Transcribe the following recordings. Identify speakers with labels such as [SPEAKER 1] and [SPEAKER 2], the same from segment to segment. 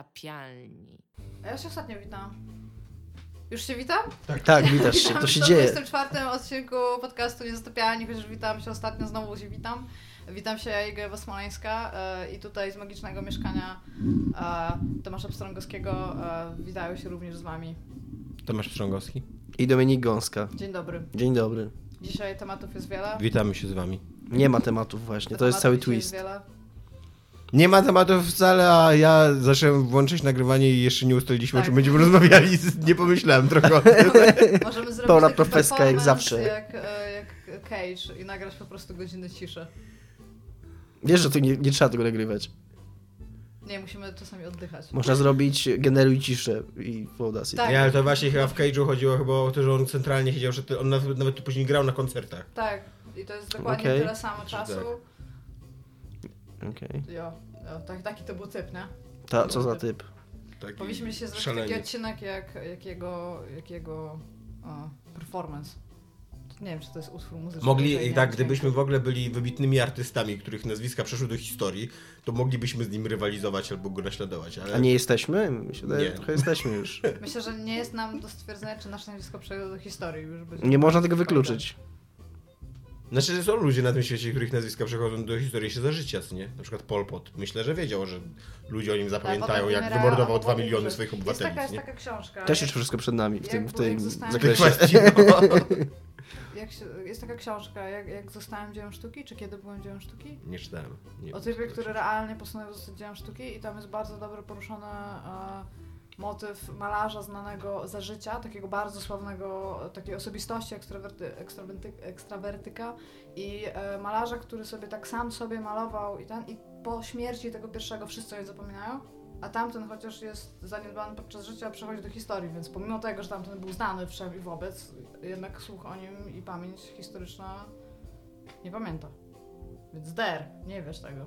[SPEAKER 1] niezatapialni.
[SPEAKER 2] A ja się ostatnio witam. Już się witam?
[SPEAKER 3] Tak, widać się,
[SPEAKER 2] Witam
[SPEAKER 3] to się
[SPEAKER 2] w
[SPEAKER 3] dzieje.
[SPEAKER 2] 24 odcinku podcastu Niezatopialni, chociaż witam się ostatnio, znowu się witam. Witam się, ja Iga Wasmolańska e, i tutaj z magicznego mieszkania e, Tomasza Pstrągowskiego e, witają się również z Wami.
[SPEAKER 4] Tomasz Pstrągowski.
[SPEAKER 3] I Dominik Gąska.
[SPEAKER 2] Dzień dobry.
[SPEAKER 3] Dzień dobry.
[SPEAKER 2] Dzisiaj tematów jest wiele.
[SPEAKER 4] Witamy się z wami.
[SPEAKER 3] Nie ma tematów właśnie, to
[SPEAKER 2] Tematów
[SPEAKER 3] jest cały
[SPEAKER 2] dzisiaj
[SPEAKER 3] twist.
[SPEAKER 2] wiele.
[SPEAKER 4] Nie ma tematów wcale, a ja zacząłem włączyć nagrywanie i jeszcze nie ustaliliśmy,
[SPEAKER 2] Tak.
[SPEAKER 4] o czym będziemy rozmawiali. Nie pomyślałem trochę o tym.
[SPEAKER 2] Możemy zrobić
[SPEAKER 3] Pełna
[SPEAKER 2] taki
[SPEAKER 3] profeska jak
[SPEAKER 2] performance
[SPEAKER 3] zawsze.
[SPEAKER 2] Jak, e, jak Cage i nagrać po prostu godzinę ciszy.
[SPEAKER 3] Wiesz, że tu nie, nie trzeba tego nagrywać.
[SPEAKER 2] Nie, musimy czasami oddychać.
[SPEAKER 3] Można zrobić generuj ciszę i w Audacity.
[SPEAKER 2] Tak.
[SPEAKER 4] Nie, ale to właśnie chyba w Cage'u chodziło chyba o to, że on centralnie siedział, że to- on nawet, nawet tu później grał na koncertach.
[SPEAKER 2] Tak, i to jest dokładnie
[SPEAKER 3] Okej.
[SPEAKER 2] tyle samo czasu.
[SPEAKER 3] Okej.
[SPEAKER 2] Jo, jo tak, taki to był typ, nie?
[SPEAKER 3] Ta, co za typ?
[SPEAKER 4] Taki
[SPEAKER 2] Powinniśmy się zrobić
[SPEAKER 4] szaleniec.
[SPEAKER 2] taki odcinek jak jakiego, jakiego o, performance. Nie wiem, czy to jest utwór muzyczny.
[SPEAKER 4] Mogli,
[SPEAKER 2] jeżeli
[SPEAKER 4] i
[SPEAKER 2] nie
[SPEAKER 4] tak,
[SPEAKER 2] mam
[SPEAKER 4] gdybyśmy
[SPEAKER 2] dźwięku.
[SPEAKER 4] w ogóle byli wybitnymi artystami, których nazwiska przeszły do historii, to moglibyśmy z nim rywalizować albo go naśladować, ale...
[SPEAKER 3] A nie jesteśmy? Mi się wydaje, że
[SPEAKER 4] Tak. Nie.
[SPEAKER 3] trochę jesteśmy już.
[SPEAKER 2] Myślę, że nie jest nam do stwierdzenia, czy nasze nazwisko przejdzie do historii. Już będzie
[SPEAKER 3] Nie można tego wykluczyć.
[SPEAKER 4] Znaczy, że są ludzie na tym świecie, których nazwiska przechodzą do historii się za życia, co nie? Na przykład Pol Pot. Myślę, że wiedział, że ludzie o nim
[SPEAKER 2] Tak,
[SPEAKER 4] zapamiętają,
[SPEAKER 2] potem
[SPEAKER 4] jak
[SPEAKER 2] wymiera
[SPEAKER 4] wymordował
[SPEAKER 2] albo
[SPEAKER 4] 2 miliony
[SPEAKER 2] umrze.
[SPEAKER 4] swoich
[SPEAKER 2] Jest
[SPEAKER 4] obywateli,
[SPEAKER 2] taka, jest
[SPEAKER 4] co nie?
[SPEAKER 2] taka książka.
[SPEAKER 3] Też
[SPEAKER 2] jak-
[SPEAKER 3] jeszcze wszystko przed nami w tym, w
[SPEAKER 2] Jak-
[SPEAKER 3] tym
[SPEAKER 2] jak zostałem-
[SPEAKER 4] Ty
[SPEAKER 3] zakresie.
[SPEAKER 4] właśnie, no.
[SPEAKER 2] jak się, jest taka książka, jak, jak zostałem dziełem sztuki, czy kiedy byłem dziełem sztuki?
[SPEAKER 4] Nie czytałem. Nie
[SPEAKER 2] O typie, który realnie postanowił zostać dziełem sztuki i tam jest bardzo dobrze poruszony e, motyw malarza znanego za życia, takiego bardzo sławnego, e, takiej osobistości ekstrawerty, ekstrawerty, ekstrawertyka i e, malarza, który sobie tak sam sobie malował i ten, i po śmierci tego pierwszego wszyscy o nim zapominają. A tamten, chociaż jest zaniedbany podczas życia, przechodzi do historii, więc pomimo tego, że tamten był znany wszem i wobec, jednak słuch o nim i pamięć historyczna nie pamięta. Więc der, nie wiesz tego.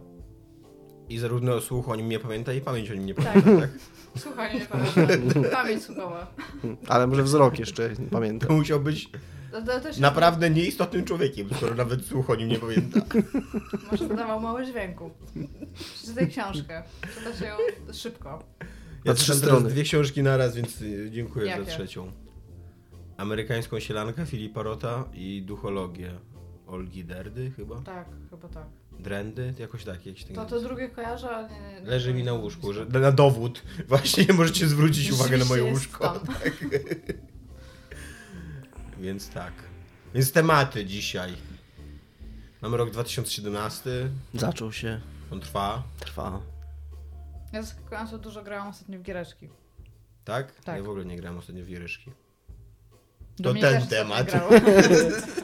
[SPEAKER 4] I zarówno słuch o nim nie pamięta i pamięć o nim nie
[SPEAKER 2] Tak.
[SPEAKER 4] pamięta, tak?
[SPEAKER 2] Słuchanie nie pamiętam. Pamięć słuchowa.
[SPEAKER 3] Ale może wzrok jeszcze, nie
[SPEAKER 4] To
[SPEAKER 3] pamiętam.
[SPEAKER 4] musiał być
[SPEAKER 2] To, to też
[SPEAKER 4] naprawdę nieistotnym człowiekiem, skoro nawet słuch o nim nie pamięta.
[SPEAKER 2] Może zdawał mało dźwięku. Przeczytaj książkę. Czyta się ją szybko.
[SPEAKER 4] Ja
[SPEAKER 3] trzy
[SPEAKER 4] czytam teraz
[SPEAKER 3] strony.
[SPEAKER 4] dwie książki na raz, więc y, dziękuję
[SPEAKER 2] Jakie?
[SPEAKER 4] za trzecią. Amerykańską sielankę Filipa Rota i duchologię Olgi Derdy chyba?
[SPEAKER 2] Tak, chyba tak.
[SPEAKER 4] Drendy? Jakoś tak, jakieś tak
[SPEAKER 2] To to drugie kojarzę, ale nie, nie, nie
[SPEAKER 4] Leży mi na łóżku, że, na dowód. Właśnie możecie zwrócić uwagę na moje
[SPEAKER 2] Rzeczywiście
[SPEAKER 4] łóżko.
[SPEAKER 2] jest tam.
[SPEAKER 4] Więc tak. Więc tematy dzisiaj. Mamy rok 2017,
[SPEAKER 3] Zaczął się,
[SPEAKER 4] on trwa,
[SPEAKER 3] trwa.
[SPEAKER 2] Ja zaskakująco dużo grałam ostatnio w giereczki.
[SPEAKER 4] tak?
[SPEAKER 2] Tak.
[SPEAKER 4] Ja w ogóle nie grałem ostatnio w giereszki.
[SPEAKER 2] Do mnie
[SPEAKER 4] ten
[SPEAKER 2] też ostatnio
[SPEAKER 4] temat.
[SPEAKER 2] grało.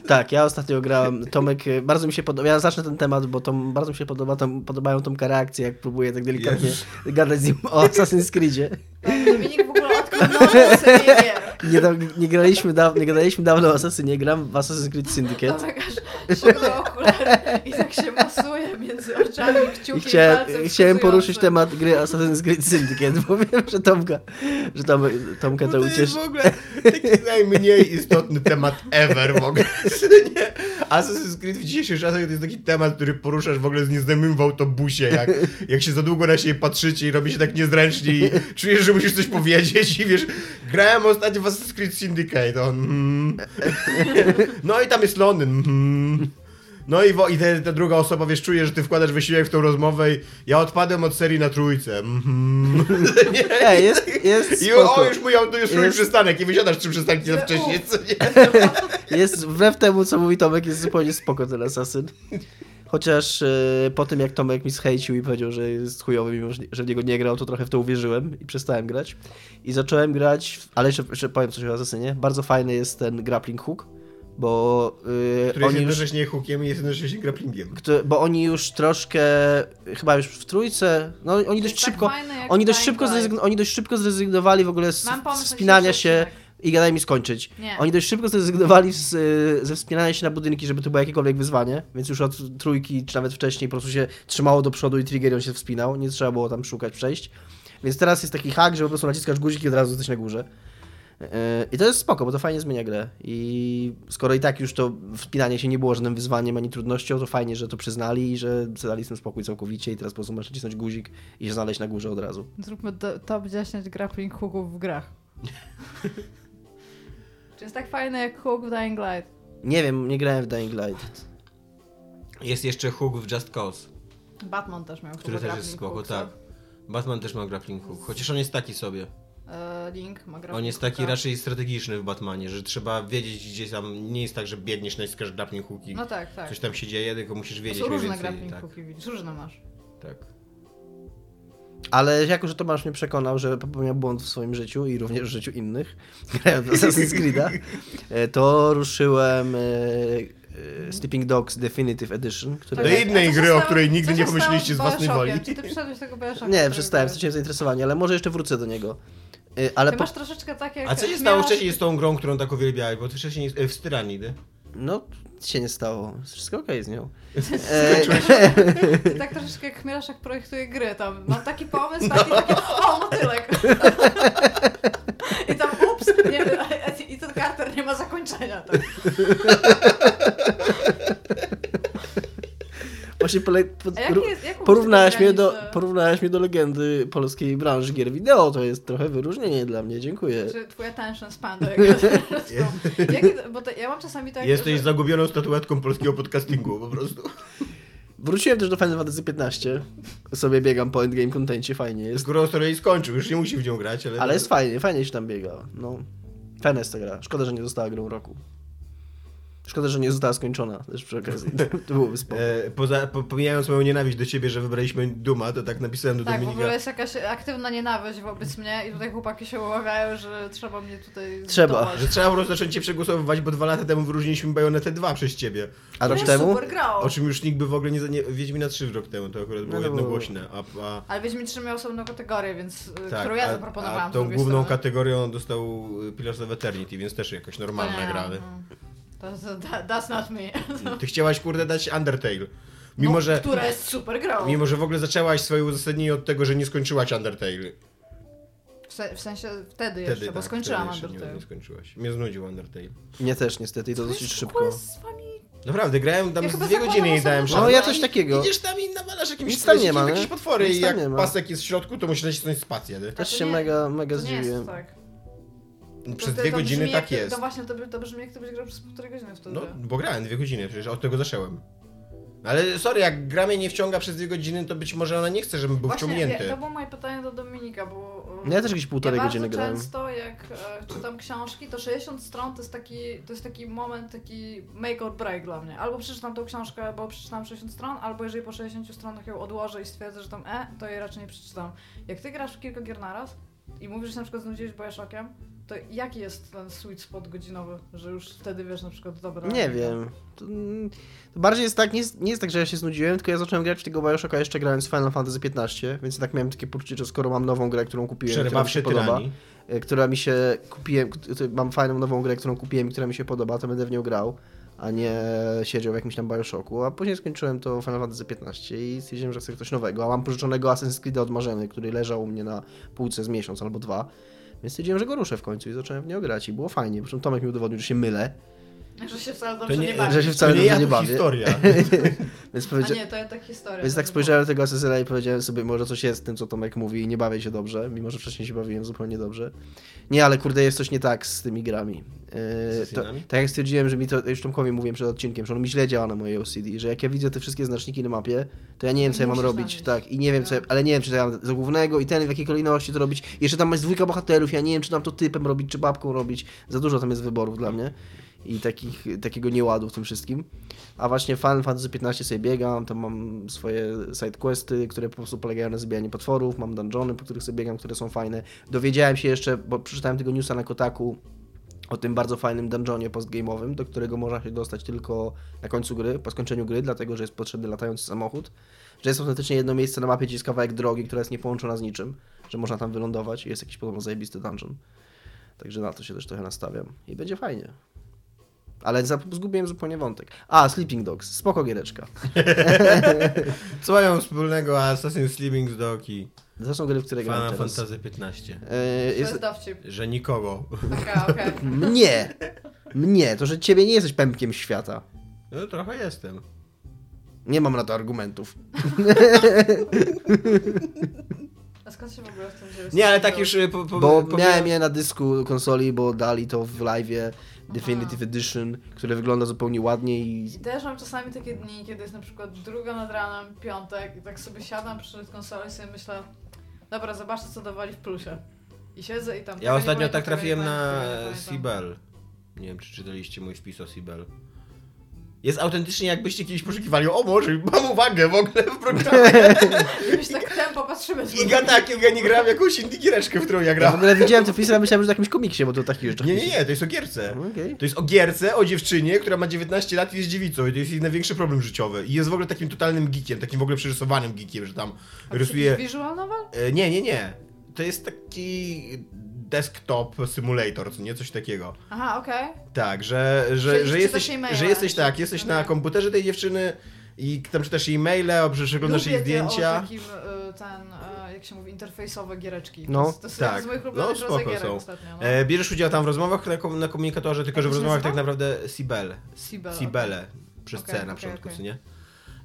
[SPEAKER 3] Tak, ja ostatnio grałem, Tomek, e, bardzo mi się podoba, ja zacznę ten temat, bo tom, bardzo mi się podoba, tam, podobają Tomka reakcje, jak próbuję tak delikatnie
[SPEAKER 4] Jezus.
[SPEAKER 3] gadać z nim o Assassin's Creedzie.
[SPEAKER 2] Tak, Dominik w ogóle odkrył nową serię gier.
[SPEAKER 3] Nie, da- nie graliśmy dawno, nie gadaliśmy dawno o Assassinie, gram w Assassin's Creed Syndicate.
[SPEAKER 2] Tomek aż ściągnął okulary i tak się masuje między oczami, kciuki
[SPEAKER 3] I
[SPEAKER 2] i
[SPEAKER 3] chcia,
[SPEAKER 2] palcem
[SPEAKER 3] chciałem
[SPEAKER 2] wskazującym.
[SPEAKER 3] poruszyć temat gry Assassin's Creed Syndicate, bo wiem, że Tomka, że Tom, Tomka
[SPEAKER 4] No
[SPEAKER 3] to
[SPEAKER 4] to jest
[SPEAKER 3] ucieszy.
[SPEAKER 4] w ogóle taki najmniej istotny temat ever w ogóle. Nie? Assassin's Creed w dzisiejszych czasach to jest taki temat, który poruszasz w ogóle z nieznajomym w autobusie, jak, jak się za długo na siebie patrzycie i robi się tak niezręcznie i czujesz, że musisz coś powiedzieć i wiesz, grałem ostatnio w Assassin's Creed Syndicate, on mm. No i tam jest Londyn, mm. No i, wo, i te, ta druga osoba, wiesz, czuje, że ty wkładasz wysiłek w tą rozmowę i ja odpadłem od serii na trójce. Mhm.
[SPEAKER 3] Ej, jest, jest
[SPEAKER 4] I o,
[SPEAKER 3] spoko.
[SPEAKER 4] już mój auto, już mój
[SPEAKER 3] Jest-
[SPEAKER 4] przystanek i wysiadasz przy przystanki za
[SPEAKER 2] Że
[SPEAKER 4] wcześnie, co nie?
[SPEAKER 3] Jest, wbrew temu, co mówi Tomek, jest zupełnie spoko ten Assassin. Chociaż e, po tym, jak Tomek mi zhejcił i powiedział, że jest chujowy, mimo że- że w niego nie grał, to trochę w to uwierzyłem i przestałem grać. I zacząłem grać, w- ale jeszcze, jeszcze powiem coś o Assassinie. Bardzo fajny jest ten grappling hook, bo, e,
[SPEAKER 4] Który jest
[SPEAKER 3] oni, już,
[SPEAKER 4] jednocześnie hookiem i jest jednocześnie grapplingiem.
[SPEAKER 3] kto- bo oni już troszkę, chyba już w trójce, no oni dość
[SPEAKER 2] Jest tak
[SPEAKER 3] szybko...
[SPEAKER 2] fajne jak
[SPEAKER 3] Oni dość,
[SPEAKER 2] Dying
[SPEAKER 3] szybko
[SPEAKER 2] Light.
[SPEAKER 3] zrezygn- oni dość szybko zrezygnowali w ogóle z
[SPEAKER 2] Mam pomysł na tak.
[SPEAKER 3] wspinania
[SPEAKER 2] dzisiejszy
[SPEAKER 3] się
[SPEAKER 2] odcinek.
[SPEAKER 3] i gadaj mi skończyć.
[SPEAKER 2] Nie.
[SPEAKER 3] Oni dość szybko zrezygnowali z, y, ze wspinania się na budynki, żeby to było jakiekolwiek wyzwanie, więc już od trójki czy nawet wcześniej po prostu się trzymało do przodu i triggerion się wspinał, nie trzeba było tam szukać przejść. Więc teraz jest taki hack, że po prostu naciskasz guzik i od razu jesteś na górze. Yy, I to jest spoko, bo to fajnie zmienia grę. I skoro i tak już to wspinanie się nie było żadnym wyzwaniem ani trudnością, to fajnie, że to przyznali i że dali z tym spokój całkowicie i teraz po prostu masz nacisnąć guzik i się znaleźć na górze od razu.
[SPEAKER 2] Zróbmy do, top 10 grappling hooków w grach. Czy jest tak fajne jak hook w Dying Light?
[SPEAKER 3] Nie wiem, nie grałem w Dying Light.
[SPEAKER 4] Jest jeszcze hook w Just Cause,
[SPEAKER 2] Batman też miał
[SPEAKER 4] który
[SPEAKER 2] chyba
[SPEAKER 4] też jest
[SPEAKER 2] grappling
[SPEAKER 4] spoko,
[SPEAKER 2] hook,
[SPEAKER 4] tak. Batman też ma grappling hook, chociaż on jest taki sobie.
[SPEAKER 2] E, Link ma grappling
[SPEAKER 4] On jest taki
[SPEAKER 2] hooka.
[SPEAKER 4] raczej strategiczny w Batmanie, że trzeba wiedzieć gdzie tam, nie jest tak, że biegniesz, naciskasz grappling hooki,
[SPEAKER 2] No tak, tak.
[SPEAKER 4] coś tam się dzieje, tylko musisz
[SPEAKER 2] To
[SPEAKER 4] wiedzieć
[SPEAKER 2] są
[SPEAKER 4] mniej
[SPEAKER 2] różne
[SPEAKER 4] więcej.
[SPEAKER 2] grappling
[SPEAKER 4] Tak,
[SPEAKER 2] hooki, widzisz, różne masz.
[SPEAKER 4] tak.
[SPEAKER 3] Ale jako, że Tomasz mnie przekonał, że popełnia błąd w swoim życiu i również w życiu innych, grając w Assassin's Creed'a, e, to ruszyłem e, e, Sleeping Dogs Definitive Edition,
[SPEAKER 4] Do
[SPEAKER 3] który...
[SPEAKER 2] Czekaj,
[SPEAKER 4] innej
[SPEAKER 2] a co się
[SPEAKER 4] gry, o
[SPEAKER 2] stało-
[SPEAKER 4] której nigdy
[SPEAKER 2] co się
[SPEAKER 4] nie pomyśleliście
[SPEAKER 2] stało
[SPEAKER 4] z własnej
[SPEAKER 2] Bioshockiem?
[SPEAKER 4] woli.
[SPEAKER 2] Czy ty przyszedłeś tego Bioshocka?
[SPEAKER 3] Nie,
[SPEAKER 2] którego
[SPEAKER 3] przestałem,
[SPEAKER 2] grałeś?
[SPEAKER 3] straciłem zainteresowanie, ale może jeszcze wrócę do niego. E, Ale
[SPEAKER 2] Ty
[SPEAKER 3] po...
[SPEAKER 2] masz troszeczkę takie...
[SPEAKER 4] A co się
[SPEAKER 2] miałaś-
[SPEAKER 4] stało wcześniej z tą grą, którą tak uwielbiałeś, bo ty wcześniej e, w Styranii, nie?
[SPEAKER 3] No, nic się nie stało. Wszystko okej z nią. E,
[SPEAKER 2] Ty tak troszeczkę jak Chmielaszek projektuje gry tam. Mam taki pomysł, taki, taki o, motylek. I tam ups, nie, i ten karter nie ma zakończenia. Tak.
[SPEAKER 3] Właśnie pole... po...
[SPEAKER 2] A jakie jest, jaką
[SPEAKER 3] Porównałaś mnie,
[SPEAKER 2] granice?
[SPEAKER 3] do, porównałaś mnie do legendy polskiej branży gier wideo. To jest trochę wyróżnienie dla mnie, dziękuję.
[SPEAKER 2] Czy twój attention span do jakiegoś Jakie, Bo to, ja mam czasami tak,
[SPEAKER 4] Jesteś
[SPEAKER 2] że,
[SPEAKER 4] zagubioną statuetką polskiego podcastingu po prostu.
[SPEAKER 3] Wróciłem też do Final Fantasy 15. Sobie biegam po endgame kontencie, fajnie jest.
[SPEAKER 4] Skoro Story skończył, już nie musi w nią grać, ale... no,
[SPEAKER 3] Ale jest fajnie, fajnie się tam biega. No. Fajna jest ta gra. Szkoda, że nie została grą roku. Szkoda, że nie została skończona też przy okazji. To byłoby spoko.
[SPEAKER 4] E, poza, po, pomijając moją nienawiść do ciebie, że wybraliśmy Duma, to tak napisałem do
[SPEAKER 2] Tak, w
[SPEAKER 4] Dominika.
[SPEAKER 2] ogóle jest jakaś aktywna nienawiść wobec mnie i tutaj chłopaki się umawiają, że trzeba mnie tutaj
[SPEAKER 3] Trzeba.
[SPEAKER 2] zdołać.
[SPEAKER 4] Że trzeba po prostu zacząć cię przegłosowywać, bo dwa lata temu wyróżniliśmy Bajonetę 2 przez ciebie.
[SPEAKER 3] A
[SPEAKER 2] To
[SPEAKER 3] rok
[SPEAKER 2] jest
[SPEAKER 3] temu?
[SPEAKER 2] Super grał.
[SPEAKER 4] O czym już nikt by w ogóle nie... za- nie Wiedźmina 3 rok temu, to akurat
[SPEAKER 3] No
[SPEAKER 4] było
[SPEAKER 3] to było-
[SPEAKER 4] jednogłośne. A, a,
[SPEAKER 2] Ale Wiedźmin 3 miał osobną kategorię, więc y,
[SPEAKER 4] tak,
[SPEAKER 2] którą ja
[SPEAKER 4] a-
[SPEAKER 2] zaproponowałam.
[SPEAKER 4] A
[SPEAKER 2] z
[SPEAKER 4] tą
[SPEAKER 2] drugiej
[SPEAKER 4] główną
[SPEAKER 2] strony.
[SPEAKER 4] kategorią dostał y, Pillars of Eternity, więc też jakaś normalna
[SPEAKER 2] Nie,
[SPEAKER 4] gra. ale-
[SPEAKER 2] no. To, to, that- that's not me.
[SPEAKER 4] Ty chciałaś kurde dać Undertale. Mimo,
[SPEAKER 2] no,
[SPEAKER 4] że,
[SPEAKER 2] Która jest super grą.
[SPEAKER 4] mimo, że w ogóle zaczęłaś swoje uzasadnienie od tego, że nie skończyłaś Undertale.
[SPEAKER 2] W, se, w sensie wtedy,
[SPEAKER 4] Wtedy,
[SPEAKER 2] jeszcze,
[SPEAKER 4] tak,
[SPEAKER 2] bo skończyłam
[SPEAKER 4] wtedy jeszcze
[SPEAKER 2] Undertale.
[SPEAKER 4] Nie, nie skończyłaś. Mnie znudził Undertale.
[SPEAKER 3] Mnie też niestety i to dosyć szybko.
[SPEAKER 4] Naprawdę, grałem tam
[SPEAKER 2] Ja
[SPEAKER 4] z
[SPEAKER 2] chyba
[SPEAKER 4] dwie godziny i
[SPEAKER 2] zapomniałam
[SPEAKER 4] dałem
[SPEAKER 2] sobie
[SPEAKER 3] No
[SPEAKER 4] szansę.
[SPEAKER 3] ja coś takiego.
[SPEAKER 4] Idziesz tam i nawalasz jakimś
[SPEAKER 3] Nic tam nie ma, nie?
[SPEAKER 4] jakieś potwory
[SPEAKER 3] Nic
[SPEAKER 4] i
[SPEAKER 3] tam
[SPEAKER 4] jak
[SPEAKER 3] nie ma.
[SPEAKER 4] pasek jest w środku, to musisz nacisnąć spację. nie?
[SPEAKER 3] Też
[SPEAKER 2] to
[SPEAKER 3] się
[SPEAKER 2] nie-
[SPEAKER 3] mega, mega
[SPEAKER 2] To nie jest
[SPEAKER 3] zdziwiłem.
[SPEAKER 2] tak.
[SPEAKER 4] Przez
[SPEAKER 2] to,
[SPEAKER 4] dwie
[SPEAKER 2] to
[SPEAKER 4] godziny
[SPEAKER 2] brzmi,
[SPEAKER 4] tak
[SPEAKER 2] jak,
[SPEAKER 4] jest.
[SPEAKER 2] To właśnie, to, by- to brzmi jak gdybyś grał przez półtorej godziny wtedy.
[SPEAKER 4] No, bo grałem dwie godziny, przecież od tego zacząłem. Ale sorry, jak gra mnie nie wciąga przez dwie godziny, to być może ona nie chce, żebym był
[SPEAKER 2] właśnie,
[SPEAKER 4] wciągnięty.
[SPEAKER 2] to było moje pytanie do Dominika, bo... e,
[SPEAKER 3] No, Ja też jakieś półtorej
[SPEAKER 2] ja
[SPEAKER 3] godziny
[SPEAKER 2] bardzo
[SPEAKER 3] grałem.
[SPEAKER 2] często jak e, czytam książki, to 60 stron to jest, taki, to jest taki moment, taki make or break dla mnie. Albo przeczytam tą książkę, bo przeczytam 60 stron, albo jeżeli po 60 stronach ją odłożę i stwierdzę, że tam e, to jej raczej nie przeczytam. Jak ty grasz w kilka gier naraz i mówisz, że się na przykład znudziłeś Bioshockiem, to jaki jest ten sweet spot godzinowy, że już wtedy wiesz na przykład, dobra...
[SPEAKER 3] Nie
[SPEAKER 2] no.
[SPEAKER 3] wiem. To, mm, to bardziej jest tak, nie jest, nie jest tak, że ja się znudziłem, tylko ja zacząłem grać w tego Bioshocka jeszcze grając w Final Fantasy 15, więc tak miałem takie poczucie, że skoro mam nową grę, którą kupiłem, która mi się
[SPEAKER 4] Przerwawszy
[SPEAKER 3] podoba,
[SPEAKER 4] tyranii.
[SPEAKER 3] y, która mi się kupiłem, k- t- mam fajną nową grę, którą kupiłem i która mi się podoba, to będę w nią grał, a nie siedział w jakimś tam Bioshocku, a później skończyłem to Final Fantasy 15 i stwierdziłem, że chcę coś nowego, a mam pożyczonego Assassin's Creed od Marzeny, który leżał u mnie na półce z miesiąc albo dwa, więc stwierdziłem, że go ruszę w końcu i zacząłem w nią grać i było fajnie, przy czym Tomek mi udowodnił, że się mylę,
[SPEAKER 2] Że się wcale
[SPEAKER 4] To
[SPEAKER 2] dobrze nie,
[SPEAKER 4] nie,
[SPEAKER 2] bawisz.
[SPEAKER 3] że się wcale
[SPEAKER 4] to nie,
[SPEAKER 3] dobrze
[SPEAKER 4] ja,
[SPEAKER 3] nie
[SPEAKER 4] to
[SPEAKER 3] bawię.
[SPEAKER 4] historia.
[SPEAKER 3] więc
[SPEAKER 2] A
[SPEAKER 3] powiedziałem...
[SPEAKER 2] nie, to ja tak historia.
[SPEAKER 3] Więc
[SPEAKER 2] to
[SPEAKER 3] tak
[SPEAKER 2] było.
[SPEAKER 3] spojrzałem na tego asesyla i powiedziałem sobie, może coś jest z tym, co Tomek mówi i nie bawię się dobrze, mimo że wcześniej się bawiłem zupełnie dobrze. Nie, ale kurde, jest coś nie tak z tymi grami. Yy, to,
[SPEAKER 4] Asasynami?
[SPEAKER 3] tak jak stwierdziłem, że mi to, już Tomkowi mówiłem przed odcinkiem, że on mi źle działa na mojej OCD, że jak ja widzę te wszystkie znaczniki na mapie, to ja nie wiem, co ja mam
[SPEAKER 2] Musisz
[SPEAKER 3] robić,
[SPEAKER 2] znaleźć.
[SPEAKER 3] tak, i nie wiem, co ja,
[SPEAKER 2] Tak.
[SPEAKER 3] ale nie wiem, czy to ja mam za głównego i ten, w jakiej kolejności to robić. Jeszcze tam jest dwójka bohaterów, ja nie wiem, czy tam to typem robić, czy babką robić. Za dużo tam jest wyborów dla mnie i takich, takiego nieładu w tym wszystkim. A właśnie Final Fantasy 15 sobie biegam, tam mam swoje sidequesty, które po prostu polegają na zabijaniu potworów, mam dungeony, po których sobie biegam, które są fajne. Dowiedziałem się jeszcze, bo przeczytałem tego newsa na Kotaku, o tym bardzo fajnym dungeonie postgame'owym, do którego można się dostać tylko na końcu gry, po skończeniu gry, dlatego że jest potrzebny latający samochód, że jest autentycznie jedno miejsce na mapie, gdzie jest kawałek drogi, która jest niepołączona z niczym, że można tam wylądować i jest jakiś podobno zajebisty dungeon. Także na to się też trochę nastawiam i będzie fajnie. Ale zap- zgubiłem zupełnie wątek. A, Sleeping Dogs. Spoko giereczka.
[SPEAKER 4] Co mają wspólnego Assassin's Sleeping Dog i
[SPEAKER 3] Zresztą gry, w które grałem
[SPEAKER 4] Final
[SPEAKER 3] teraz.
[SPEAKER 4] Fantasy 15?
[SPEAKER 3] E,
[SPEAKER 2] To jest
[SPEAKER 3] jest...
[SPEAKER 2] dowcip.
[SPEAKER 4] Że nikogo.
[SPEAKER 2] Taka, okej.
[SPEAKER 3] Mnie! Mnie! To, że ciebie nie jesteś pępkiem świata.
[SPEAKER 4] No trochę jestem.
[SPEAKER 3] Nie mam na to argumentów.
[SPEAKER 2] A skąd się w ogóle w tym wziąłeś?
[SPEAKER 4] Nie, ale tak już y, po, po,
[SPEAKER 3] Bo
[SPEAKER 4] pomijam-
[SPEAKER 3] miałem je na dysku konsoli, bo dali to w live Definitive Edition, które wygląda zupełnie ładnie i
[SPEAKER 2] Też mam czasami takie dni, kiedy jest na przykład druga nad ranem, piątek i tak sobie siadam przy konsolę i sobie myślę, dobra, zobaczę co dawali w plusie. I siedzę i tam... tego
[SPEAKER 4] Ja
[SPEAKER 2] nie
[SPEAKER 4] ostatnio
[SPEAKER 2] pamiętam,
[SPEAKER 4] tak
[SPEAKER 2] tego nie
[SPEAKER 4] trafiłem na
[SPEAKER 2] pamiętam, tego nie pamiętam.
[SPEAKER 4] Sibel. Nie wiem, czy czytaliście mój wpis o Sibel. Jest autentycznie, jakbyście kiedyś poszukiwali. O, może mam uwagę w ogóle w programie.
[SPEAKER 2] Jakbyś tak tempo patrzymy. żeby-
[SPEAKER 4] I tak, ja nie grałem jakąś indie w którą ja
[SPEAKER 3] Ja w
[SPEAKER 4] grałem.
[SPEAKER 3] ogóle widziałem te wpisy, ale myślałem, że to jakimś komiksie, bo to takich rzeczy.
[SPEAKER 4] Nie, nie, nie, to jest o gierce.
[SPEAKER 3] No, Okej.
[SPEAKER 4] To jest o gierce, o dziewczynie, która ma 19 lat i jest dziewicą. I to jest jej największy problem życiowy. I jest w ogóle takim totalnym geekiem, takim w ogóle przerysowanym geekiem, że tam
[SPEAKER 2] A
[SPEAKER 4] rysuje...
[SPEAKER 2] jakiś Visual novel?
[SPEAKER 4] E, Nie, nie, nie. To jest taki desktop simulator, co nie? Coś takiego.
[SPEAKER 2] Aha, okej.
[SPEAKER 4] Tak, że, że,
[SPEAKER 2] Czyli
[SPEAKER 4] że,
[SPEAKER 2] czytasz
[SPEAKER 4] jesteś,
[SPEAKER 2] jej maila.
[SPEAKER 4] że jesteś tak, jesteś na
[SPEAKER 2] Mhm.
[SPEAKER 4] komputerze tej dziewczyny i tam czytasz jej maile, o, przeglądasz jej
[SPEAKER 2] Lubię te O
[SPEAKER 4] zdjęcia.
[SPEAKER 2] takim, y, ten, y, jak się mówi, interfejsowe giereczki.
[SPEAKER 3] No,
[SPEAKER 2] to jest, to jest
[SPEAKER 4] tak.
[SPEAKER 2] jeden z moich
[SPEAKER 4] No,
[SPEAKER 2] ulubionych
[SPEAKER 4] spoko
[SPEAKER 2] rodzaj gierek
[SPEAKER 4] są.
[SPEAKER 2] ostatnio. No.
[SPEAKER 4] E, bierzesz udział tam w rozmowach na, kom- na komunikatorze, tylko
[SPEAKER 2] Jak
[SPEAKER 4] że w
[SPEAKER 2] się
[SPEAKER 4] rozmowach
[SPEAKER 2] nazywa?
[SPEAKER 4] tak naprawdę Sibel.
[SPEAKER 2] Sibel.
[SPEAKER 4] Sibele. Przez
[SPEAKER 2] Okej,
[SPEAKER 4] C na
[SPEAKER 2] okej,
[SPEAKER 4] początku,
[SPEAKER 2] okej.
[SPEAKER 4] co nie?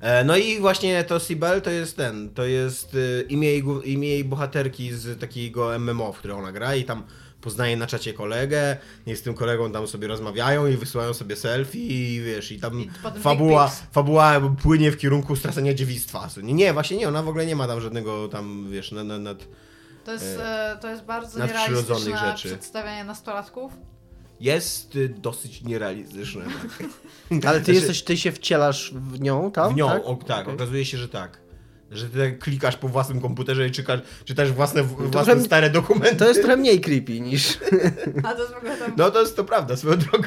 [SPEAKER 4] E, No i właśnie to Sibel to jest ten, to jest y, imię jej, głó- imię jej bohaterki z takiego MMO, w które ona gra i tam poznaje na czacie kolegę, i z tym kolegą tam sobie rozmawiają i wysyłają sobie selfie i wiesz, i tam
[SPEAKER 2] I potem
[SPEAKER 4] fabuła,
[SPEAKER 2] dick pics.
[SPEAKER 4] fabuła płynie w kierunku stracenia dziewictwa. Nie, nie, właśnie nie, ona w ogóle nie ma tam żadnego tam, wiesz, nad, nad, nad
[SPEAKER 2] To jest, e, to jest bardzo
[SPEAKER 4] nadprzyrodzonych
[SPEAKER 2] nierealistyczne
[SPEAKER 4] rzeczy.
[SPEAKER 2] przedstawianie nastolatków.
[SPEAKER 4] jest y, dosyć nierealistyczne.
[SPEAKER 3] Ale ty
[SPEAKER 4] Znaczy-
[SPEAKER 3] jesteś, ty się wcielasz w nią, tam?
[SPEAKER 4] w nią,
[SPEAKER 3] tak?
[SPEAKER 4] tak, o, tak
[SPEAKER 3] Okej.
[SPEAKER 4] okazuje się, że tak. Że ty tak klikasz po własnym komputerze i czykasz, czytasz własne, własne
[SPEAKER 3] trochę-
[SPEAKER 4] stare dokumenty.
[SPEAKER 3] To jest trochę mniej creepy niż...
[SPEAKER 2] A to jest w ogóle tam...
[SPEAKER 4] No to jest to prawda, swoją drogą.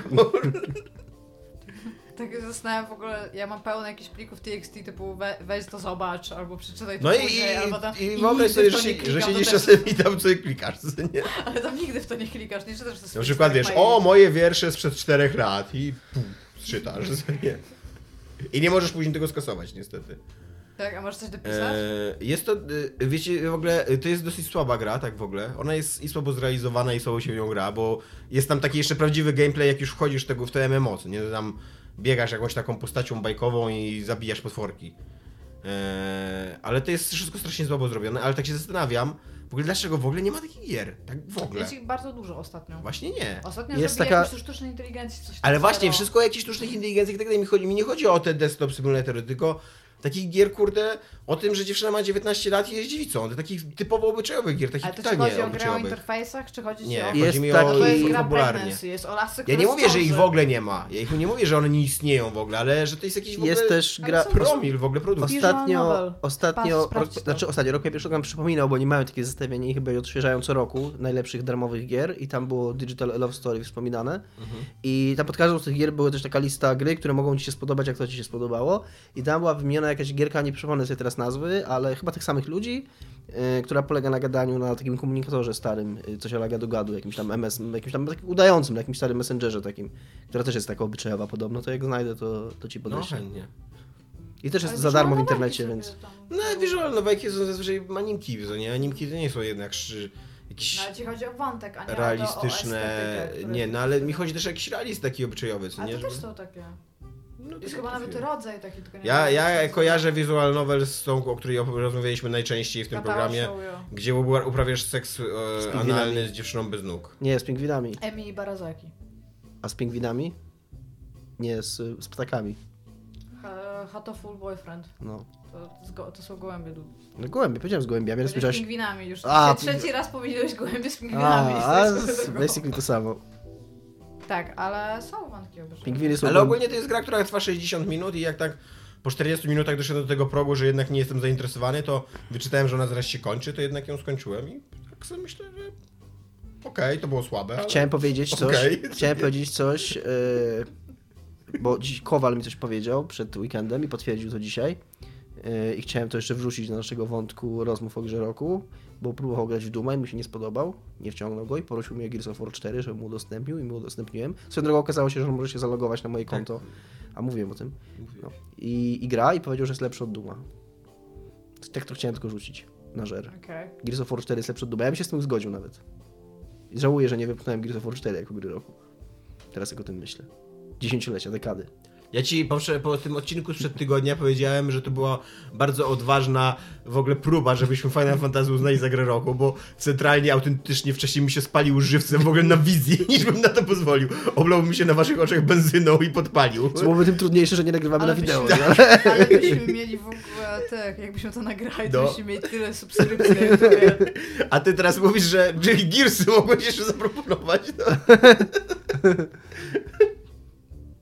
[SPEAKER 2] Tak się zastanawiam w ogóle, ja mam pełno jakichś plików TXT typu we, weź to zobacz, albo przeczytaj to
[SPEAKER 4] No i, i,
[SPEAKER 2] później, albo tam...
[SPEAKER 4] i wyobraź
[SPEAKER 2] nigdy
[SPEAKER 4] sobie,
[SPEAKER 2] w to
[SPEAKER 4] że,
[SPEAKER 2] nie klikam, to
[SPEAKER 4] się, że
[SPEAKER 2] też-
[SPEAKER 4] siedzisz czasem i tam sobie klikasz. co Nie?
[SPEAKER 2] Ale tam nigdy w to nie klikasz, nie czytasz to
[SPEAKER 4] Na przykład wiesz, o moje wiersze sprzed czterech lat i pum, czytasz. co Nie? I nie możesz później tego skasować niestety.
[SPEAKER 2] Tak, a możesz coś dopisać?
[SPEAKER 4] E, jest to, e, wiecie, w ogóle e, to jest dosyć słaba gra, tak w ogóle. Ona jest i słabo zrealizowana, i słabo się w nią gra, bo jest tam taki jeszcze prawdziwy gameplay, jak już wchodzisz tego, w to MMO, co nie? To Tam biegasz jakąś taką postacią bajkową i zabijasz potworki. E, ale to jest wszystko strasznie słabo zrobione, ale tak się zastanawiam, w ogóle dlaczego w ogóle nie ma takich gier, tak w ogóle.
[SPEAKER 2] Jest ich bardzo dużo ostatnio.
[SPEAKER 4] Właśnie nie.
[SPEAKER 2] Ostatnio
[SPEAKER 3] Jest
[SPEAKER 2] jest
[SPEAKER 3] taka-
[SPEAKER 2] taka... sztucznej inteligencji coś
[SPEAKER 4] Ale
[SPEAKER 2] tam
[SPEAKER 4] właśnie,
[SPEAKER 2] było.
[SPEAKER 4] wszystko o jakichś sztucznych inteligencji i tak dalej mi chodzi. Mi nie chodzi o te desktop simulatory, tylko takich gier, kurde, o tym, że dziewczyna ma 19 lat i jest dziewicą. To takich typowo obyczajowych gier, takich
[SPEAKER 2] Ale to czy
[SPEAKER 4] totalnie
[SPEAKER 2] chodzi o grę o
[SPEAKER 4] obyczajowych.
[SPEAKER 2] interfejsach, czy chodzi ci
[SPEAKER 4] Nie,
[SPEAKER 2] o...
[SPEAKER 4] chodzi
[SPEAKER 3] Jest
[SPEAKER 4] mi
[SPEAKER 2] No
[SPEAKER 3] taki-
[SPEAKER 4] o
[SPEAKER 2] to jest
[SPEAKER 4] ich
[SPEAKER 2] gra
[SPEAKER 4] fabularnie.
[SPEAKER 2] pregnancy, jest o lasy,
[SPEAKER 4] Ja
[SPEAKER 2] które
[SPEAKER 4] nie mówię, że
[SPEAKER 2] ciąży.
[SPEAKER 4] ich w ogóle nie ma. Ja ich nie mówię, że one nie istnieją w ogóle, ale że to jest jakiś w ogóle
[SPEAKER 3] Jest też
[SPEAKER 2] Ale
[SPEAKER 3] gra...
[SPEAKER 2] są-
[SPEAKER 4] promil w ogóle produkcji.
[SPEAKER 2] Visual
[SPEAKER 3] Ostatnio,
[SPEAKER 2] novel.
[SPEAKER 3] ostatnio,
[SPEAKER 2] Patrz,
[SPEAKER 3] rok,
[SPEAKER 2] sprawdź to.
[SPEAKER 3] znaczy ostatnio, rok pierwszy nam przypominał, bo nie mają takie zestawienie i chyba je odświeżają co roku najlepszych darmowych gier i tam było Digital Love Story wspominane i tam pod każdą z tych gier była też taka lista gry, które mogą Ci się spodobać, jak to Ci się spodobało i tam była wymieniona jakaś gierka, nie przypomnę sobie teraz nazwy, ale chyba tych samych ludzi, y, która polega na gadaniu na takim komunikatorze starym, y, coś ala gadu gadu, jakimś tam MS, jakimś tam takim udającym, na jakimś starym messengerze takim, która też jest taka obyczajowa podobno, to jak znajdę, to, to Ci
[SPEAKER 4] No
[SPEAKER 3] podeślę.
[SPEAKER 4] chętnie.
[SPEAKER 3] I też jest
[SPEAKER 2] Ale
[SPEAKER 3] za darmo w internecie,
[SPEAKER 2] sobie
[SPEAKER 3] więc...
[SPEAKER 2] tam-
[SPEAKER 4] No, visual nowelki są zazwyczaj animki, co nie? Animki to nie są jednak szy... jakieś...
[SPEAKER 2] No ale ci chodzi o wątek, a nie o
[SPEAKER 4] realistyczne.
[SPEAKER 2] to, o estetykę, która
[SPEAKER 4] nie,
[SPEAKER 2] jest-
[SPEAKER 4] no ale mi chodzi też o jakiś realizm taki obyczajowy, co
[SPEAKER 2] Ale
[SPEAKER 4] nie?
[SPEAKER 2] to też
[SPEAKER 4] Żeby-
[SPEAKER 2] są takie.
[SPEAKER 4] No,
[SPEAKER 2] To jest chyba nawet rodzaj taki, tylko nie
[SPEAKER 4] Ja,
[SPEAKER 2] wiem, jak
[SPEAKER 4] ja
[SPEAKER 2] się
[SPEAKER 4] kojarzę wizual novel z tą, o której op- rozmawialiśmy najczęściej w tym
[SPEAKER 2] nazywa.
[SPEAKER 4] programie,
[SPEAKER 2] Katała Shoujo.
[SPEAKER 4] gdzie upa- uprawiasz seks e,
[SPEAKER 3] pingwinami.
[SPEAKER 4] analny z dziewczyną bez nóg.
[SPEAKER 3] Nie, z pingwinami.
[SPEAKER 2] Emi i Barazaki.
[SPEAKER 3] A z pingwinami? Nie, z, y, z ptakami.
[SPEAKER 2] Ha- Hatoful Boyfriend.
[SPEAKER 3] No.
[SPEAKER 2] To, z go- to są gołębie. du-
[SPEAKER 3] No gołębie, powiedziałem z gołębiami, ale
[SPEAKER 2] Powiedziałeś
[SPEAKER 3] powiedziałeś...
[SPEAKER 2] pingwinami już.
[SPEAKER 3] A,
[SPEAKER 2] A,
[SPEAKER 3] ping-
[SPEAKER 2] Trzeci raz powiedziałeś gołębie z pingwinami.
[SPEAKER 3] A, a
[SPEAKER 2] z-
[SPEAKER 3] z- basically to samo.
[SPEAKER 2] Tak, ale są wątki obyczajowe.
[SPEAKER 3] Pingwiny są...
[SPEAKER 4] Ale
[SPEAKER 3] gołębi-
[SPEAKER 4] ogólnie to jest gra, która trwa 60 minut i jak tak po 40 minutach doszedłem do tego progu, że jednak nie jestem zainteresowany, to wyczytałem, że ona zaraz się kończy, to jednak ją skończyłem i tak sobie myślę, że okej, to było słabe, ale...
[SPEAKER 3] Chciałem powiedzieć coś,
[SPEAKER 4] Okej.
[SPEAKER 3] chciałem powiedzieć coś, y, bo dziś Kowal mi coś powiedział przed weekendem e, i potwierdził to dzisiaj. y, I chciałem to jeszcze wrzucić do naszego wątku rozmów o grze roku. bo próbował grać w Duma i mu się nie spodobał, nie wciągnął go i prosił mnie o Gears of War 4, żebym mu udostępnił i mu udostępniłem. Swoją drogą okazało się, że on może się zalogować na moje
[SPEAKER 4] Tak.
[SPEAKER 3] konto, a mówiłem o tym. No. I, I gra i powiedział, że jest lepszy od Duma. Tak to chciałem tylko rzucić na żer.
[SPEAKER 2] Okej.
[SPEAKER 3] Gears of War 4 jest lepszy od Duma. Ja bym się z tym zgodził nawet. I żałuję, że nie wypchnąłem Gears of War 4 jako gry roku. Teraz jak o tym myślę. Dziesięciolecia, dekady.
[SPEAKER 4] Ja ci po, po tym odcinku sprzed tygodnia powiedziałem, że to była bardzo odważna w ogóle próba, żebyśmy Final Fantasy uznali za grę roku, bo centralnie, autentycznie wcześniej mi się spalił żywcem w ogóle na wizji, niż bym na to pozwolił. Oblałbym się na waszych oczach benzyną i podpalił.
[SPEAKER 3] Co byłoby tym trudniejsze, że nie nagrywamy
[SPEAKER 2] Ale
[SPEAKER 3] na wideo.
[SPEAKER 2] byśmy-
[SPEAKER 3] nie?
[SPEAKER 2] Ale byśmy mieli w ogóle tak, jakbyśmy to nagrali, to
[SPEAKER 4] No.
[SPEAKER 2] byśmy mieli tyle subskrypcji na YouTube.
[SPEAKER 4] A ty teraz mówisz, że Jerry Gears mogłeś jeszcze zaproponować. No.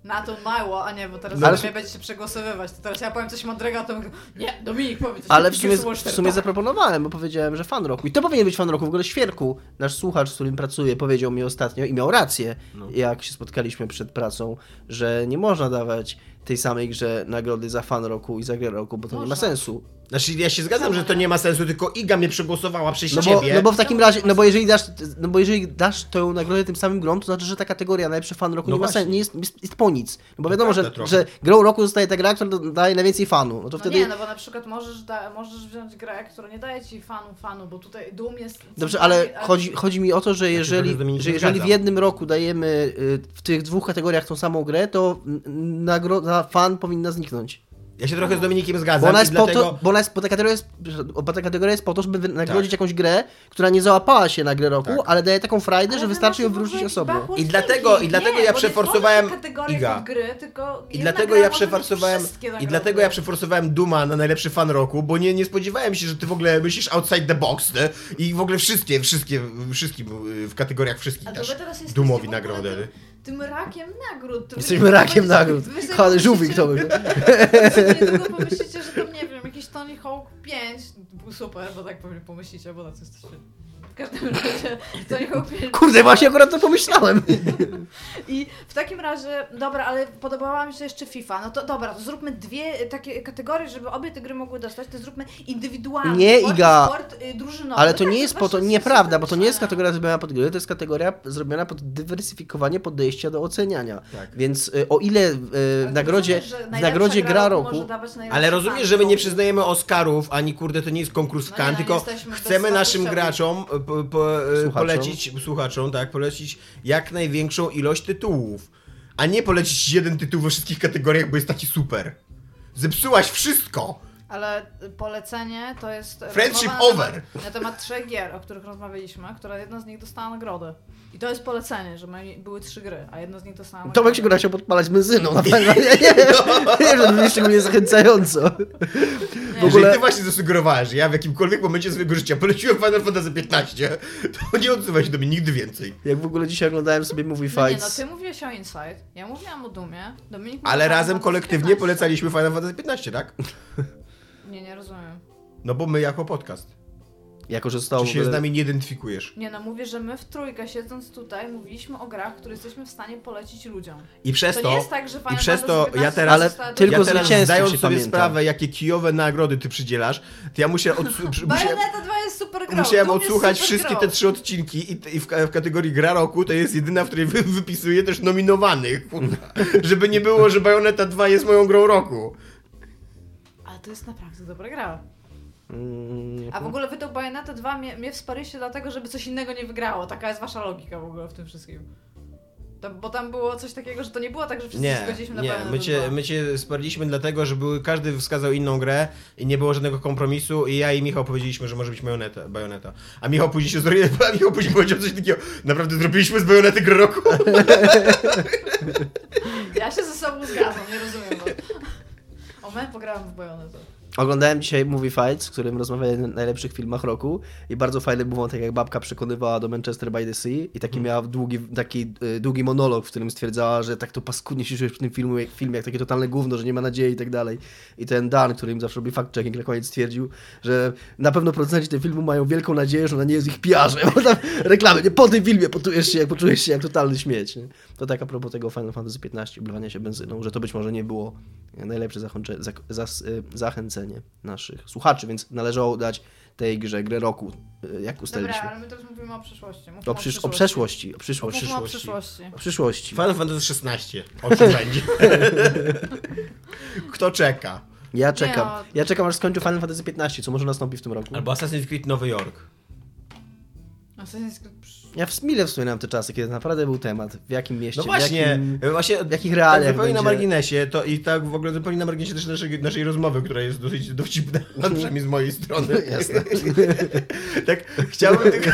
[SPEAKER 2] Na to mało, a nie, bo teraz
[SPEAKER 3] No, ale-
[SPEAKER 2] mnie będziecie przegłosowywać. To teraz ja powiem coś mądrego, a to nie, Dominik powie coś
[SPEAKER 3] Ale w
[SPEAKER 2] mądrego,
[SPEAKER 3] sumie,
[SPEAKER 2] Gears of
[SPEAKER 3] w
[SPEAKER 2] War
[SPEAKER 3] sumie
[SPEAKER 2] 4, tak.
[SPEAKER 3] zaproponowałem, bo powiedziałem, że fan roku. I to powinien być fan roku. W ogóle Świerku, nasz słuchacz, z którym pracuję, powiedział mi ostatnio i miał rację,
[SPEAKER 2] No.
[SPEAKER 3] jak się spotkaliśmy przed pracą, że nie można dawać tej samej grze nagrody za fan roku i za grę roku, bo to nie ma
[SPEAKER 2] Można.
[SPEAKER 3] sensu.
[SPEAKER 4] Znaczy ja się zgadzam, że to nie ma sensu, tylko Iga mnie przegłosowała przez
[SPEAKER 3] No bo,
[SPEAKER 4] ciebie.
[SPEAKER 3] no bo w takim razie, no bo jeżeli dasz, no bo jeżeli dasz tę nagrodę tym samym grom, to znaczy, że ta kategoria najlepszy fan roku
[SPEAKER 4] No
[SPEAKER 3] nie ma
[SPEAKER 4] właśnie.
[SPEAKER 3] sensu, nie jest, jest, jest po nic. No bo wiadomo, że,
[SPEAKER 4] prawda trochę.
[SPEAKER 3] że grą roku zostaje ta gra, która daje najwięcej fanu. No to
[SPEAKER 2] No
[SPEAKER 3] wtedy...
[SPEAKER 2] nie, no bo na przykład możesz, da, możesz wziąć grę, która nie daje ci fanu fanu, bo tutaj Doom jest...
[SPEAKER 3] Dobrze, ale chodzi, chodzi mi o to, że jeżeli,
[SPEAKER 4] trochę z Dominikiem
[SPEAKER 3] że jeżeli w
[SPEAKER 4] zgadzam.
[SPEAKER 3] jednym roku dajemy y, w tych dwóch kategoriach tą samą grę, to n- nagroda fan powinna zniknąć.
[SPEAKER 4] Ja się trochę z Dominikiem zgadzam
[SPEAKER 3] Bo ona
[SPEAKER 4] i
[SPEAKER 3] jest po
[SPEAKER 4] dlatego... Tak.
[SPEAKER 3] to, bo ona jest, bo ta kategoria jest, bo ta kategoria jest po to, żeby wy- nagrodzić jakąś grę, która nie załapała się na grę roku, ale daje taką frajdę, że wystarczy ją wrócić osobno.
[SPEAKER 4] I dlatego- i dlatego ja przeforsowałem Iga.
[SPEAKER 2] Iga. Gry, tylko
[SPEAKER 4] I
[SPEAKER 2] jedna
[SPEAKER 4] dlatego
[SPEAKER 2] gra może
[SPEAKER 4] ja
[SPEAKER 2] mieć
[SPEAKER 4] przeforsowałem
[SPEAKER 2] wszystkie
[SPEAKER 4] I
[SPEAKER 2] nagrody.
[SPEAKER 4] dlatego ja przeforsowałem Duma na najlepszy fan roku, bo nie, nie spodziewałem się, że ty w ogóle myślisz outside the box, nie? I w ogóle wszystkie, wszystkie, wszystkim y, w kategoriach wszystkich
[SPEAKER 2] A to
[SPEAKER 4] dasz
[SPEAKER 2] wy teraz jesteście
[SPEAKER 4] Dumowi
[SPEAKER 2] w ogóle
[SPEAKER 4] nagrodę.
[SPEAKER 2] Tym, tym rakiem nagród. To wy-
[SPEAKER 3] Jesteśmy rakiem
[SPEAKER 2] wy-
[SPEAKER 3] nagród.
[SPEAKER 2] wy sobie
[SPEAKER 3] Ale
[SPEAKER 2] pomyślicie-
[SPEAKER 3] żółwik to był.
[SPEAKER 2] wy sobie Niedługo pomyślicie, że tam, nie wiem, jakiś Tony Hawk 5 był super, bo tak pewnie pomyślicie, bo tacy jesteście. W każdym razie Tony Hawk 5
[SPEAKER 3] Kurde, właśnie akurat to pomyślałem.
[SPEAKER 2] I w takim razie, dobra, ale podobała mi się jeszcze FIFA. No to dobra, to zróbmy dwie takie kategorie, żeby obie te gry mogły dostać, to zróbmy indywidualny
[SPEAKER 3] Nie,
[SPEAKER 2] sport,
[SPEAKER 3] Iga.
[SPEAKER 2] i sport y, drużynowy.
[SPEAKER 3] Ale to
[SPEAKER 2] Tak,
[SPEAKER 3] nie jest po to,
[SPEAKER 2] właśnie
[SPEAKER 3] nieprawda, bo to nie jest
[SPEAKER 2] sympatyczne.
[SPEAKER 3] kategoria zrobiona pod gry, to jest kategoria zrobiona pod dywersyfikowanie podejścia do oceniania.
[SPEAKER 4] Tak.
[SPEAKER 3] Więc y, o ile y,
[SPEAKER 2] Ale
[SPEAKER 3] w
[SPEAKER 2] ty
[SPEAKER 3] nagrodzie,
[SPEAKER 2] rozumiesz, znaczy, że
[SPEAKER 3] w
[SPEAKER 2] najlepsza
[SPEAKER 3] nagrodzie gra roku,
[SPEAKER 2] może dawać najlepszy
[SPEAKER 4] Ale rozumiesz,
[SPEAKER 2] fan
[SPEAKER 4] że my nie
[SPEAKER 2] roku.
[SPEAKER 4] przyznajemy Oscarów, ani kurde, to nie jest konkurs
[SPEAKER 2] No
[SPEAKER 4] Cannes,
[SPEAKER 2] nie,
[SPEAKER 4] tylko
[SPEAKER 2] jesteśmy
[SPEAKER 4] chcemy naszym
[SPEAKER 2] bezstatusowi.
[SPEAKER 4] graczom y, po, po, y,
[SPEAKER 3] Słuchaczom.
[SPEAKER 4] polecić, słuchaczom, tak, polecić jak największą ilość tytułów. A nie polecić jeden tytuł we wszystkich kategoriach, bo jest taki super. Zepsułaś wszystko!
[SPEAKER 2] Ale polecenie to jest.
[SPEAKER 4] Friendship
[SPEAKER 2] rozmowa na
[SPEAKER 4] over.
[SPEAKER 2] Temat, na temat trzech gier, o których rozmawialiśmy, która jedna z nich dostała nagrodę. I to jest polecenie, że my- były trzy gry, a jedna z nich dostała nagrodę.
[SPEAKER 3] Tomek się go chciał podpalać benzyną, No, na pewno. Nie, nie, nie, że to jest szczególnie zachęcająco.
[SPEAKER 2] Nie,
[SPEAKER 3] w ogóle-
[SPEAKER 4] Jeżeli ty właśnie zasugerowałeś, że ja w jakimkolwiek momencie swojego życia poleciłem Final Fantasy 15, to nie odzywaj się do mnie nigdy więcej.
[SPEAKER 3] Jak w ogóle dzisiaj oglądałem sobie Movie
[SPEAKER 2] No nie, no
[SPEAKER 3] Fights.
[SPEAKER 2] ty mówiłeś o Inside, ja mówiłam o Dumie, Dominik mówił
[SPEAKER 4] Ale
[SPEAKER 2] o
[SPEAKER 4] razem
[SPEAKER 2] Fantasy
[SPEAKER 4] kolektywnie
[SPEAKER 2] 15.
[SPEAKER 4] polecaliśmy Final Fantasy 15, tak?
[SPEAKER 2] Nie, nie rozumiem.
[SPEAKER 4] No bo my jako podcast.
[SPEAKER 3] Jako, że zostało
[SPEAKER 4] Czy
[SPEAKER 3] w
[SPEAKER 4] się z
[SPEAKER 3] ogóle...
[SPEAKER 4] nami nie identyfikujesz?
[SPEAKER 2] Nie no, mówię, że my w trójkę siedząc tutaj mówiliśmy o grach, które jesteśmy w stanie polecić ludziom.
[SPEAKER 4] I przez
[SPEAKER 2] To,
[SPEAKER 4] to...
[SPEAKER 2] nie jest tak, że Final
[SPEAKER 4] przez
[SPEAKER 2] Fantasy
[SPEAKER 4] to ja
[SPEAKER 2] 15
[SPEAKER 4] teraz-
[SPEAKER 3] Ale
[SPEAKER 2] została-
[SPEAKER 3] tylko
[SPEAKER 4] ja teraz
[SPEAKER 3] zwycięzców
[SPEAKER 4] zdając
[SPEAKER 3] się
[SPEAKER 4] sobie
[SPEAKER 3] pamięta.
[SPEAKER 4] sprawę, jakie kijowe nagrody ty przydzielasz, to ja muszę odsu- przy- musiałem,
[SPEAKER 2] Bayonetta 2 jest super grą.
[SPEAKER 4] musiałem
[SPEAKER 2] Doom jest
[SPEAKER 4] odsłuchać
[SPEAKER 2] super
[SPEAKER 4] wszystkie
[SPEAKER 2] grą.
[SPEAKER 4] te trzy odcinki i, t- i w, ka- w kategorii gra roku to jest jedyna, w której wy, wypisuję też nominowanych. kurwa. Żeby nie było, że Bayonetta 2 jest moją grą roku.
[SPEAKER 2] Ale to jest naprawdę dobra gra.
[SPEAKER 3] Mm,
[SPEAKER 2] A w ogóle wy to Bayonetta 2 mnie, mnie wsparliście dlatego, żeby coś innego nie wygrało. Taka jest wasza logika w ogóle w tym wszystkim. To, bo tam było coś takiego, że to nie było tak, że wszyscy się
[SPEAKER 4] Nie,
[SPEAKER 2] zgodziliśmy na
[SPEAKER 4] nie.
[SPEAKER 2] Bayonetta
[SPEAKER 4] My cię,
[SPEAKER 2] 2.
[SPEAKER 4] my cię sparliśmy dlatego, że były, każdy wskazał inną grę i nie było żadnego kompromisu i ja i Michał powiedzieliśmy, że może być bajoneta. bajoneta. A Michał później się zorientował, a Michał później powiedział coś takiego, naprawdę zrobiliśmy z bajonety grę roku?
[SPEAKER 2] Ja się ze sobą zgadzam, nie rozumiem. No. O, my pograłam w Bayonetta.
[SPEAKER 3] Oglądałem dzisiaj Movie Fights, w którym rozmawiali o najlepszych filmach roku i bardzo fajny był wątek, jak babka przekonywała do Manchester by the Sea i taki miała długi, taki y, długi monolog, w którym stwierdzała, że tak to paskudnie się czujesz przy tym filmie, filmie jak takie totalne gówno, że nie ma nadziei i tak dalej. I ten Dan, który im zawsze robi fact-checking, na koniec stwierdził, że na pewno producenci tego filmu mają wielką nadzieję, że ona nie jest ich piarzem, bo tam reklamy, nie po tym filmie poczujesz się, jak poczujesz się jak totalny śmieć. Nie? To tak a propos tego Final Fantasy 15 oblewania się benzyną, że to być może nie było najlepsze zachończe- zak- zas- y, zachęcenie naszych słuchaczy, więc należało dać tej grze, grę roku, y, jak
[SPEAKER 2] Dobra,
[SPEAKER 3] ustaliliśmy.
[SPEAKER 2] ale my teraz mówimy o przeszłości. Mówmy
[SPEAKER 3] O, przysz- o przeszłości, o
[SPEAKER 2] O
[SPEAKER 3] przyszłości.
[SPEAKER 2] przyszłości. No,
[SPEAKER 4] przyszłości.
[SPEAKER 2] O przyszłości.
[SPEAKER 3] O przyszłości.
[SPEAKER 4] Final Fantasy 16. O czym będzie? Kto czeka?
[SPEAKER 3] Ja czekam.
[SPEAKER 2] Nie, no.
[SPEAKER 3] Ja czekam aż skończy Final Fantasy 15, co może nastąpi w tym roku.
[SPEAKER 4] Albo Assassin's Creed Nowy Jork.
[SPEAKER 2] Assassin's Creed przy-
[SPEAKER 3] Ja w mile wspominam te czasy, kiedy naprawdę był temat, w jakim mieście,
[SPEAKER 4] No właśnie,
[SPEAKER 3] w jakim...
[SPEAKER 4] właśnie
[SPEAKER 3] w jakich realiach
[SPEAKER 4] Tak zupełnie na
[SPEAKER 3] będzie-
[SPEAKER 4] marginesie, to i tak w ogóle zupełnie na marginesie też naszej, naszej rozmowy, która jest dosyć dowcipna, przynajmniej z mojej strony.
[SPEAKER 3] Jasne.
[SPEAKER 4] tak, chciałbym tylko...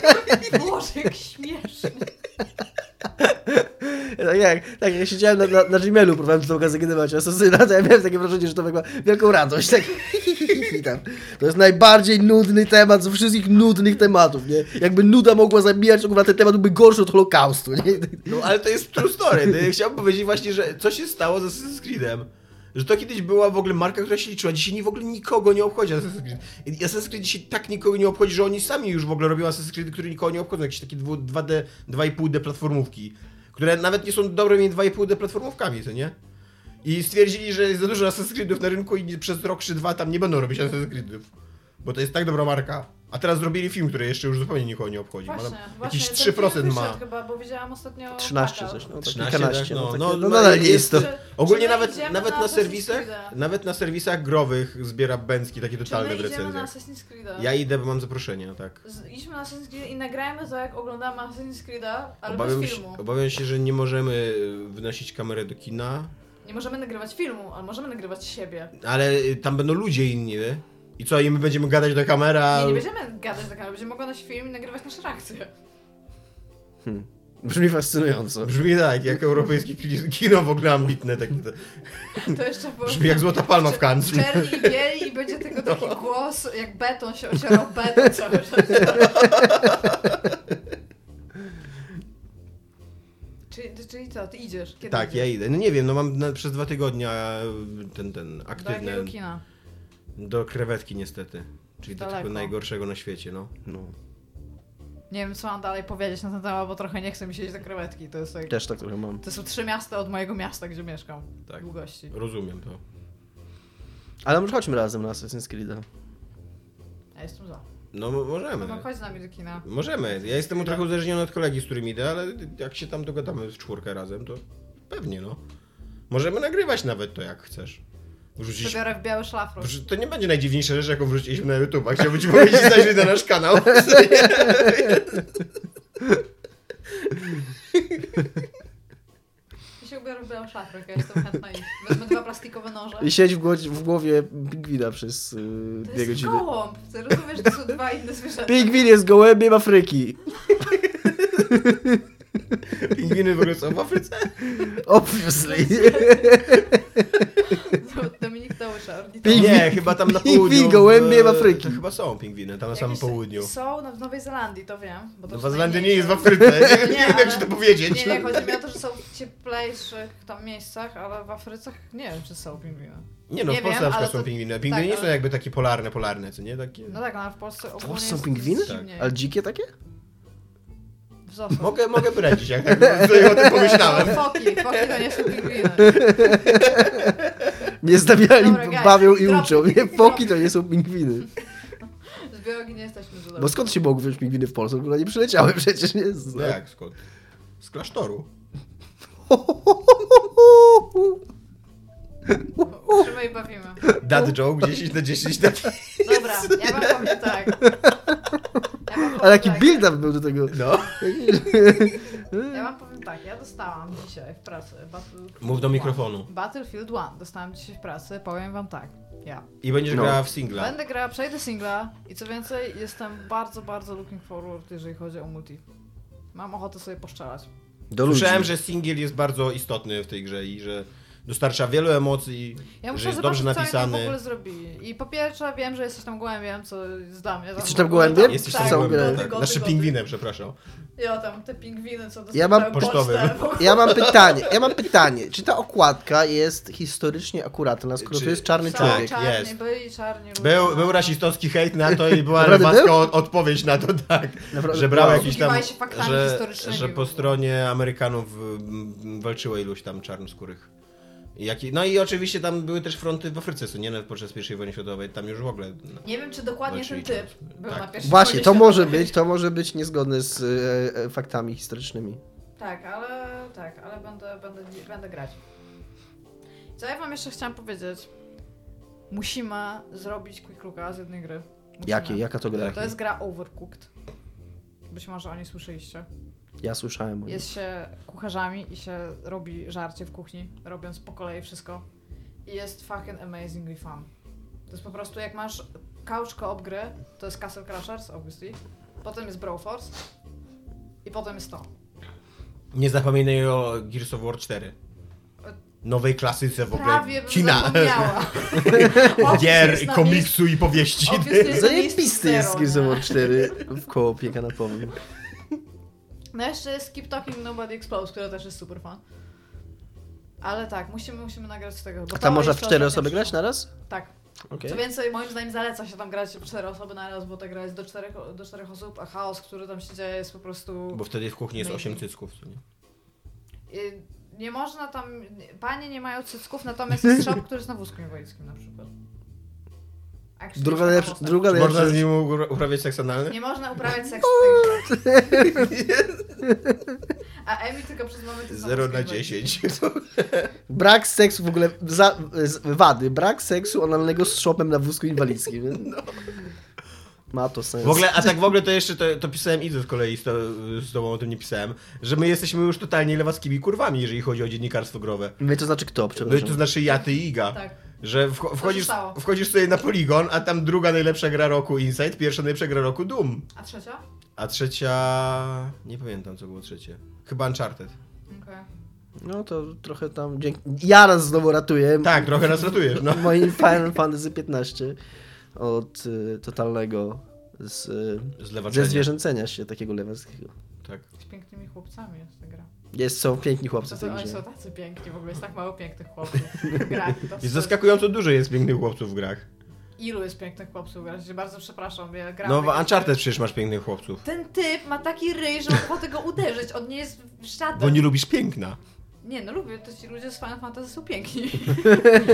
[SPEAKER 2] Boże, jak śmiesznie.
[SPEAKER 3] Tak jak, tak jak siedziałem na, na, na Gmailu, próbowałem tą gazetynować asesyna, to ja miałem takie wrażenie, że to była wielką radość. Tak. I tam. To jest najbardziej nudny temat ze wszystkich nudnych tematów, nie? Jakby nuda mogła zabijać, to kurwa ten temat byłby gorszy od Holokaustu, nie?
[SPEAKER 4] No ale to jest true story. No, ja Chciałbym powiedzieć właśnie, że co się stało z Assassin's Creedem. Że to kiedyś była w ogóle marka, która się liczyła. Dzisiaj nie- w ogóle nikogo nie obchodzi Assassin's Creed. I Assassin's Creed dzisiaj tak nikogo nie obchodzi, że oni sami już w ogóle robią Assassin's Creed, które nikogo nie obchodzą. Jakieś takie 2D, 2,5D platformówki, które nawet nie są dobrymi 2,5D platformówkami, co nie? I stwierdzili, że jest za dużo Assassin's Creedów na rynku i nie- przez rok czy dwa tam nie będą robić Assassin's Creedów. Bo to jest tak dobra marka. A teraz zrobili film, który jeszcze już zupełnie nikogo nie obchodzi. Ma tam
[SPEAKER 2] Właśnie, właśnie.
[SPEAKER 4] jakieś
[SPEAKER 2] ten
[SPEAKER 4] 3%
[SPEAKER 2] film
[SPEAKER 4] ma.
[SPEAKER 2] wyszedł Chyba, bo widziałam ostatnio...
[SPEAKER 3] 13
[SPEAKER 2] plakat.
[SPEAKER 3] coś, no, tak,
[SPEAKER 4] 13,
[SPEAKER 3] 15,
[SPEAKER 4] tak, no,
[SPEAKER 3] tak.
[SPEAKER 4] no,
[SPEAKER 3] no,
[SPEAKER 4] no,
[SPEAKER 3] nadal nie
[SPEAKER 4] jest
[SPEAKER 3] jest to...
[SPEAKER 2] Czy-
[SPEAKER 4] Ogólnie
[SPEAKER 2] czy my
[SPEAKER 4] nawet,
[SPEAKER 2] idziemy
[SPEAKER 4] nawet na,
[SPEAKER 2] Assassin's
[SPEAKER 4] serwisach,
[SPEAKER 2] Creed'a?
[SPEAKER 4] nawet na serwisach growych zbiera Bęcki takie
[SPEAKER 2] Czy my
[SPEAKER 4] totalne w
[SPEAKER 2] idziemy na
[SPEAKER 4] recenzjach.
[SPEAKER 2] Assassin's Creed'a?
[SPEAKER 4] Ja idę, bo mam zaproszenie, no tak.
[SPEAKER 2] Z- Idźmy na Assassin's Creed i nagrajmy to, jak oglądamy Assassin's Creed'a, ale
[SPEAKER 4] Obawiam
[SPEAKER 2] bez
[SPEAKER 4] się,
[SPEAKER 2] filmu.
[SPEAKER 4] obawiam się, że nie możemy wynosić kamery do kina,
[SPEAKER 2] Nie możemy nagrywać filmu, ale możemy nagrywać siebie.
[SPEAKER 4] ale y, tam będą ludzie inni, nie? I co, i my będziemy gadać do kamera?
[SPEAKER 2] Nie, nie będziemy gadać tak, ale będziemy oglądać film i nagrywać nasze reakcje.
[SPEAKER 3] Brzmi fascynująco.
[SPEAKER 4] Brzmi tak, jak europejskie ki- kino w ogóle ambitne. Tak,
[SPEAKER 2] To jeszcze było...
[SPEAKER 4] brzmi jak Złota Palma w No. Cannes.
[SPEAKER 2] Czerni Znaczy, i bieli i będzie tylko taki głos, jak beton się ocierał beton cały czas. Czyli, czyli co, ty idziesz? Kiedy
[SPEAKER 4] Tak, ja
[SPEAKER 2] idziesz?
[SPEAKER 4] idę. No nie wiem, no mam na, przez dwa tygodnia ten, ten,
[SPEAKER 2] Do jakiego
[SPEAKER 4] aktywny.
[SPEAKER 2] kina?
[SPEAKER 4] Do krewetki niestety. Czyli do
[SPEAKER 2] Daleko.
[SPEAKER 4] tego najgorszego na świecie, no.
[SPEAKER 3] No,
[SPEAKER 2] Nie wiem, co mam dalej powiedzieć na ten temat, bo trochę nie chcę mi się iść do krewetki. To, jest tak,
[SPEAKER 3] też tak trochę mam.
[SPEAKER 2] to są trzy miasta od mojego miasta, gdzie mieszkam.
[SPEAKER 4] Tak.
[SPEAKER 2] Długości.
[SPEAKER 4] Rozumiem to.
[SPEAKER 3] Ale może chodźmy razem na Assassin's Creed'a.
[SPEAKER 2] Ja jestem za.
[SPEAKER 4] No mo- możemy.
[SPEAKER 2] No chodź z nami do kina.
[SPEAKER 4] Możemy. Ja jestem trochę uzależniony od kolegi, z którym idę, ale jak się tam dogadamy w czwórkę razem, to pewnie no. Możemy nagrywać nawet to jak chcesz. Wrzucić.
[SPEAKER 2] Przebiorę w biały szlafrok.
[SPEAKER 4] wrzu- To nie będzie najdziwniejsza rzecz, jaką wrzuciliśmy na YouTube. Chciałbym ci powiedzieć, zajrzyj na nasz kanał.
[SPEAKER 2] Ja się ubiorę w biały szlafrok, ja jestem chętna iść. Wezmę dwa plastikowe noże.
[SPEAKER 3] I siedź w, głowie, w głowie pingwina przez y,
[SPEAKER 2] To
[SPEAKER 3] dwie
[SPEAKER 2] jest
[SPEAKER 3] godziny.
[SPEAKER 2] gołąb, ty rozumiesz, to są dwa inne zwierzęta.
[SPEAKER 3] Pingwin jest gołębiem Afryki.
[SPEAKER 4] Pingwiny w ogóle są w Afryce.
[SPEAKER 3] Obviously.
[SPEAKER 2] Dominik Dołysza, ornitolog.
[SPEAKER 3] Pingwin-
[SPEAKER 4] Nie, chyba tam na
[SPEAKER 3] pingwin
[SPEAKER 4] południu. w-
[SPEAKER 3] gołębie w Afryki.
[SPEAKER 4] To chyba są pingwiny, tam na samym
[SPEAKER 2] Jakieś
[SPEAKER 4] południu.
[SPEAKER 2] Są no, w Nowej Zelandii, to wiem. Bo to
[SPEAKER 4] Nowa
[SPEAKER 2] są
[SPEAKER 4] Zelandia nie
[SPEAKER 2] najmniejsze.
[SPEAKER 4] jest w Afryce. Nie, nie wiem,
[SPEAKER 2] ale-
[SPEAKER 4] jak ci to powiedzieć.
[SPEAKER 2] Nie, nie, chodzi mi o to, że są w cieplejszych tam miejscach, ale w Afrycach nie wiem, czy są pingwiny.
[SPEAKER 4] Nie no,
[SPEAKER 2] Nie
[SPEAKER 4] w Polsce
[SPEAKER 2] wiem,
[SPEAKER 4] na przykład
[SPEAKER 2] ale
[SPEAKER 4] są
[SPEAKER 2] to-
[SPEAKER 4] pingwiny. Pingwiny nie
[SPEAKER 2] ale-
[SPEAKER 4] są jakby takie polarne, polarne, co nie? Takie...
[SPEAKER 2] No tak, ale w Polsce ogólnie
[SPEAKER 3] Polsce są
[SPEAKER 2] jest
[SPEAKER 3] pingwiny?
[SPEAKER 2] zimniej.
[SPEAKER 3] Ale dzikie takie?
[SPEAKER 2] W Zosu.
[SPEAKER 4] Mogę, mogę bredzić, jak tak sobie o tym pomyślałem.
[SPEAKER 2] No, Foki, foki to nie są pingwiny.
[SPEAKER 3] Nie stawiali,
[SPEAKER 2] Dobra, guys,
[SPEAKER 3] bawią i
[SPEAKER 2] drop-
[SPEAKER 3] uczą. Nie, foki to nie są pingwiny.
[SPEAKER 2] Z biologii nie jesteśmy za
[SPEAKER 3] Bo skąd się mogły wziąć pingwiny w Polsce? Bo nie przyleciały przecież, nie
[SPEAKER 4] No
[SPEAKER 3] znam.
[SPEAKER 4] jak skąd? Z klasztoru.
[SPEAKER 2] Uczymy i bawimy.
[SPEAKER 4] Dad joke 10 na 10 na
[SPEAKER 2] Dobra, ja wam powiem tak. Ja wam powiem
[SPEAKER 3] Ale jaki
[SPEAKER 2] tak.
[SPEAKER 3] build-up był do tego.
[SPEAKER 4] No.
[SPEAKER 2] Ja wam powiem tak, ja dostałam dzisiaj w pracy Battlefield
[SPEAKER 4] Mów do
[SPEAKER 2] 1.
[SPEAKER 4] mikrofonu.
[SPEAKER 2] Battlefield 1 dostałam dzisiaj w pracy, powiem wam tak. Ja.
[SPEAKER 4] I będziesz
[SPEAKER 3] No.
[SPEAKER 4] grała w singla.
[SPEAKER 2] Będę grała, przejdę singla i co więcej, jestem bardzo, bardzo looking forward, jeżeli chodzi o multi. Mam ochotę sobie poszczelać.
[SPEAKER 3] Do
[SPEAKER 4] Słyszałem, że singiel jest bardzo istotny w tej grze i że dostarcza wielu emocji,
[SPEAKER 2] Ja muszę
[SPEAKER 4] że jest
[SPEAKER 2] zobaczyć,
[SPEAKER 4] dobrze
[SPEAKER 2] co oni tam w
[SPEAKER 4] napisany.
[SPEAKER 2] ogóle zrobili. I po pierwsze wiem, że jesteś tam gołębiem, co zdam. Ja
[SPEAKER 3] Jesteś tam gołębiem?
[SPEAKER 2] Tak,
[SPEAKER 4] Jesteś
[SPEAKER 3] Przez
[SPEAKER 4] tam
[SPEAKER 2] tak,
[SPEAKER 3] całą
[SPEAKER 4] gołębiem,
[SPEAKER 3] grę.
[SPEAKER 2] gody,
[SPEAKER 4] tak.
[SPEAKER 2] gody,
[SPEAKER 4] Znaczy
[SPEAKER 2] gody.
[SPEAKER 4] pingwinem, przepraszam.
[SPEAKER 2] Ja tam, te pingwiny, co dostają
[SPEAKER 3] Ja mam
[SPEAKER 4] pocztowy.
[SPEAKER 3] Ja mam pytanie, ja mam pytanie. Czy ta okładka jest historycznie akuratna, skoro
[SPEAKER 4] Czy-
[SPEAKER 3] to jest czarny
[SPEAKER 4] Tak,
[SPEAKER 3] człowiek?
[SPEAKER 2] czarni,
[SPEAKER 4] jest.
[SPEAKER 2] byli czarni ludzie. no.
[SPEAKER 4] Był, był rasistowski hejt na to i była
[SPEAKER 3] Naprawdę
[SPEAKER 4] rybacka
[SPEAKER 3] był?
[SPEAKER 4] od, odpowiedź na to, tak.
[SPEAKER 3] Naprawdę- no.
[SPEAKER 4] Że brał
[SPEAKER 3] Wow.
[SPEAKER 4] jakiś tam...
[SPEAKER 2] Posługiwałeś się faktami
[SPEAKER 4] Że,
[SPEAKER 2] historycznymi.
[SPEAKER 4] że po stronie Amerykanów mm, walczyło iluś tam czarnoskórych Jaki, no i oczywiście tam były też fronty w Afryce, co nie no, podczas I wojny światowej, tam już w ogóle. No.
[SPEAKER 2] Nie wiem, czy dokładnie
[SPEAKER 4] Znaczy,
[SPEAKER 2] ten typ był
[SPEAKER 4] tak.
[SPEAKER 2] na pierwszym
[SPEAKER 3] Właśnie, to
[SPEAKER 2] poziomie.
[SPEAKER 3] może być, to może być niezgodne z e, e, faktami historycznymi.
[SPEAKER 2] Tak, ale tak, ale będę, będę, będę grać. Co ja wam jeszcze chciałam powiedzieć? Musimy zrobić quick looka z jednej gry. Musimy.
[SPEAKER 3] Jakie, jaka to gra?
[SPEAKER 2] To jest gra Overcooked. Być może o niej słyszeliście.
[SPEAKER 3] Ja słyszałem o niej.
[SPEAKER 2] Jest się kucharzami i się robi żarcie w kuchni, robiąc po kolei wszystko. I jest fucking amazingly fun. To jest po prostu, jak masz couch co-op gry, to jest Castle Crashers, obviously. Potem jest Broforce. I potem jest to.
[SPEAKER 4] Nie zapominaj o Gears of War 4. Nowej klasyce w ogóle.
[SPEAKER 2] Prawie bym
[SPEAKER 4] kina.
[SPEAKER 2] zapomniała. Obvious
[SPEAKER 4] Gier,
[SPEAKER 2] na
[SPEAKER 4] komiksu i powieści.
[SPEAKER 2] Obvious jest-
[SPEAKER 3] Zajebisty jest
[SPEAKER 2] Zero,
[SPEAKER 3] Gears of
[SPEAKER 2] nie?
[SPEAKER 3] War 4 w kołopie kanapowym.
[SPEAKER 2] miejscu. No jeszcze jest Keep Talking Nobody Explodes, które też jest super fan. Ale tak, musimy, musimy nagrać z tego. bo
[SPEAKER 3] A
[SPEAKER 2] to
[SPEAKER 3] tam można w
[SPEAKER 2] jeszcze
[SPEAKER 3] cztery
[SPEAKER 2] ostatnio
[SPEAKER 3] osoby grać
[SPEAKER 2] przyszło.
[SPEAKER 3] na raz?
[SPEAKER 2] Tak.
[SPEAKER 3] Okej.
[SPEAKER 2] Co więcej, moim zdaniem zaleca się tam grać w cztery osoby na raz, bo ta gra jest do czterech, do czterech osób, a chaos, który tam się dzieje jest po prostu...
[SPEAKER 4] Bo wtedy w kuchni jest
[SPEAKER 2] Maybe.
[SPEAKER 4] 8 cycków. co nie?
[SPEAKER 2] Y, Nie można tam... Panie nie mają cycków, natomiast jest shop, który jest na wózku inwalidzkim na przykład. A krzyczysz
[SPEAKER 3] Druga
[SPEAKER 2] na
[SPEAKER 3] lepsza,
[SPEAKER 2] mostach.
[SPEAKER 3] druga
[SPEAKER 4] Czy Można
[SPEAKER 3] lepsza.
[SPEAKER 4] z nim ura- uprawiać seks analny?
[SPEAKER 2] Nie można uprawiać seksu w tej grze. A Emi tylko przez moment... jest
[SPEAKER 4] 0 na
[SPEAKER 2] samotna.
[SPEAKER 4] 10.
[SPEAKER 3] Brak seksu w ogóle, za, z, wady, brak seksu analnego z szopem na wózku inwalidzkim. Ma to sens.
[SPEAKER 4] No. W ogóle, a tak w ogóle to jeszcze to, to pisałem Idzu z kolei, z, to, z tobą o tym nie pisałem, że my jesteśmy już totalnie lewackimi kurwami, jeżeli chodzi o dziennikarstwo growe.
[SPEAKER 3] My to znaczy kto,
[SPEAKER 4] No i to
[SPEAKER 3] przepraszam.
[SPEAKER 4] znaczy ja, ty i Iga.
[SPEAKER 2] Tak.
[SPEAKER 4] Że wcho- wchodzisz,
[SPEAKER 2] stało?
[SPEAKER 4] wchodzisz sobie na poligon, a tam druga najlepsza gra roku Inside, pierwsza najlepsza gra roku Doom.
[SPEAKER 2] A trzecia?
[SPEAKER 4] A trzecia... nie pamiętam co było trzecie. Chyba Uncharted.
[SPEAKER 2] Okej.
[SPEAKER 3] No to trochę tam, dzięki... ja raz znowu ratuję.
[SPEAKER 4] Tak, trochę nas ratujesz, no.
[SPEAKER 3] Moim Final Fantasy 15 od y, totalnego z, y,
[SPEAKER 4] Zlewaczenia.
[SPEAKER 3] ze zwierzęcenia się takiego lewackiego.
[SPEAKER 4] Tak.
[SPEAKER 2] Z pięknymi chłopcami jest ta gra.
[SPEAKER 3] Jest, są piękni chłopcy w
[SPEAKER 2] Czasem
[SPEAKER 3] tej
[SPEAKER 2] oni
[SPEAKER 3] grze.
[SPEAKER 2] są tacy piękni, w ogóle jest tak mało pięknych chłopców. w grach. To
[SPEAKER 4] Jest
[SPEAKER 2] wstyd.
[SPEAKER 4] zaskakująco dużo jest pięknych chłopców w grach.
[SPEAKER 2] Ilu jest pięknych chłopców? Ja się bardzo przepraszam, ja gram.
[SPEAKER 4] No w Uncharted przecież masz pięknych chłopców.
[SPEAKER 2] Ten typ ma taki ryj, że mogę tego uderzyć. On nie jest żaden.
[SPEAKER 4] Bo nie lubisz piękna.
[SPEAKER 2] Nie, no lubię, to ci ludzie z Final Fantasy są piękni.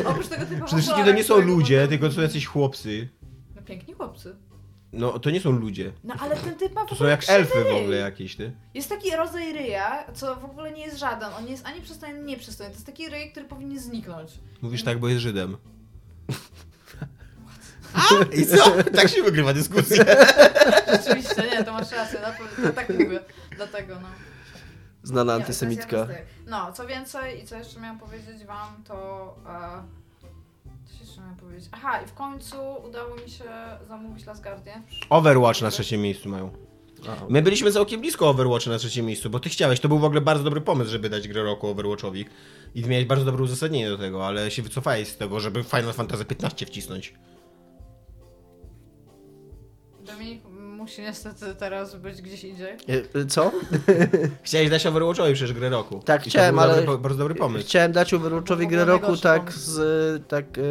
[SPEAKER 2] Oprócz tego typa
[SPEAKER 4] Przede wszystkim to
[SPEAKER 2] Holara,
[SPEAKER 4] nie są
[SPEAKER 2] którego
[SPEAKER 4] ludzie,
[SPEAKER 2] potem-
[SPEAKER 4] tylko to są jacyś chłopcy.
[SPEAKER 2] No piękni chłopcy.
[SPEAKER 4] No to nie są ludzie.
[SPEAKER 2] No ale ten typ ma w
[SPEAKER 4] To są
[SPEAKER 2] ogóle
[SPEAKER 4] jak
[SPEAKER 2] krzywy
[SPEAKER 4] elfy w
[SPEAKER 2] ryj.
[SPEAKER 4] ogóle jakieś, ty.
[SPEAKER 2] Jest taki rodzaj ryja, co w ogóle nie jest żaden. On nie jest ani przystojny, ani nieprzystojny. To jest taki ryj, który powinien zniknąć.
[SPEAKER 4] Mówisz tak, bo jest Żydem. A? I co? Tak się wygrywa dyskusja.
[SPEAKER 2] Rzeczywiście, nie, to masz rację, na pewno, to tak mówię. Dlatego, no.
[SPEAKER 3] Znana
[SPEAKER 2] Nie,
[SPEAKER 3] antysemitka.
[SPEAKER 2] to jest jeden z tych. No, co więcej i co jeszcze miałam powiedzieć wam, to... E, co jeszcze miałam powiedzieć? Aha, i w końcu udało mi się zamówić Last Guardian.
[SPEAKER 4] Overwatch na trzecim miejscu mają.
[SPEAKER 3] A,
[SPEAKER 4] My byliśmy całkiem blisko Overwatcha na trzecim miejscu, bo ty chciałeś. To był w ogóle bardzo dobry pomysł, żeby dać grę roku Overwatchowi. I miałeś bardzo dobre uzasadnienie do tego, ale się wycofałeś z tego, żeby Final Fantasy 15 wcisnąć.
[SPEAKER 2] Dominik musi niestety teraz być gdzieś indziej.
[SPEAKER 3] e, e, Co?
[SPEAKER 4] Chciałeś dać Overwatchowi przecież grę roku.
[SPEAKER 3] Tak,
[SPEAKER 4] I
[SPEAKER 3] chciałem,
[SPEAKER 4] to był
[SPEAKER 3] ale-
[SPEAKER 4] Dobry, po- bardzo dobry pomysł.
[SPEAKER 3] Chciałem dać Overwatchowi
[SPEAKER 2] To
[SPEAKER 3] grę
[SPEAKER 2] był
[SPEAKER 3] roku
[SPEAKER 2] najgorszy
[SPEAKER 3] tak
[SPEAKER 2] pomysł.
[SPEAKER 3] z, e, tak e,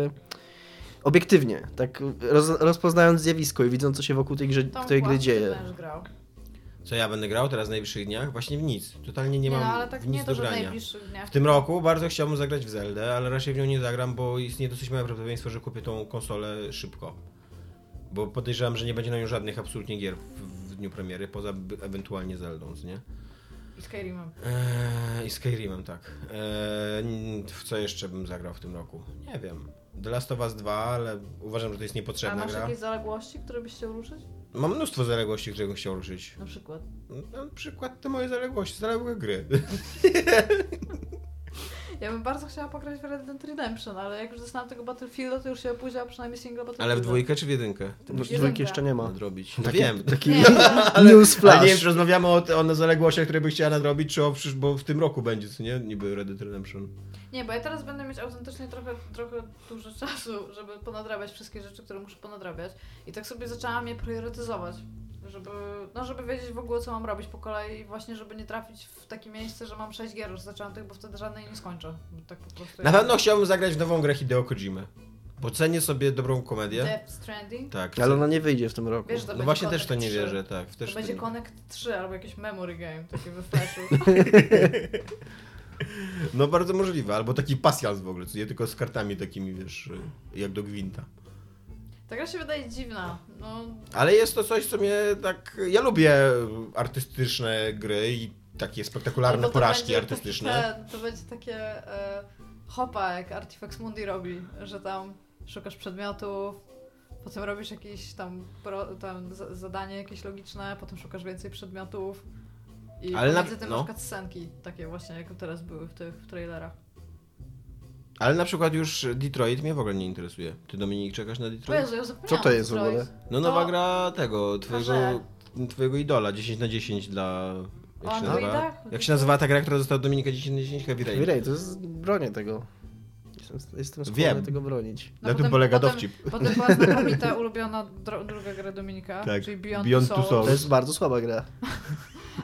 [SPEAKER 3] obiektywnie, tak roz, rozpoznając zjawisko i widząc co się wokół tej, grze,
[SPEAKER 2] Tom
[SPEAKER 3] tej gry
[SPEAKER 2] Płaszcz
[SPEAKER 3] dzieje.
[SPEAKER 2] też grał.
[SPEAKER 4] Co ja będę grał teraz w najbliższych dniach? Właśnie w nic. Totalnie nie
[SPEAKER 2] Nie,
[SPEAKER 4] mam
[SPEAKER 2] no, ale tak
[SPEAKER 4] w nic
[SPEAKER 2] nie
[SPEAKER 4] do
[SPEAKER 2] to, że w
[SPEAKER 4] grania.
[SPEAKER 2] najbliższych dniach.
[SPEAKER 4] W tym roku bardzo chciałbym zagrać w Zeldę, ale raczej w nią nie zagram, bo istnieje dosyć małe prawdopodobieństwo, że kupię tą konsolę szybko. Bo podejrzewam, że nie będzie na nią żadnych absolutnie gier w, w dniu premiery, poza b- ewentualnie Zeldą, co nie?
[SPEAKER 2] I Skyrimem.
[SPEAKER 4] Eee, I Skyrimem, tak. Eee, n- w co jeszcze bym zagrał w tym roku? Nie wiem. The Last of Us 2, ale uważam, że to jest
[SPEAKER 2] A
[SPEAKER 4] niepotrzebna
[SPEAKER 2] masz
[SPEAKER 4] gra.
[SPEAKER 2] jakieś zaległości, które byś chciał ruszyć?
[SPEAKER 4] Mam mnóstwo zaległości, które bym chciał ruszyć.
[SPEAKER 2] Na przykład.
[SPEAKER 4] Na przykład te moje zaległości, zaległe gry.
[SPEAKER 2] Ja bym bardzo chciała pograć w Red Dead Redemption, ale jak już dostałam tego Battlefielda, to już się opóźniła przynajmniej single Battlefielda.
[SPEAKER 4] Ale w dwójkę czy w jedynkę?
[SPEAKER 2] To byś
[SPEAKER 3] Dwójki jeszcze nie ma.
[SPEAKER 4] Nadrobić. No wiem.
[SPEAKER 3] Taki
[SPEAKER 2] Nie, no.
[SPEAKER 3] newsflash.
[SPEAKER 4] Ale nie wiem, czy rozmawiamy o, te- o zaległościach, które by chciała nadrobić, czy o przysz- bo w tym roku będzie, co nie? Niby Red Dead Redemption.
[SPEAKER 2] Nie, bo ja teraz będę mieć autentycznie trochę, trochę dużo czasu, żeby ponadrabiać wszystkie rzeczy, które muszę ponadrabiać. I tak sobie zaczęłam je priorytetyzować, żeby, no, żeby wiedzieć w ogóle, co mam robić po kolei, właśnie żeby nie trafić w takie miejsce, że mam sześć gier już zaczętych, bo wtedy żadnej nie skończę. Bo tak po prostu
[SPEAKER 4] Na
[SPEAKER 2] jak-
[SPEAKER 4] pewno chciałbym zagrać w nową grę Hideo Kojimy. Bo cenię sobie dobrą komedię.
[SPEAKER 2] Death Stranding.
[SPEAKER 4] Tak.
[SPEAKER 3] Ale ona nie wyjdzie w tym roku.
[SPEAKER 2] Wiesz, że to
[SPEAKER 4] No
[SPEAKER 2] będzie
[SPEAKER 4] właśnie
[SPEAKER 2] Connect
[SPEAKER 4] też w to nie
[SPEAKER 2] 3.
[SPEAKER 4] wierzę, tak. w Też
[SPEAKER 2] to będzie
[SPEAKER 4] w to nie-
[SPEAKER 2] Connect 3 albo jakiś memory game, taki we flashu.
[SPEAKER 4] No bardzo możliwe, albo taki pasjans w ogóle, co nie tylko z kartami takimi, wiesz, jak do gwinta.
[SPEAKER 2] Ta gra się wydaje dziwna. No,
[SPEAKER 4] Ale jest to coś, co mnie tak... Ja lubię artystyczne gry i takie spektakularne
[SPEAKER 2] albo No to
[SPEAKER 4] porażki
[SPEAKER 2] będzie
[SPEAKER 4] artystyczne.
[SPEAKER 2] Takie, to będzie takie e, hopa, jak Artifex Mundi robi, że tam szukasz przedmiotów, potem robisz jakieś tam, pro, tam za- zadanie jakieś logiczne, potem szukasz więcej przedmiotów. I
[SPEAKER 4] Ale
[SPEAKER 2] Ale
[SPEAKER 4] na-
[SPEAKER 2] pomiędzy tym
[SPEAKER 4] no.
[SPEAKER 2] na przykład scenki, takie właśnie, jak teraz były w tych w trailerach.
[SPEAKER 4] Ale na przykład już Detroit mnie w ogóle nie interesuje. Ty, Dominik, czekasz na
[SPEAKER 2] O
[SPEAKER 4] Detroit?
[SPEAKER 2] Jezu, ja zapomniałam.
[SPEAKER 3] Co to jest w
[SPEAKER 2] Detroit.
[SPEAKER 3] ogóle?
[SPEAKER 4] No nowa
[SPEAKER 2] To-
[SPEAKER 4] gra tego, twojego,
[SPEAKER 2] Marze.
[SPEAKER 4] twojego idola, 10 na 10 dla... Jak
[SPEAKER 2] O no tak,
[SPEAKER 4] się, nazywa?
[SPEAKER 2] androidach?
[SPEAKER 4] jak się nazywa ta gra, która została od Dominika 10 na 10? Heavy Rain.
[SPEAKER 3] Wirej, to jest bronię tego. Jestem, jestem skłonny
[SPEAKER 4] Wiem.
[SPEAKER 3] tego bronić.
[SPEAKER 4] Na tym polega dowcip.
[SPEAKER 2] Potem była znakomita, ulubiona dro- druga gra Dominika,
[SPEAKER 4] Tak,
[SPEAKER 2] czyli Beyond,
[SPEAKER 4] Beyond
[SPEAKER 2] Two
[SPEAKER 4] Two
[SPEAKER 2] Souls.
[SPEAKER 4] Souls.
[SPEAKER 3] To jest bardzo słaba gra.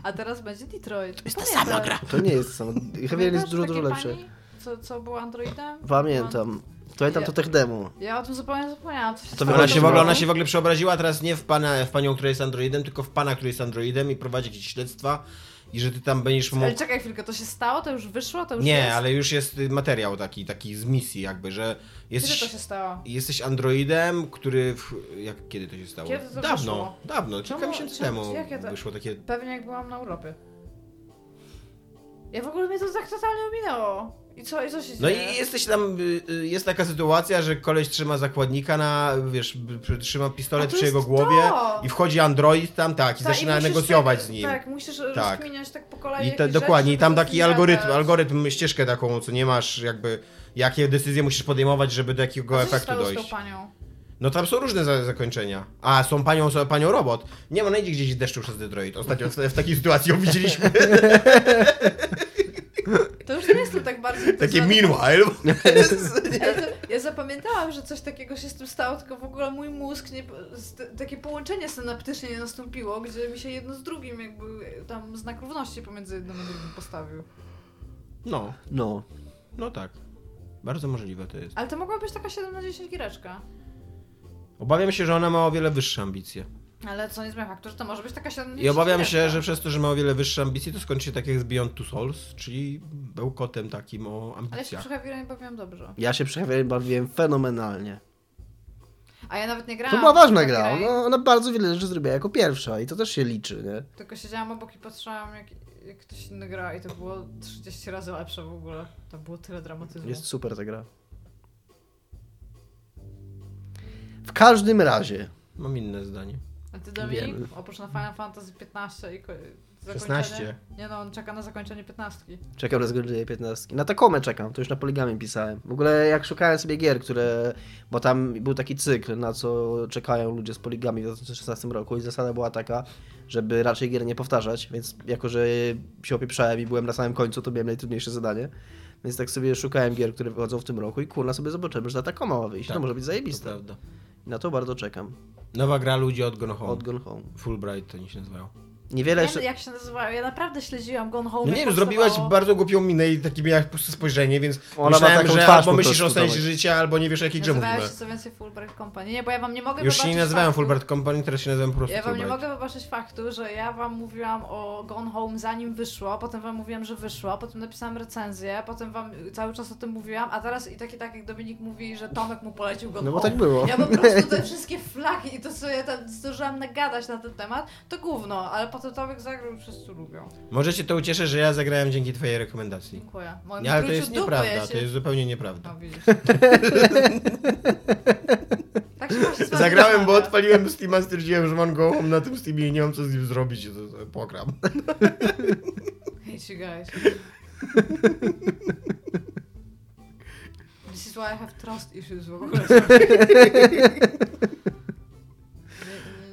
[SPEAKER 2] A teraz będzie Detroit. To jest ta
[SPEAKER 4] sama gra.
[SPEAKER 3] To nie jest samo. Heavy Rain jest dużo, dużo lepsze.
[SPEAKER 2] Pani, co, co był Androidem?
[SPEAKER 3] Pamiętam. Pamiętam to tech demo.
[SPEAKER 2] Ja o tym zupełnie zapomniałam. Co się
[SPEAKER 3] To
[SPEAKER 2] stało
[SPEAKER 4] Ona
[SPEAKER 3] wychodzi
[SPEAKER 4] się, w ogóle,
[SPEAKER 3] roku?
[SPEAKER 4] ona się w ogóle przeobraziła teraz nie w, pana, w panią, która jest androidem, tylko w pana, który jest androidem i prowadzi jakieś śledztwa i że ty tam będziesz
[SPEAKER 2] Ale
[SPEAKER 4] mógł...
[SPEAKER 2] czekaj chwilkę, to się stało? To już wyszło? To już
[SPEAKER 4] Nie,
[SPEAKER 2] jest?
[SPEAKER 4] ale już jest y, materiał taki, taki z misji jakby, że
[SPEAKER 2] Kiedy to
[SPEAKER 4] jesteś,
[SPEAKER 2] się stało?
[SPEAKER 4] jesteś androidem, który... W... Jak, kiedy to się stało?
[SPEAKER 2] Kiedy to
[SPEAKER 4] dawno,
[SPEAKER 2] wyszło?
[SPEAKER 4] dawno, kilka
[SPEAKER 2] Czemu-
[SPEAKER 4] miesięcy
[SPEAKER 2] czemu-
[SPEAKER 4] temu
[SPEAKER 2] jakie to-
[SPEAKER 4] wyszło takie...
[SPEAKER 2] Pewnie jak byłam na urlopie. Ja w ogóle mnie to tak totalnie ominęło. I co, i co się
[SPEAKER 4] No i
[SPEAKER 2] dzieje?
[SPEAKER 4] jesteś tam, y, y, jest taka sytuacja, że koleś trzyma zakładnika na, wiesz, b- p- trzyma pistolet
[SPEAKER 2] A to
[SPEAKER 4] przy jego
[SPEAKER 2] jest
[SPEAKER 4] głowie
[SPEAKER 2] to!
[SPEAKER 4] i wchodzi android tam, tak, i
[SPEAKER 2] Tak,
[SPEAKER 4] zaczyna
[SPEAKER 2] musisz
[SPEAKER 4] negocjować
[SPEAKER 2] tak-
[SPEAKER 4] z nim.
[SPEAKER 2] Tak, musisz
[SPEAKER 4] Tak.
[SPEAKER 2] rozkminiać tak po kolei
[SPEAKER 4] I te,
[SPEAKER 2] jakieś
[SPEAKER 4] dokładnie, i
[SPEAKER 2] rzeczy,
[SPEAKER 4] tam
[SPEAKER 2] żeby
[SPEAKER 4] taki
[SPEAKER 2] z nim
[SPEAKER 4] algorytm,
[SPEAKER 2] gadać.
[SPEAKER 4] algorytm, ścieżkę taką, co nie masz jakby, jakie decyzje musisz podejmować, żeby do jakiego
[SPEAKER 2] A co się
[SPEAKER 4] efektu
[SPEAKER 2] stało z tą
[SPEAKER 4] dojść.
[SPEAKER 2] panią?
[SPEAKER 4] No tam są różne za, zakończenia. A, są panią, są panią robot. Nie, ona idzie gdzieś w deszczu przez Detroit. Ostatnio w, w takiej sytuacji ją widzieliśmy.
[SPEAKER 2] To już nie jest to tak bardzo...
[SPEAKER 4] Takie
[SPEAKER 2] interesujące.
[SPEAKER 4] meanwhile.
[SPEAKER 2] Ale to, ja zapamiętałam, że coś takiego się z tym stało, tylko w ogóle mój mózg, nie, z- t- takie połączenie synaptyczne nie nastąpiło, gdzie mi się jedno z drugim jakby e, tam znak równości pomiędzy jednym a drugim postawił.
[SPEAKER 4] No,
[SPEAKER 3] No.
[SPEAKER 4] no tak. Bardzo możliwe to jest.
[SPEAKER 2] Ale to mogła być taka 7 na 10 gireczka.
[SPEAKER 4] Obawiam się, że ona ma o wiele wyższe ambicje.
[SPEAKER 2] Ale co nie zmienia faktu, że to może być taka 7 na 10
[SPEAKER 4] I obawiam się,
[SPEAKER 2] gireczka.
[SPEAKER 4] że przez to, że ma o wiele wyższe ambicje, to skończy się tak jak z Beyond Two Souls, czyli bełkotem takim o
[SPEAKER 2] Ale ja się
[SPEAKER 4] ambicjach.
[SPEAKER 2] przy Heavy Rain bawiłam dobrze.
[SPEAKER 3] Ja się przy Heavy Rain bawiłem fenomenalnie.
[SPEAKER 2] A ja nawet nie grałam.
[SPEAKER 3] To była ważna
[SPEAKER 2] w Heavy
[SPEAKER 3] gra. no.
[SPEAKER 2] Rain,
[SPEAKER 3] Ona, ona bardzo wiele rzeczy zrobiła jako pierwsza i to też się liczy, nie?
[SPEAKER 2] Tylko siedziałam obok i patrzyłam, jak, jak ktoś inny gra i to było 30 razy lepsze w ogóle. Tam było tyle dramatyzmu.
[SPEAKER 3] Jest super ta gra. W każdym razie.
[SPEAKER 4] Mam inne zdanie.
[SPEAKER 2] A ty Dominik,
[SPEAKER 3] Wiemy.
[SPEAKER 2] oprócz na Final Fantasy 15 i ko- zakończenie...
[SPEAKER 4] 16.
[SPEAKER 2] Nie no, on czeka na zakończenie 15.
[SPEAKER 3] Czekam na zgodę 15. Na Takomę czekam, to już na Poligamie pisałem. W ogóle jak szukałem sobie gier, które... Bo tam był taki cykl, na co czekają ludzie z Poligami w 2016 roku i zasada była taka, żeby raczej gier nie powtarzać, więc jako, że się opieprzałem i byłem na samym końcu, to miałem najtrudniejsze zadanie. Więc tak sobie szukałem gier, które wychodzą w tym roku i kurna sobie zobaczyłem, że ta Takoma ma wyjść.
[SPEAKER 4] Tak,
[SPEAKER 3] to może być
[SPEAKER 4] To
[SPEAKER 3] zajebiste.
[SPEAKER 4] prawda.
[SPEAKER 3] Na to bardzo czekam.
[SPEAKER 4] Nowa gra ludzi od Gone Home.
[SPEAKER 3] Od Gone Home.
[SPEAKER 4] Fulbright to nie się nazywają.
[SPEAKER 3] Niewiele
[SPEAKER 2] Nie wiem
[SPEAKER 3] jeszcze...
[SPEAKER 2] jak się nazywają, ja naprawdę śledziłam Gone Home.
[SPEAKER 4] No nie
[SPEAKER 2] jak
[SPEAKER 4] wiem, zrobiłaś
[SPEAKER 2] powstawało.
[SPEAKER 4] bardzo głupią minę i takie miałaś puste spojrzenie, więc
[SPEAKER 3] Ona ma
[SPEAKER 4] myślałem,
[SPEAKER 3] taką
[SPEAKER 4] że
[SPEAKER 3] twarz
[SPEAKER 4] albo
[SPEAKER 3] po
[SPEAKER 4] myślisz o
[SPEAKER 3] prostu,
[SPEAKER 4] sensie
[SPEAKER 3] dawaj.
[SPEAKER 4] życia, albo nie wiesz o jakiej grze
[SPEAKER 2] Nazywają
[SPEAKER 4] mówimy.
[SPEAKER 2] się co więcej Fulbright Company. Nie, bo ja wam nie mogę
[SPEAKER 4] Już się
[SPEAKER 2] wybaczyć
[SPEAKER 4] nie nazywałem
[SPEAKER 2] faktu-
[SPEAKER 4] Fulbright Company, teraz się nazywam po prostu
[SPEAKER 2] Ja wam nie
[SPEAKER 4] Fulbright.
[SPEAKER 2] mogę wybaczyć faktu, że ja wam mówiłam o Gone Home zanim wyszło, potem wam mówiłam, że wyszło, potem napisałam recenzję, potem wam cały czas o tym mówiłam, a teraz i tak i tak jak Dominik mówi, że Tomek mu polecił Gone
[SPEAKER 3] No bo
[SPEAKER 2] Home.
[SPEAKER 3] tak było.
[SPEAKER 2] Ja po prostu te wszystkie flaki i to, co ja tam zdążyłam nagadać na ten temat, to gówno, ale potem Tomek zagrał i wszyscy lubią.
[SPEAKER 4] Może cię to ucieszy, że ja zagrałem dzięki twojej rekomendacji.
[SPEAKER 2] Dziękuję. Moim
[SPEAKER 4] Nie, ale to
[SPEAKER 2] truciu
[SPEAKER 4] jest
[SPEAKER 2] dupy
[SPEAKER 4] nieprawda,
[SPEAKER 2] ja się...
[SPEAKER 4] to jest zupełnie nieprawda.
[SPEAKER 2] No, widzisz. tak się właśnie z wami
[SPEAKER 4] Zagrałem, bo
[SPEAKER 2] rozmawia.
[SPEAKER 4] odpaliłem Steama, stwierdziłem, że mam go home na tym Steamie i nie mam co z nim zrobić, i to- to pogram.
[SPEAKER 2] Hate you guys. This is why I have trust issues w ogóle.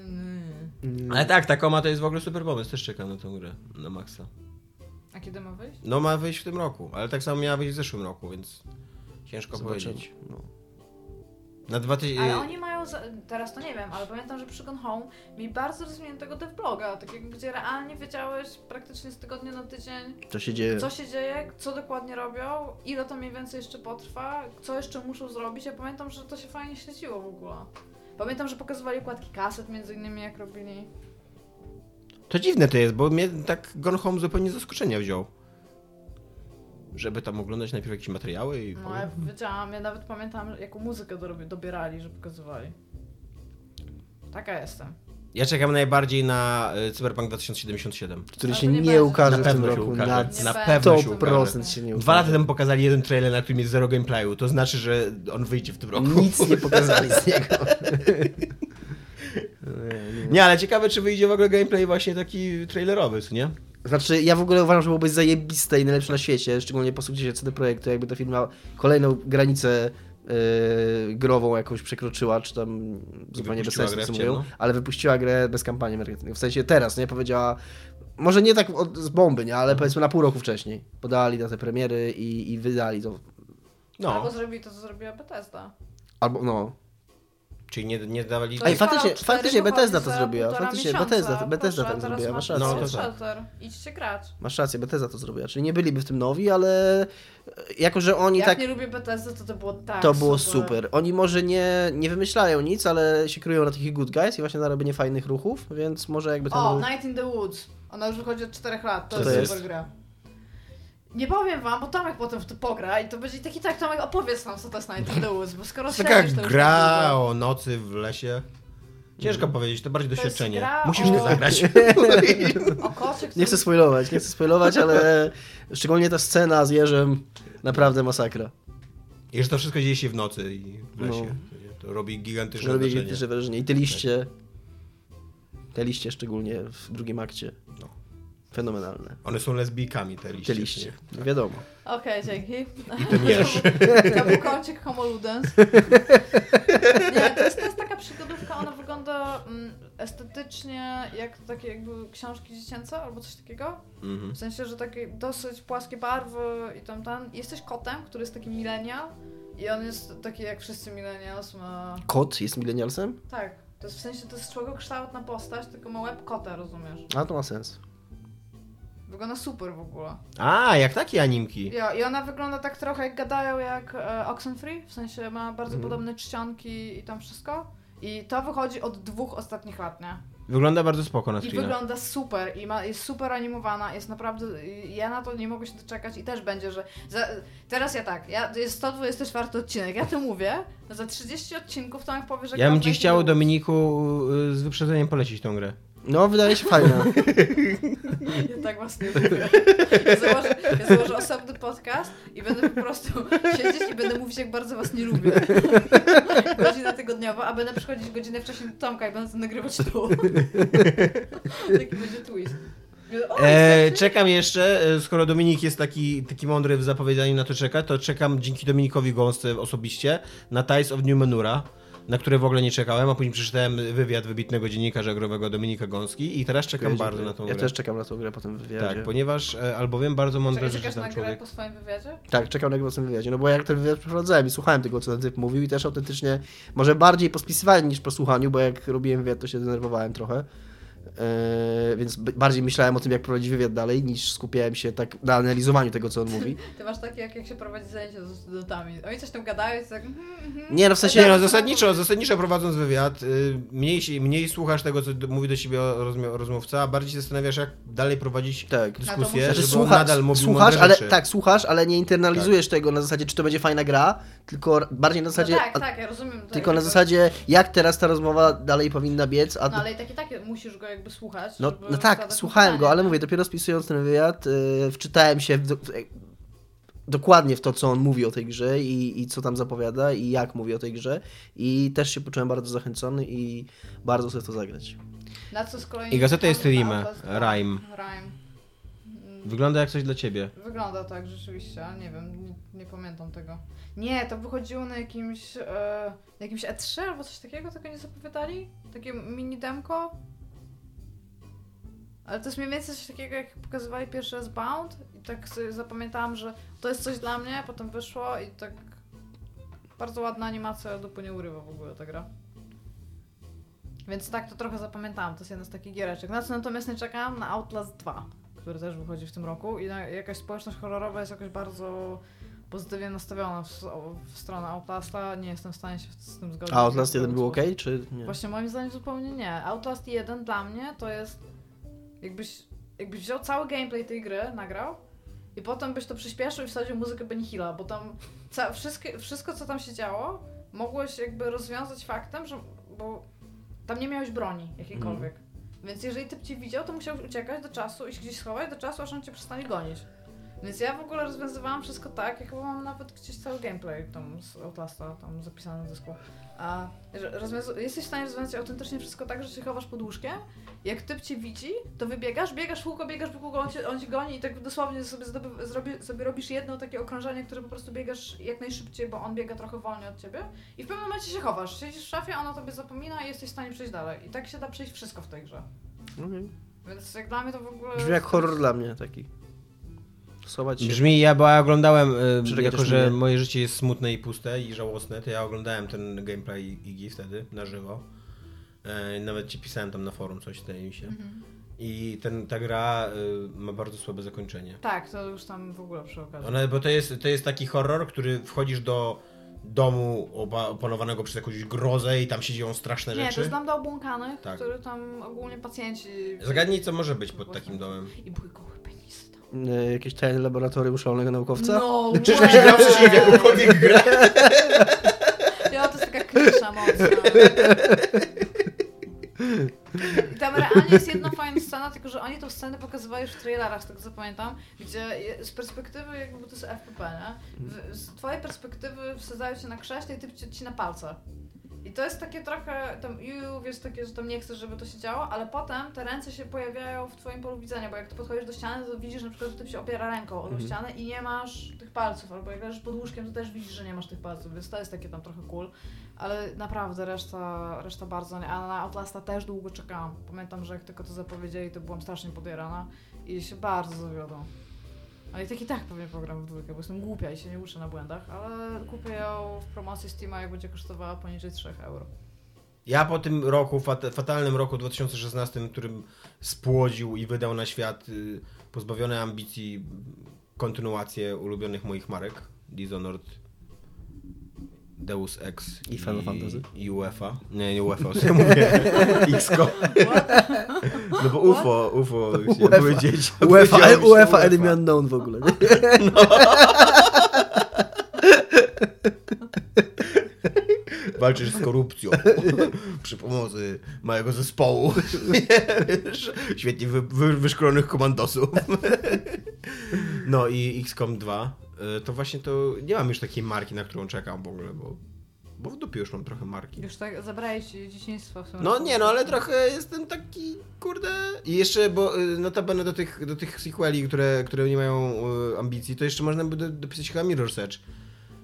[SPEAKER 3] Mm.
[SPEAKER 4] Ale tak, ta koma to jest w ogóle super pomysł, też czekam na tę grę, na maksa.
[SPEAKER 2] A kiedy ma wyjść?
[SPEAKER 4] No ma wyjść w tym roku, ale tak samo miała wyjść w zeszłym roku, więc ciężko
[SPEAKER 3] Zobaczymy.
[SPEAKER 4] powiedzieć.
[SPEAKER 3] No.
[SPEAKER 4] Na 2000...
[SPEAKER 2] Ale oni mają, za... teraz to nie wiem, ale pamiętam, że przy Gone Home mieli bardzo rozwiniętego devbloga, takiego, gdzie realnie wiedziałeś praktycznie z tygodnia na tydzień,
[SPEAKER 3] To się dzieje.
[SPEAKER 2] co się dzieje, co dokładnie robią, ile to mniej więcej jeszcze potrwa, co jeszcze muszą zrobić. Ja pamiętam, że to się fajnie śledziło w ogóle. Pamiętam, że pokazywali układki kaset między innymi, jak robili.
[SPEAKER 4] To dziwne to jest, bo mnie tak Gone Home zupełnie z zaskoczenia wziął. żeby tam oglądać najpierw jakieś materiały i...
[SPEAKER 2] No ja wiedziałam, ja nawet pamiętam jaką muzykę dorobi- dobierali, że pokazywali. Taka jestem.
[SPEAKER 4] Ja czekam najbardziej na y, Cyberpunk 2077.
[SPEAKER 3] Który
[SPEAKER 2] Ale
[SPEAKER 3] się
[SPEAKER 2] to
[SPEAKER 3] nie,
[SPEAKER 2] nie będzie.
[SPEAKER 3] ukaże
[SPEAKER 4] Na
[SPEAKER 3] w tym
[SPEAKER 4] pewno się
[SPEAKER 3] roku.
[SPEAKER 4] ukaże.
[SPEAKER 3] Na
[SPEAKER 4] Na
[SPEAKER 2] pe-
[SPEAKER 4] pewno się ukaże.
[SPEAKER 3] 100% się nie ukaże.
[SPEAKER 4] Dwa lata temu pokazali jeden trailer, na którym jest zero gameplayu. To znaczy, że on wyjdzie w tym roku.
[SPEAKER 3] Nic nie pokazali z niego.
[SPEAKER 4] Nie, ale ciekawe, czy wyjdzie w ogóle gameplay właśnie taki trailerowy, co nie?
[SPEAKER 3] Znaczy, ja w ogóle uważam, że byłoby zajebiste i najlepsze na świecie, szczególnie po sukcesie CD Projektu, jakby ta firma kolejną granicę yy, grową jakąś przekroczyła, czy tam zupełnie bez
[SPEAKER 4] wypuściła
[SPEAKER 3] sensu
[SPEAKER 4] grę
[SPEAKER 3] co
[SPEAKER 4] w
[SPEAKER 3] mówią,
[SPEAKER 4] ciemno.
[SPEAKER 3] ale wypuściła grę bez kampanii marketingowej. W sensie teraz, nie? Powiedziała, może nie tak od, z bomby, nie?
[SPEAKER 4] Mhm.
[SPEAKER 3] Ale powiedzmy na pół roku wcześniej. Podali datę premiery i, i wydali to.
[SPEAKER 2] Albo
[SPEAKER 4] No,
[SPEAKER 2] zrobili to, co zrobiła Bethesda.
[SPEAKER 3] albo no,
[SPEAKER 4] czyli nie, nie dawali...
[SPEAKER 2] To
[SPEAKER 3] Ej,
[SPEAKER 2] jest
[SPEAKER 3] faktycznie-
[SPEAKER 2] Fallout
[SPEAKER 3] faktycznie
[SPEAKER 2] 4
[SPEAKER 3] Bethesda
[SPEAKER 2] wychodzi
[SPEAKER 3] to
[SPEAKER 2] za
[SPEAKER 3] zrobiła,
[SPEAKER 2] półtora
[SPEAKER 3] faktycznie
[SPEAKER 2] miesiąca.
[SPEAKER 3] Bethesda-
[SPEAKER 2] Proszę,
[SPEAKER 3] Bethesda tak
[SPEAKER 2] teraz
[SPEAKER 3] zrobiła, masz
[SPEAKER 2] macie
[SPEAKER 4] rację. No, to tak.
[SPEAKER 2] Shelter. Idźcie grać.
[SPEAKER 3] masz rację, Bethesda to zrobiła. Czyli nie byliby w tym nowi, ale e, jako, że oni
[SPEAKER 2] Jak
[SPEAKER 3] tak...
[SPEAKER 2] nie lubię Bethesda, to to było tak
[SPEAKER 3] To było super. Oni może nie, nie wymyślają nic, ale się kryją na takich good guys i właśnie na robienie fajnych ruchów, więc może jakby ten
[SPEAKER 2] O,
[SPEAKER 3] ruch...
[SPEAKER 2] Night in the Woods. Ona już wychodzi od 4 lat, to
[SPEAKER 3] Co
[SPEAKER 2] jest,
[SPEAKER 3] to
[SPEAKER 2] super
[SPEAKER 3] jest?
[SPEAKER 2] gra. Nie powiem wam, bo Tomek potem w to pogra i to będzie taki tak, Tomek opowiedz nam co to jest Night in the Woods, bo skoro
[SPEAKER 4] Taka
[SPEAKER 2] śledzisz to już tak
[SPEAKER 4] gra
[SPEAKER 2] długo.
[SPEAKER 4] o nocy w lesie. Ciężko powiedzieć, to bardziej
[SPEAKER 2] To jest
[SPEAKER 4] doświadczenie.
[SPEAKER 2] gra
[SPEAKER 4] Musisz to
[SPEAKER 2] o-
[SPEAKER 4] zagrać.
[SPEAKER 2] o kocie, który...
[SPEAKER 3] Nie chcę spoilować, nie chcę spoilować, ale szczególnie ta scena z Jerzem, naprawdę masakra.
[SPEAKER 4] I że to wszystko dzieje się w nocy i w
[SPEAKER 3] No.
[SPEAKER 4] lesie. To robi gigantyczne
[SPEAKER 3] Robię
[SPEAKER 4] wrażenie.
[SPEAKER 3] gigantyczne wrażenie. I te liście, Tak. te liście szczególnie w drugim akcie,
[SPEAKER 4] No.
[SPEAKER 3] fenomenalne.
[SPEAKER 4] One są lesbijkami, te liście.
[SPEAKER 3] Te liście, wiadomo.
[SPEAKER 2] Okej, dzięki.
[SPEAKER 4] I ten jeż.
[SPEAKER 2] To był kącik Homo Ludens. Nie, to jest, to jest taka przygodówka, ona wygląda mm, estetycznie jak takie jakby książki dziecięce albo coś takiego.
[SPEAKER 4] Mhm.
[SPEAKER 2] W sensie, że takie dosyć płaskie barwy i tam ten. Jesteś kotem, który jest taki milenial i on jest taki jak wszyscy milenials ma...
[SPEAKER 3] Kot jest milenialsem?
[SPEAKER 2] Tak, to jest w sensie, to jest człowiekokształtna postać, tylko ma łeb kota, rozumiesz?
[SPEAKER 3] A to ma sens.
[SPEAKER 2] Wygląda super w ogóle.
[SPEAKER 4] A, jak takie animki.
[SPEAKER 2] Ja, I ona wygląda tak trochę jak gadają jak e, Oxenfree, w sensie ma bardzo
[SPEAKER 3] Mhm.
[SPEAKER 2] podobne czcionki i tam wszystko. I to wychodzi od dwóch ostatnich lat, nie?
[SPEAKER 4] Wygląda bardzo spoko na
[SPEAKER 2] I
[SPEAKER 4] screenach.
[SPEAKER 2] wygląda super, i ma, jest super animowana, jest naprawdę, i ja na to nie mogę się doczekać i też będzie, że za, teraz ja tak, ja, to jest 124 odcinek, ja to mówię, za 30 odcinków Tomek powie, że
[SPEAKER 4] Ja bym
[SPEAKER 2] gra
[SPEAKER 4] ci
[SPEAKER 2] będzie
[SPEAKER 4] chciał,
[SPEAKER 2] był-
[SPEAKER 4] Dominiku, y, z wyprzedzeniem polecić tą grę.
[SPEAKER 3] No, wydaje się fajna.
[SPEAKER 2] Ja tak właśnie mówię. Ja założę, ja założę osobny podcast i będę po prostu siedzieć i będę mówić, jak bardzo was nie lubię. Godzina tygodniowa, a będę przychodzić godzinę wcześniej do Tomka i będę nagrywać tu. Taki będzie twist. O,
[SPEAKER 3] Eee,
[SPEAKER 4] E,
[SPEAKER 2] jesteście?
[SPEAKER 4] czekam jeszcze, e, skoro Dominik jest taki, taki mądry w zapowiadaniu na to czeka, to czekam dzięki Dominikowi Gąsce osobiście na Ties of New Menura, na które w ogóle nie czekałem, a później przeczytałem wywiad wybitnego dziennikarza growego Dominika Gąski i teraz czekam bardzo na tą
[SPEAKER 3] Ja
[SPEAKER 4] grę.
[SPEAKER 3] też czekam na tą grę po tym wywiadzie.
[SPEAKER 4] tak, ponieważ e, albowiem bardzo mądre
[SPEAKER 2] Czekaj,
[SPEAKER 4] rzeczy
[SPEAKER 2] czekasz na
[SPEAKER 4] tam
[SPEAKER 2] grę
[SPEAKER 4] człowiek.
[SPEAKER 2] po swoim wywiadzie?
[SPEAKER 3] Tak, czekam na głos w tym wywiadzie, no bo jak ten wywiad przeprowadzałem i słuchałem tego, co ten typ mówił i też autentycznie, może bardziej po spisywaniu niż po słuchaniu, bo jak robiłem wywiad, to się denerwowałem trochę, Yy, więc b- bardziej myślałem o tym, jak prowadzić wywiad dalej, niż skupiałem się tak na analizowaniu tego, co on mówi.
[SPEAKER 2] Ty masz takie, jak, jak się prowadzi zajęcia ze studentami. Oni coś tam gadają i tak... mhm, mhm.
[SPEAKER 3] Nie, no w
[SPEAKER 4] Nie,
[SPEAKER 3] sensie,
[SPEAKER 4] no zasadniczo, zasadniczo prowadząc wywiad, y, mniej, się- mniej słuchasz tego, co d- mówi do siebie o- rozmi- rozmówca, a bardziej się zastanawiasz, jak dalej prowadzić
[SPEAKER 3] tak.
[SPEAKER 4] dyskusję,
[SPEAKER 2] musisz-
[SPEAKER 4] żeby
[SPEAKER 3] Znaczy,
[SPEAKER 4] on
[SPEAKER 3] słucha,
[SPEAKER 4] nadal mówił
[SPEAKER 3] słuchasz,
[SPEAKER 4] mądre
[SPEAKER 3] ale,
[SPEAKER 4] rzeczy. Tak.
[SPEAKER 3] tak, słuchasz, ale nie internalizujesz tego na zasadzie, czy to będzie fajna gra, tylko bardziej na zasadzie,
[SPEAKER 2] No tak,
[SPEAKER 3] a-
[SPEAKER 2] tak, ja rozumiem. to
[SPEAKER 3] tylko na
[SPEAKER 2] jakby-
[SPEAKER 3] zasadzie, jak teraz ta rozmowa dalej powinna biec, a
[SPEAKER 2] No ale i tak i tak musisz go jakby słuchać.
[SPEAKER 3] No,
[SPEAKER 2] żeby
[SPEAKER 3] no
[SPEAKER 2] zadać
[SPEAKER 3] tak,
[SPEAKER 2] mu
[SPEAKER 3] słuchałem go,
[SPEAKER 2] pytanie. no.
[SPEAKER 3] ale mówię, dopiero spisując ten wywiad, yy, wczytałem się w, do- w, e, dokładnie w to, co on mówi o tej grze i, i co tam zapowiada i jak mówi o tej grze i też się poczułem bardzo zachęcony i bardzo chcę w to zagrać.
[SPEAKER 2] Na co z kolei
[SPEAKER 4] I gazeta jest
[SPEAKER 2] Rime.
[SPEAKER 4] Rime, Rime.
[SPEAKER 2] Rime. Mm,
[SPEAKER 4] Wygląda jak coś dla ciebie.
[SPEAKER 2] Wygląda tak rzeczywiście, ale nie wiem, nie, nie pamiętam tego. Nie, to wychodziło na jakimś, e, na jakimś E3 albo coś takiego, tego nie zapowiadali? Takie mini demko? Ale to jest mniej więcej coś takiego, jak pokazywali pierwszy raz Bound i tak sobie zapamiętałam, że to jest coś dla mnie, potem wyszło i tak bardzo ładna animacja, dupy nie urywa w ogóle ta gra. Więc tak to trochę zapamiętałam, to jest jedna z takich giereczek. Na co natomiast nie czekałam? Na Outlast 2, który też wychodzi w tym roku i na, jakaś społeczność horrorowa jest jakoś bardzo pozytywnie nastawiona w, w stronę Outlasta, nie jestem w stanie się z tym zgodzić.
[SPEAKER 3] A Outlast 1 był
[SPEAKER 2] Więc
[SPEAKER 3] ok, czy nie?
[SPEAKER 2] Właśnie moim zdaniem zupełnie nie. Outlast 1 dla mnie to jest jakbyś, jakbyś wziął cały gameplay tej gry, nagrał I potem byś to przyspieszył i wsadził muzykę Benihila, bo tam ca- wszystkie, wszystko, co tam się działo, mogłeś jakby rozwiązać faktem, że bo tam nie miałeś broni jakiejkolwiek. Więc jeżeli typ cię widział, to musiał uciekać do czasu i się gdzieś schować do czasu, aż on cię przestanie gonić. Więc ja w ogóle rozwiązywałam wszystko tak, jak mam nawet gdzieś cały gameplay tam z Outlasta tam zapisany w dysku. A że rozwiązu- jesteś w stanie rozwiązać autentycznie wszystko tak, że się chowasz pod łóżkiem, jak typ cię widzi, to wybiegasz, biegasz w kółko, biegasz w kółko, on cię, on cię goni i tak dosłownie sobie, zdoby- zrobi- sobie robisz jedno takie okrążenie, które po prostu biegasz jak najszybciej, bo on biega trochę wolniej od ciebie i w pewnym momencie się chowasz. Siedzisz w szafie, ona tobie zapomina i jesteś w stanie przejść dalej. I tak się da przejść wszystko w tej grze.
[SPEAKER 3] Okej.
[SPEAKER 2] Więc jak dla mnie to w ogóle...
[SPEAKER 3] Mhm. Brzmi jak horror dla mnie taki. Schować się.
[SPEAKER 4] Brzmi, ja, bo ja oglądałem, y,
[SPEAKER 3] Przyczekaj,
[SPEAKER 4] jako
[SPEAKER 3] Znaczy- też
[SPEAKER 4] że
[SPEAKER 3] mnie.
[SPEAKER 4] moje życie jest smutne i puste i żałosne, to ja oglądałem ten gameplay Iggy wtedy, na żywo. E, nawet ci pisałem tam na forum coś, zdaje mi się.
[SPEAKER 2] Mhm.
[SPEAKER 4] I ten, ta gra y, ma bardzo słabe zakończenie.
[SPEAKER 2] Tak, to już tam w ogóle przy okazji.
[SPEAKER 4] Ona, bo to jest, to jest taki horror, który wchodzisz do domu oba, opanowanego przez jakąś grozę i tam się dzieją straszne
[SPEAKER 2] Nie, to
[SPEAKER 4] rzeczy.
[SPEAKER 2] jest dam do obłąkanych,
[SPEAKER 4] Tak.
[SPEAKER 2] który tam ogólnie pacjenci...
[SPEAKER 4] Zagadnij, co może być pod takim domem.
[SPEAKER 2] I były gołe penisy tak. tam.
[SPEAKER 3] E, Jakieś tajne laboratorium szalonego naukowca?
[SPEAKER 2] No,
[SPEAKER 4] Czy ktoś
[SPEAKER 2] way!
[SPEAKER 4] grał w jakąkolwiek grę?
[SPEAKER 2] Ja, to jest taka klisza mocna. I tam realnie jest jedna fajna scena, tylko że oni tą scenę pokazywali już w trailerach, tak zapamiętam, gdzie je- z perspektywy, jakby to jest FPP, nie? W- Z twojej perspektywy wsadzają cię na krześle i ty ci, ci na palce. I to jest takie trochę, tam ju, wiesz, takie, że tam nie chcesz, żeby to się działo, ale potem te ręce się pojawiają w twoim polu widzenia, bo jak ty podchodzisz do ściany, to widzisz na przykład, że ty się opiera ręką o tą
[SPEAKER 3] Mhm.
[SPEAKER 2] ścianę i nie masz tych palców, albo jak leżysz pod łóżkiem, to też widzisz, że nie masz tych palców, więc to jest takie tam trochę cool. Ale naprawdę reszta, reszta bardzo nie. A na Outlasta też długo czekałam. Pamiętam, że jak tylko to zapowiedzieli, to byłam strasznie podjarana i się bardzo zawiodą. Ale i tak i tak pewnie program w dwójkę, bo jestem głupia i się nie uczę na błędach, ale kupię ją w promocji Steama, jak będzie kosztowała poniżej 3 euro.
[SPEAKER 4] Ja po tym roku, fat, fatalnym roku 2016, którym spłodził i wydał na świat y, pozbawione ambicji m, kontynuację ulubionych moich marek Dishonored, Deus Ex
[SPEAKER 3] I Final Fantasy.
[SPEAKER 4] i UEFA. Nie, nie UEFA, o co ja mówię. XCOM. No bo UFO, UFO, się-
[SPEAKER 3] UEFA.
[SPEAKER 4] były dzieci.
[SPEAKER 3] UEFA,
[SPEAKER 4] Powiedziałem, że
[SPEAKER 3] UEFA Enemy Unknown w ogóle. nie?
[SPEAKER 4] Walczysz z korupcją przy pomocy małego zespołu. Wiesz, Świetnie wy, wy, wyszkolonych komandosów. No i XCOM 2. y, To właśnie to nie mam już takiej marki, na którą czekam w ogóle, bo, bo w dupie już mam trochę marki.
[SPEAKER 2] Już tak zabrałeś ci dzieciństwo w sumie.
[SPEAKER 4] No nie, no ale trochę jestem taki, kurde... I jeszcze, bo y, notabene do tych, do tych sequeli, które, które nie mają y, ambicji, to jeszcze można by do- dopisać chyba Mirror Search,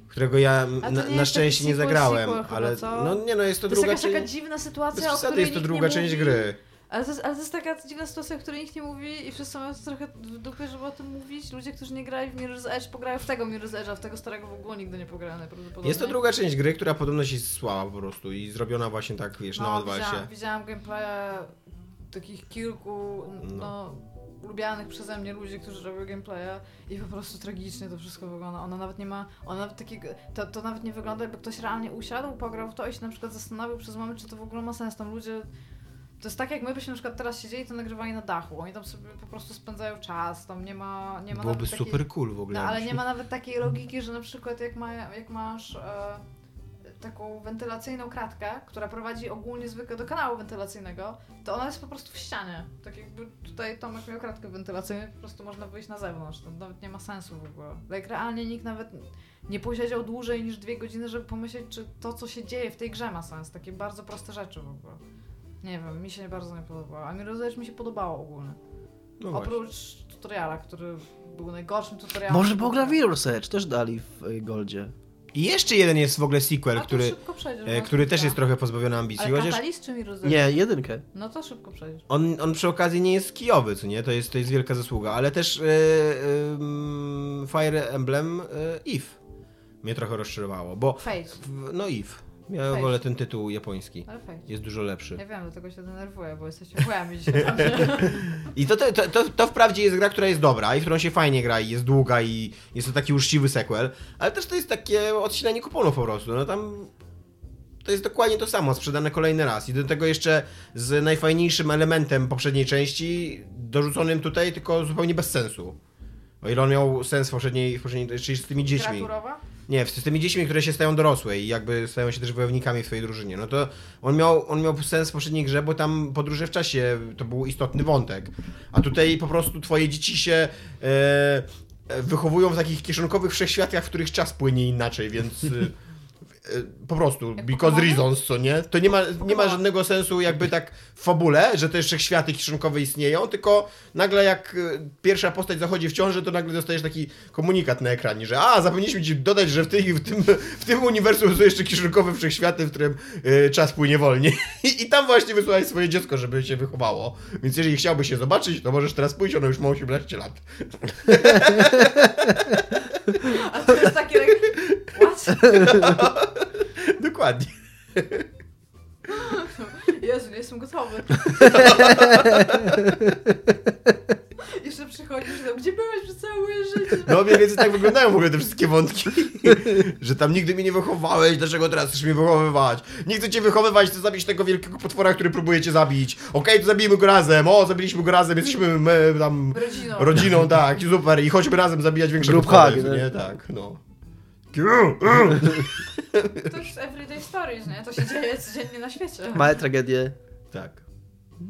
[SPEAKER 4] którego ja
[SPEAKER 2] to
[SPEAKER 4] na,
[SPEAKER 2] nie jest
[SPEAKER 4] na
[SPEAKER 2] taki
[SPEAKER 4] szczęście nie
[SPEAKER 2] sequel,
[SPEAKER 4] zagrałem,
[SPEAKER 2] sequel chyba,
[SPEAKER 4] ale
[SPEAKER 2] co?
[SPEAKER 4] no nie, no jest to,
[SPEAKER 2] To jest
[SPEAKER 4] druga
[SPEAKER 2] jakaś taka
[SPEAKER 4] część...
[SPEAKER 2] dziwna
[SPEAKER 4] Bez
[SPEAKER 2] sytuacja, o
[SPEAKER 4] przesady
[SPEAKER 2] której
[SPEAKER 4] jest to
[SPEAKER 2] nikt
[SPEAKER 4] druga
[SPEAKER 2] nie
[SPEAKER 4] część
[SPEAKER 2] mówi.
[SPEAKER 4] gry.
[SPEAKER 2] Ale to, jest, ale to jest taka dziwna sytuacja, o której nikt nie mówi i wszyscy mają trochę w dupie, żeby o tym mówić. Ludzie, którzy nie grali w Mirror's Edge, pograją w tego Mirror's Edge'a, w tego starego w ogóle nigdy nie pograłem najprawdopodobniej.
[SPEAKER 4] Jest to druga część gry, która podobno się słała po prostu i zrobiona właśnie tak, wiesz, na
[SPEAKER 2] No, widziałam,
[SPEAKER 4] odwasie.
[SPEAKER 2] widziałam gameplaya takich kilku, no, lubianych przeze mnie ludzi, którzy robią gameplaya i po prostu tragicznie to wszystko wygląda. Ona nawet nie ma, ona nawet takiego, to, to nawet nie wygląda jakby ktoś realnie usiadł, pograł w to i się na przykład zastanawiał przez moment, czy to w ogóle ma sens. Tam ludzie to jest tak, jak my byśmy na przykład teraz siedzieli to nagrywali na dachu. Oni tam sobie po prostu spędzają czas, tam nie ma, nie ma
[SPEAKER 4] Byłoby
[SPEAKER 2] nawet takiej-
[SPEAKER 4] super cool w ogóle.
[SPEAKER 2] no ale nie ma nawet takiej logiki, że na przykład jak, ma, jak masz e, taką wentylacyjną kratkę, która prowadzi ogólnie zwykle do kanału wentylacyjnego, to ona jest po prostu w ścianie. Tak jakby tutaj Tomek miał kratkę wentylacyjną, po prostu można wyjść na zewnątrz. To nawet nie ma sensu w ogóle. Jak realnie nikt nawet nie posiedział dłużej niż dwie godziny, żeby pomyśleć, czy to, co się dzieje w tej grze ma sens. Takie bardzo proste rzeczy w ogóle. Nie wiem, mi się bardzo nie podobało. A mi rozumiesz, mi się podobało ogólnie.
[SPEAKER 4] No właśnie.
[SPEAKER 2] Oprócz tutoriala, który był najgorszym tutorialem.
[SPEAKER 3] Może pogra Mirror's Edge, też dali w y, Goldzie.
[SPEAKER 4] I jeszcze jeden jest w ogóle sequel,
[SPEAKER 2] A to
[SPEAKER 4] który,
[SPEAKER 2] szybko przejdziesz,
[SPEAKER 4] e,
[SPEAKER 2] bo
[SPEAKER 4] który
[SPEAKER 2] szybka.
[SPEAKER 4] też jest trochę pozbawiony ambicji,
[SPEAKER 2] Ale
[SPEAKER 4] chociaż
[SPEAKER 2] katalist czy mi rozumie?
[SPEAKER 3] Nie, jedynkę.
[SPEAKER 2] No to szybko przejdziesz.
[SPEAKER 4] on, on przy okazji nie jest kijowy, co nie? To jest, to jest wielka zasługa, ale też e, em, Fire Emblem e, Eve mnie trochę rozczarowało, bo
[SPEAKER 2] Face.
[SPEAKER 4] w, no Eve, ja
[SPEAKER 2] Face.
[SPEAKER 4] wolę ten tytuł japoński,
[SPEAKER 2] Ale face.
[SPEAKER 4] jest dużo lepszy.
[SPEAKER 2] Ja wiem, dlatego się denerwuję, bo jesteście chujami dzisiaj. dobrze?
[SPEAKER 4] I to, to, to, to, to wprawdzie jest gra, która jest dobra i w którą się fajnie gra i jest długa i jest to taki uczciwy sequel, ale też to jest takie odcinanie kuponów po prostu, no tam... To jest dokładnie to samo, sprzedane kolejny raz i do tego jeszcze z najfajniejszym elementem poprzedniej części dorzuconym tutaj, tylko zupełnie bez sensu. O ile on miał sens w poprzedniej, w poprzedniej czyli z tymi dziećmi.
[SPEAKER 2] Kreaturowa?
[SPEAKER 4] Nie, z tymi dziećmi, które się stają dorosłe i jakby stają się też wojownikami w swojej drużynie. No to on miał, on miał sens w poprzedniej grze, bo tam podróże w czasie to był istotny wątek. A tutaj po prostu twoje dzieci się e, e, wychowują w takich kieszonkowych wszechświatach, w których czas płynie inaczej, więc... E, e, po prostu,
[SPEAKER 2] Jak
[SPEAKER 4] because no
[SPEAKER 2] Pokemony?
[SPEAKER 4] reasons, co nie? To nie ma, nie ma
[SPEAKER 2] Pokemony.
[SPEAKER 4] żadnego sensu jakby tak w fabule, że te jeszcze światy kieszonkowe istnieją, tylko nagle jak e, pierwsza postać zachodzi w ciąży, to nagle dostajesz taki komunikat na ekranie, że a, zapomnieliśmy ci dodać, że w, tej, w, tym, w tym uniwersum są jeszcze kieszonkowe wszechświaty, w którym e, czas płynie wolniej. I, I tam właśnie wysłałeś swoje dziecko, żeby się wychowało. Więc jeżeli chciałbyś się zobaczyć, to możesz teraz pójść, ono już ma 18 lat.
[SPEAKER 2] A to jest taki... rek- What?
[SPEAKER 4] Dokładnie.
[SPEAKER 2] Jezu, nie jestem gotowy. Jeszcze przychodzisz tam, gdzie byłeś przez całe moje życie?
[SPEAKER 4] No mniej więcej tak wyglądają w ogóle te wszystkie wątki. Że tam nigdy mnie nie wychowałeś, dlaczego teraz chcesz mnie wychowywać? Nie chcę cię wychowywać, chcę zabić tego wielkiego potwora, który próbuje cię zabić. Okej, to zabijmy go razem, o, zabiliśmy go razem, jesteśmy my, tam
[SPEAKER 2] Rodziną.
[SPEAKER 4] rodziną, tak, super, i chodźmy razem zabijać większe
[SPEAKER 3] Group
[SPEAKER 4] potwory,
[SPEAKER 3] hug,
[SPEAKER 4] co
[SPEAKER 3] nie?
[SPEAKER 4] nie? Tak, no.
[SPEAKER 2] To już everyday stories, nie? To się dzieje codziennie na świecie.
[SPEAKER 3] Małe tragedie.
[SPEAKER 4] Tak.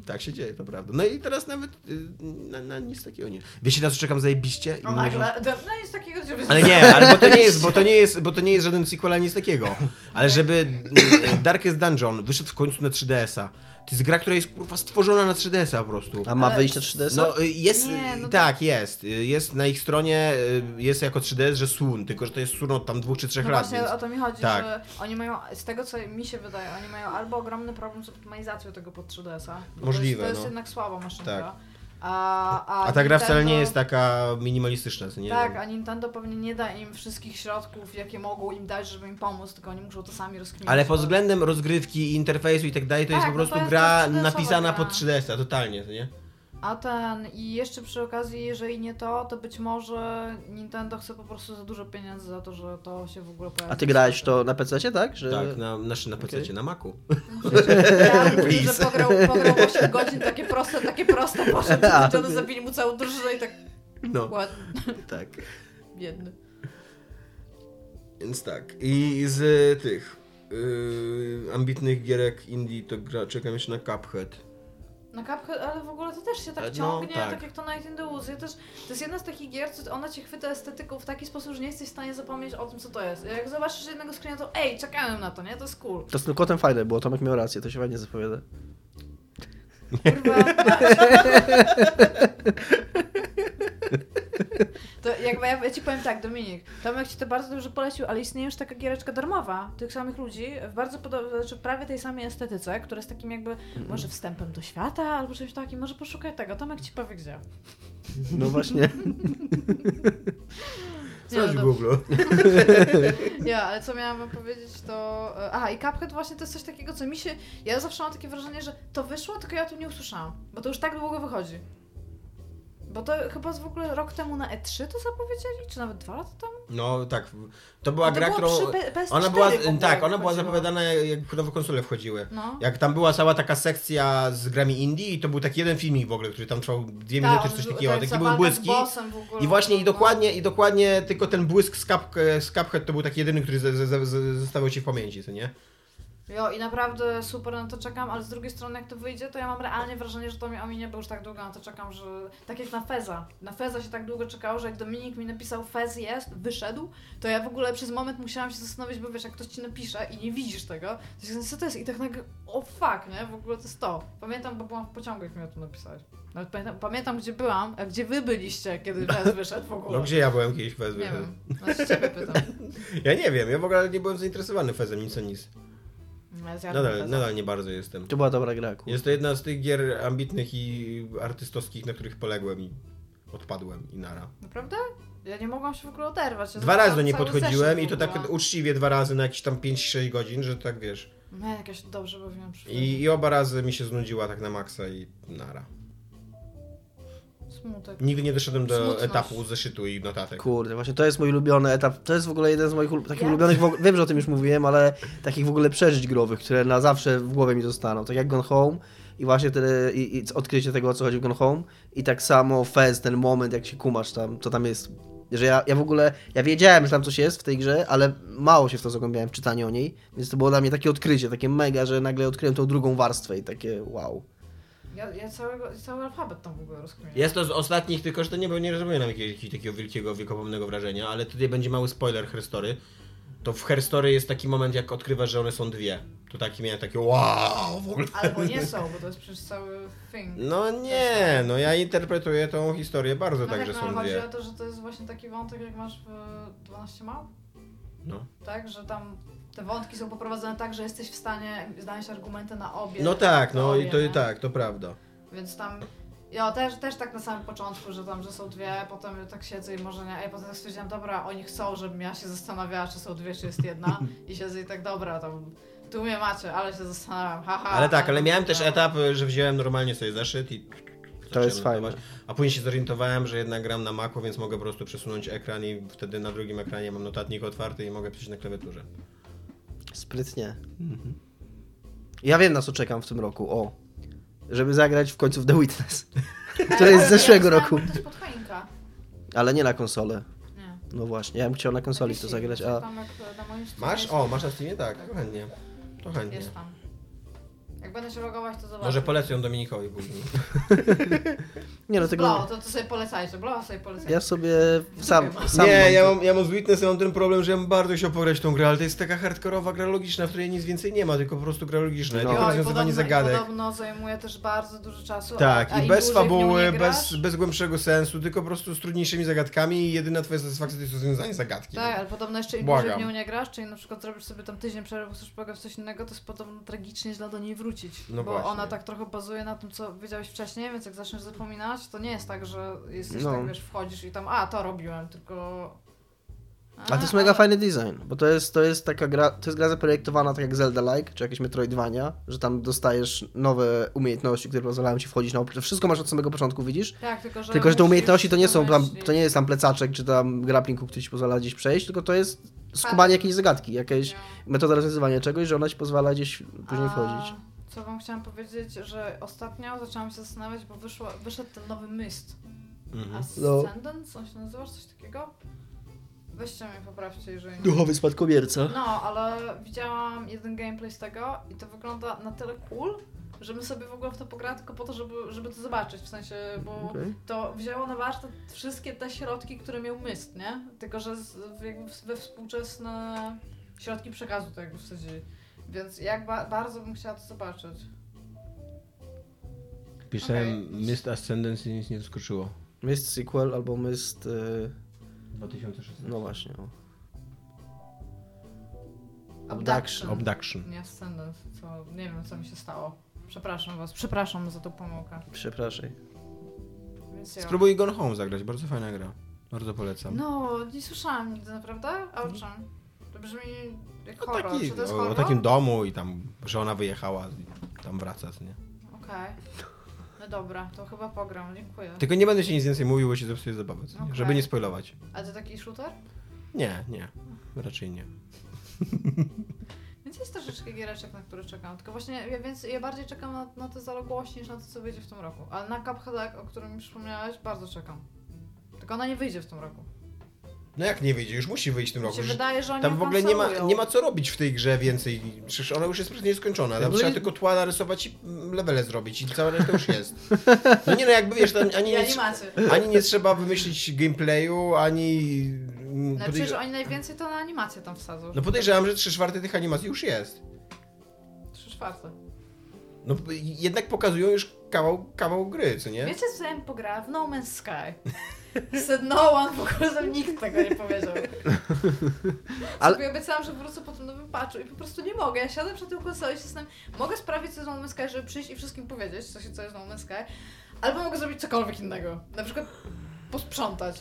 [SPEAKER 4] Tak się dzieje, to prawda. No i teraz nawet y, na, na nic takiego nie. Wiecie, na co czekam zajebiście?
[SPEAKER 2] O nagle, dawno jest takiego, żeby...
[SPEAKER 4] Ale nie, ale bo to nie jest, bo to nie jest, bo to nie jest żaden sequel ani nic takiego. Ale żeby mm, Darkest Dungeon wyszedł w końcu na 3DS-a. To jest gra, która jest kurwa stworzona na 3DS-a po prostu.
[SPEAKER 3] A ma
[SPEAKER 2] Ale-
[SPEAKER 3] wyjść na 3DS? No.
[SPEAKER 4] No y, jest,
[SPEAKER 2] Nie, no to-
[SPEAKER 4] tak, jest. Y, Jest na ich stronie, y, jest jako 3DS, że Sun, tylko że to jest Sun od tam dwóch czy trzech
[SPEAKER 2] No
[SPEAKER 4] lat,
[SPEAKER 2] właśnie
[SPEAKER 4] więc...
[SPEAKER 2] o to mi chodzi,
[SPEAKER 4] tak.
[SPEAKER 2] że oni mają, z tego co mi się wydaje, oni mają albo ogromny problem z optymalizacją tego pod 3DS-a. bo To jest,
[SPEAKER 4] Możliwe,
[SPEAKER 2] to jest
[SPEAKER 4] no.
[SPEAKER 2] jednak słaba maszynka.
[SPEAKER 4] Tak.
[SPEAKER 2] A, a,
[SPEAKER 4] A ta gra wcale nie
[SPEAKER 2] Nintendo-
[SPEAKER 4] jest taka minimalistyczna, co nie?
[SPEAKER 2] Tak, a Nintendo pewnie nie da im wszystkich środków, jakie mogą im dać, żeby im pomóc, tylko oni muszą to sami rozkminić.
[SPEAKER 4] Ale pod
[SPEAKER 2] To-
[SPEAKER 4] względem rozgrywki, interfejsu i tak dalej, to
[SPEAKER 2] no. Tak,
[SPEAKER 4] jest po
[SPEAKER 2] no
[SPEAKER 4] prostu
[SPEAKER 2] to jest- to
[SPEAKER 4] gra
[SPEAKER 2] jest 3DS-owa gra.
[SPEAKER 4] napisana pod 3DS-a, totalnie, co nie?
[SPEAKER 2] A ten, i jeszcze przy okazji, jeżeli nie to, to być może Nintendo chce po prostu za dużo pieniędzy za to, że to się w ogóle pojawi.
[SPEAKER 3] A ty grałeś to na PC, tak? Że...
[SPEAKER 4] Tak, na, znaczy na PC,
[SPEAKER 3] Okej.
[SPEAKER 4] na Macu.
[SPEAKER 2] Ja mówię, że
[SPEAKER 4] Please.
[SPEAKER 2] pograł, pograł 8 godzin, takie proste, takie proste, poszedł,
[SPEAKER 3] A.
[SPEAKER 2] Nintendo zabili mu całą drużynę i tak
[SPEAKER 4] No,
[SPEAKER 2] ładnie,
[SPEAKER 4] tak.
[SPEAKER 2] biedny.
[SPEAKER 4] Więc tak. I z y, tych y, ambitnych gierek indie to gra, czekam jeszcze na Cuphead.
[SPEAKER 2] Na kapkę, ale w ogóle to też się tak
[SPEAKER 4] No,
[SPEAKER 2] ciągnie,
[SPEAKER 4] tak.
[SPEAKER 2] tak. jak to Night in the Woods. Ja też, to jest jedna z takich gier, co ona cię chwyta estetyką w taki sposób, że nie jesteś w stanie zapomnieć o tym, co to jest. Jak zobaczysz jednego screena, to ej, czekałem na to, nie? To jest cool.
[SPEAKER 3] To z tym kotem fajne było, Tomek miał rację, to się fajnie zapowiada.
[SPEAKER 2] Kurwa. To jakby ja, ja ci powiem tak, Dominik, Tomek ci to bardzo dobrze polecił, ale istnieje już taka giereczka darmowa tych samych ludzi, w bardzo podobnej, znaczy prawie tej samej estetyce, która jest takim jakby może wstępem do świata albo czymś takim, może poszukaj tego, Tomek ci powie gdzie.
[SPEAKER 3] No właśnie.
[SPEAKER 2] Nie,
[SPEAKER 4] Sprawdź
[SPEAKER 2] no
[SPEAKER 4] w
[SPEAKER 2] to-
[SPEAKER 4] Google.
[SPEAKER 2] Nie, ale co miałam wam powiedzieć, to... e, Aha, i Cuphead właśnie to jest coś takiego, co mi się... Ja zawsze mam takie wrażenie, że to wyszło, tylko ja o tym nie usłyszałam, bo to już tak długo wychodzi. Bo to chyba z w ogóle rok temu na E3 to zapowiedzieli, czy nawet dwa lata temu?
[SPEAKER 4] No tak, to była
[SPEAKER 2] No to
[SPEAKER 4] gra,
[SPEAKER 2] było
[SPEAKER 4] którą...
[SPEAKER 2] przy P- PS4
[SPEAKER 4] Ona była,
[SPEAKER 2] w ogóle,
[SPEAKER 4] tak,
[SPEAKER 2] jak
[SPEAKER 4] ona była
[SPEAKER 2] wychodziło.
[SPEAKER 4] zapowiadana jak nowe konsole wchodziły.
[SPEAKER 2] No.
[SPEAKER 4] Jak tam była cała taka sekcja z grami indie i to był taki jeden filmik w ogóle, który tam trwał dwie
[SPEAKER 2] Ta,
[SPEAKER 4] minuty czy
[SPEAKER 2] on
[SPEAKER 4] coś
[SPEAKER 2] był-
[SPEAKER 4] takiego,
[SPEAKER 2] ten, co
[SPEAKER 4] taki były
[SPEAKER 2] Tak, walka z
[SPEAKER 4] błyski.
[SPEAKER 2] bossem w ogóle,
[SPEAKER 4] I właśnie i
[SPEAKER 2] no.
[SPEAKER 4] dokładnie, i dokładnie tylko ten błysk z, cup, z Cuphead to był taki jedyny, który ze- ze- ze- ze- zostawiał ci w pamięci, co nie?
[SPEAKER 2] Jo, i naprawdę super na to czekam, ale z drugiej strony jak to wyjdzie, to ja mam realnie wrażenie, że to mi ominie, bo już tak długo na to czekam, że tak jak na Feza. Na Feza się tak długo czekało, że jak Dominik mi napisał Fez jest, wyszedł, to ja w ogóle przez moment musiałam się zastanowić, bo wiesz, jak ktoś ci napisze i nie widzisz tego, to się zastanawiasz, co to jest i tak nagle, o fuck, nie, w ogóle to jest to. Pamiętam, bo byłam w pociągu, jak mi o tym napisałeś. Nawet pamiętam, pamiętam gdzie byłam, a gdzie wy byliście, kiedy Fez wyszedł w ogóle.
[SPEAKER 4] No gdzie ja byłem kiedyś w
[SPEAKER 2] Nie
[SPEAKER 4] Fezbie?
[SPEAKER 2] wiem, znaczy ciebie pytam.
[SPEAKER 4] Ja nie wiem, ja w ogóle nie byłem zainteresowany Fezem, nic o nic.
[SPEAKER 2] Ja zjadłem
[SPEAKER 4] Nadal,
[SPEAKER 2] Feza.
[SPEAKER 4] nadal nie bardzo jestem.
[SPEAKER 3] To była dobra gra, kur...
[SPEAKER 4] Jest to jedna z tych gier ambitnych i artystowskich, na których poległem i odpadłem i nara.
[SPEAKER 2] Naprawdę? Ja nie mogłam się w ogóle oderwać. Ja
[SPEAKER 4] Dwa razy do
[SPEAKER 2] zobaczyłam
[SPEAKER 4] niej
[SPEAKER 2] cały
[SPEAKER 4] podchodziłem
[SPEAKER 2] zeszyt
[SPEAKER 4] i to
[SPEAKER 2] w ogóle.
[SPEAKER 4] tak uczciwie dwa razy na jakieś tam 5-6 godzin, że tak wiesz.
[SPEAKER 2] Nie, jak No, ja się dobrze bawiłam przy
[SPEAKER 4] I,
[SPEAKER 2] I...
[SPEAKER 4] I oba razy mi się znudziła tak na maksa i nara.
[SPEAKER 2] Smutek.
[SPEAKER 4] Nigdy nie doszedłem do
[SPEAKER 2] Smutność.
[SPEAKER 4] etapu zeszytu i notatek.
[SPEAKER 3] Kurde, właśnie to jest mój ulubiony etap. To jest w ogóle jeden z moich ulu- takich
[SPEAKER 2] Ja-
[SPEAKER 3] ulubionych, w ogóle, wiem, że o tym już mówiłem, ale takich w ogóle przeżyć growych, które na zawsze w głowie mi zostaną. Tak jak Gone Home i właśnie tyle, i, i odkrycie tego, o co chodzi w Gone Home. I tak samo Fez, ten moment, jak się kumasz tam, co tam jest. Że ja, ja w ogóle, ja wiedziałem, że tam coś jest w tej grze, ale mało się w to zagłębiałem w czytaniu o niej, więc to było dla mnie takie odkrycie, takie mega, że nagle odkryłem tą drugą warstwę i takie wow.
[SPEAKER 2] Ja, ja całego, cały alfabet tam w ogóle rozkminiam.
[SPEAKER 4] Jest to z ostatnich, tylko że to nie, bo nie zrobiłem nam jakiegoś, jakiegoś takiego wielkiego, wiekopomnego wrażenia, ale tutaj będzie mały spoiler Herstory. To w Herstory jest taki moment, jak odkrywasz, że one są dwie. To taki miałem takie wow w ogóle.
[SPEAKER 2] Albo nie są, bo to jest przecież cały thing.
[SPEAKER 4] No nie, no ja interpretuję tą historię bardzo
[SPEAKER 2] No
[SPEAKER 4] tak,
[SPEAKER 2] tak,
[SPEAKER 4] że
[SPEAKER 2] no,
[SPEAKER 4] są
[SPEAKER 2] chodzi
[SPEAKER 4] dwie.
[SPEAKER 2] o to, że to jest właśnie taki wątek, jak masz w 12 mał,
[SPEAKER 4] No.
[SPEAKER 2] tak? Że tam te wątki są poprowadzone tak, że jesteś w stanie znaleźć argumenty na obie.
[SPEAKER 4] no tak, no i to
[SPEAKER 2] teorie,
[SPEAKER 4] i
[SPEAKER 2] nie?
[SPEAKER 4] tak, to prawda.
[SPEAKER 2] Więc tam. Ja też, też tak na samym początku, że tam, że są dwie, potem tak siedzę i może nie, a ja potem tak stwierdziłam, dobra, oni chcą, żebym ja się zastanawiała, czy są dwie, czy jest jedna i siedzę i tak, dobra, tam, tu mnie macie, ale się zastanawiam, haha.
[SPEAKER 4] Ale tak, ale miałem też
[SPEAKER 2] no.
[SPEAKER 4] etap, że wziąłem normalnie sobie zeszyt i...
[SPEAKER 3] To jest
[SPEAKER 4] zacząłem
[SPEAKER 3] fajne.
[SPEAKER 4] A później się zorientowałem, że jednak gram na Macu, więc mogę po prostu przesunąć ekran i wtedy na drugim ekranie mam notatnik otwarty i mogę pisać na klawiaturze.
[SPEAKER 3] Sprytnie. Ja wiem, na co czekam w tym roku, o. Żeby zagrać w końcu w The Witness, które jest
[SPEAKER 2] Ale
[SPEAKER 3] z
[SPEAKER 2] ja
[SPEAKER 3] zeszłego
[SPEAKER 2] dostałam
[SPEAKER 3] roku,
[SPEAKER 2] też pod choinka.
[SPEAKER 3] ale nie na konsolę.
[SPEAKER 2] Nie.
[SPEAKER 3] No właśnie, ja bym chciał na konsoli w to zagrać, a...
[SPEAKER 2] Tam jak na moim Steamie
[SPEAKER 4] Masz?
[SPEAKER 2] jest-
[SPEAKER 4] O, masz na Steamie? Tak, to chętnie. To chętnie.
[SPEAKER 2] Jest tam. Jak będę się logować, to zobaczę.
[SPEAKER 4] Może polecę ją Dominikowi później.
[SPEAKER 3] Nie, no
[SPEAKER 2] Blau,
[SPEAKER 3] tego...
[SPEAKER 2] to, to sobie polecajcie, Blau sobie polecajcie.
[SPEAKER 3] Ja sobie sam... sam
[SPEAKER 4] Nie,
[SPEAKER 3] mam
[SPEAKER 4] ja
[SPEAKER 3] to.
[SPEAKER 4] mam, ja mam z Witness, ja mam ten problem, że ja bym bardzo chciał pograć tą grę, ale to jest taka hardkorowa gra logiczna, w której nic więcej nie ma, tylko po prostu gra logiczna,
[SPEAKER 3] No.
[SPEAKER 4] tylko
[SPEAKER 2] i
[SPEAKER 4] rozwiązywanie
[SPEAKER 2] i
[SPEAKER 4] zagadek.
[SPEAKER 2] podobno zajmuje też bardzo dużo czasu.
[SPEAKER 4] Tak,
[SPEAKER 2] a, a
[SPEAKER 4] i
[SPEAKER 2] im
[SPEAKER 4] bez
[SPEAKER 2] dłużej w nią nie
[SPEAKER 4] fabuły,
[SPEAKER 2] grasz-
[SPEAKER 4] bez, bez głębszego sensu, tylko po prostu z trudniejszymi zagadkami i jedyna twoja satysfakcja to jest rozwiązanie zagadki.
[SPEAKER 2] Tak, ale podobno jeszcze im
[SPEAKER 4] Błagam.
[SPEAKER 2] dłużej w nią nie grasz, czyli na przykład zrobisz sobie tam tydzień przerwy, chcesz pograć w coś innego, to jest podobno tragicznie źle do niej wrócić.
[SPEAKER 4] No
[SPEAKER 2] bo
[SPEAKER 4] właśnie.
[SPEAKER 2] ona tak trochę bazuje na tym, co wiedziałeś wcześniej, więc jak zaczniesz zapominać, to nie jest tak, że jesteś
[SPEAKER 3] No.
[SPEAKER 2] tak, wiesz, wchodzisz i tam, a, to robiłem, tylko...
[SPEAKER 3] A to jest mega fajny design, bo to jest, to jest taka gra, to jest gra zaprojektowana tak jak Zelda-like, czy jakieś Metroidvania, że tam dostajesz nowe umiejętności, które pozwalają ci wchodzić na... op- Wszystko masz od samego początku, widzisz?
[SPEAKER 2] Tak, tylko że,
[SPEAKER 3] Tylko, że te
[SPEAKER 2] musisz
[SPEAKER 3] umiejętności to nie są tam,
[SPEAKER 2] domyślić.
[SPEAKER 3] to nie jest tam plecaczek, czy tam grappling hook, który ci pozwala gdzieś przejść, tylko to jest
[SPEAKER 2] Tak.
[SPEAKER 3] skubanie jakiejś zagadki, jakaś metoda rozwiązywania czegoś, że ona ci pozwala gdzieś później
[SPEAKER 2] A
[SPEAKER 3] wchodzić.
[SPEAKER 2] Co wam chciałam powiedzieć, że ostatnio zaczęłam się zastanawiać, bo wyszło, wyszedł ten nowy myst.
[SPEAKER 4] Mhm.
[SPEAKER 3] No.
[SPEAKER 2] Ascendant? Coś nazywasz? Coś takiego? Weźcie mnie, poprawcie, jeżeli nie.
[SPEAKER 3] Duchowy spadkobierca.
[SPEAKER 2] No, ale widziałam jeden gameplay z tego i to wygląda na tyle cool, że my sobie w ogóle w to pograli tylko po to, żeby, żeby to zobaczyć, w sensie, bo
[SPEAKER 3] Okej.
[SPEAKER 2] to wzięło na warsztat wszystkie te środki, które miał myst, nie? Tylko, że z, w- jakby w- we współczesne środki przekazu to jakby wsadzili. Więc jak ba- bardzo bym chciała to zobaczyć.
[SPEAKER 4] Pisałem
[SPEAKER 2] Okej.
[SPEAKER 4] Mist Ascendance i nic nie zaskoczyło.
[SPEAKER 3] Myst sequel albo myst... y,
[SPEAKER 4] 2016.
[SPEAKER 3] No właśnie. o.
[SPEAKER 2] Abduction.
[SPEAKER 4] Abduction.
[SPEAKER 2] nie Ascendant, co, nie wiem co mi się stało. Przepraszam was, przepraszam za tą pomyłkę.
[SPEAKER 3] Przepraszaj.
[SPEAKER 2] Więc ja...
[SPEAKER 4] Spróbuj Gone Home zagrać, bardzo fajna gra. Bardzo polecam.
[SPEAKER 2] No, nie słyszałam nigdy, naprawdę? A o czym? To brzmi jak
[SPEAKER 4] O,
[SPEAKER 2] horror.
[SPEAKER 4] No taki,
[SPEAKER 2] Czy to jest
[SPEAKER 4] o,
[SPEAKER 2] horror?
[SPEAKER 4] o takim domu i tam, że ona wyjechała, i tam wraca, co nie?
[SPEAKER 2] Okej. No dobra, to chyba pogram, dziękuję.
[SPEAKER 4] Tylko nie będę się nic więcej mówił, bo się zepsuje zabawę, co nie?
[SPEAKER 2] Okej.
[SPEAKER 4] żeby nie spoilować.
[SPEAKER 2] A to taki shooter?
[SPEAKER 4] Nie, nie, raczej nie.
[SPEAKER 2] Więc jest troszeczkę giereczek, na które czekam. Tylko właśnie, ja, więc ja bardziej czekam na, na te zaległości niż na to, co wyjdzie w tym roku. Ale na Cuphead, o którym mi przypomniałeś, bardzo czekam. Tylko ona nie wyjdzie w tym roku.
[SPEAKER 4] No jak nie wyjdzie, już musi wyjść w tym
[SPEAKER 2] Mi
[SPEAKER 4] roku.
[SPEAKER 2] się
[SPEAKER 4] już-
[SPEAKER 2] wydaje, że oni
[SPEAKER 4] Tam
[SPEAKER 2] ją
[SPEAKER 4] w ogóle nie ma,
[SPEAKER 2] kancelują.
[SPEAKER 4] nie ma co robić w tej grze więcej. Przecież ona już jest praktycznie skończona. Tam
[SPEAKER 3] No i-
[SPEAKER 4] trzeba tylko tła narysować i mm, levele zrobić i cała reszta już jest. No nie no, jakby wiesz, tam ani
[SPEAKER 2] I
[SPEAKER 4] nie, trz-
[SPEAKER 2] animacje.
[SPEAKER 4] ani nie trzeba wymyślić gameplayu, ani... mm,
[SPEAKER 2] No
[SPEAKER 4] podejrz-
[SPEAKER 2] przecież oni najwięcej to na animację tam wsadzą.
[SPEAKER 4] No podejrzewam, że 3 czwarte tych animacji już jest.
[SPEAKER 2] Trzy czwarte.
[SPEAKER 4] No p- jednak pokazują już kawał, kawał gry, co nie?
[SPEAKER 2] Wiecie, co ja bym pograła w No Man's Sky? Said no one, w ogóle tam nikt tego nie powiedział.
[SPEAKER 3] Ale-
[SPEAKER 2] Ale... Sobie obiecałam, że wrócę po tym nowym patchu i po prostu nie mogę. Ja siadam przed tym konsolą i się znam. Mogę sprawić co jest No Man's Sky, żeby przyjść i wszystkim powiedzieć, co, się, co jest No Man's Sky, albo mogę zrobić cokolwiek innego. Na przykład posprzątać.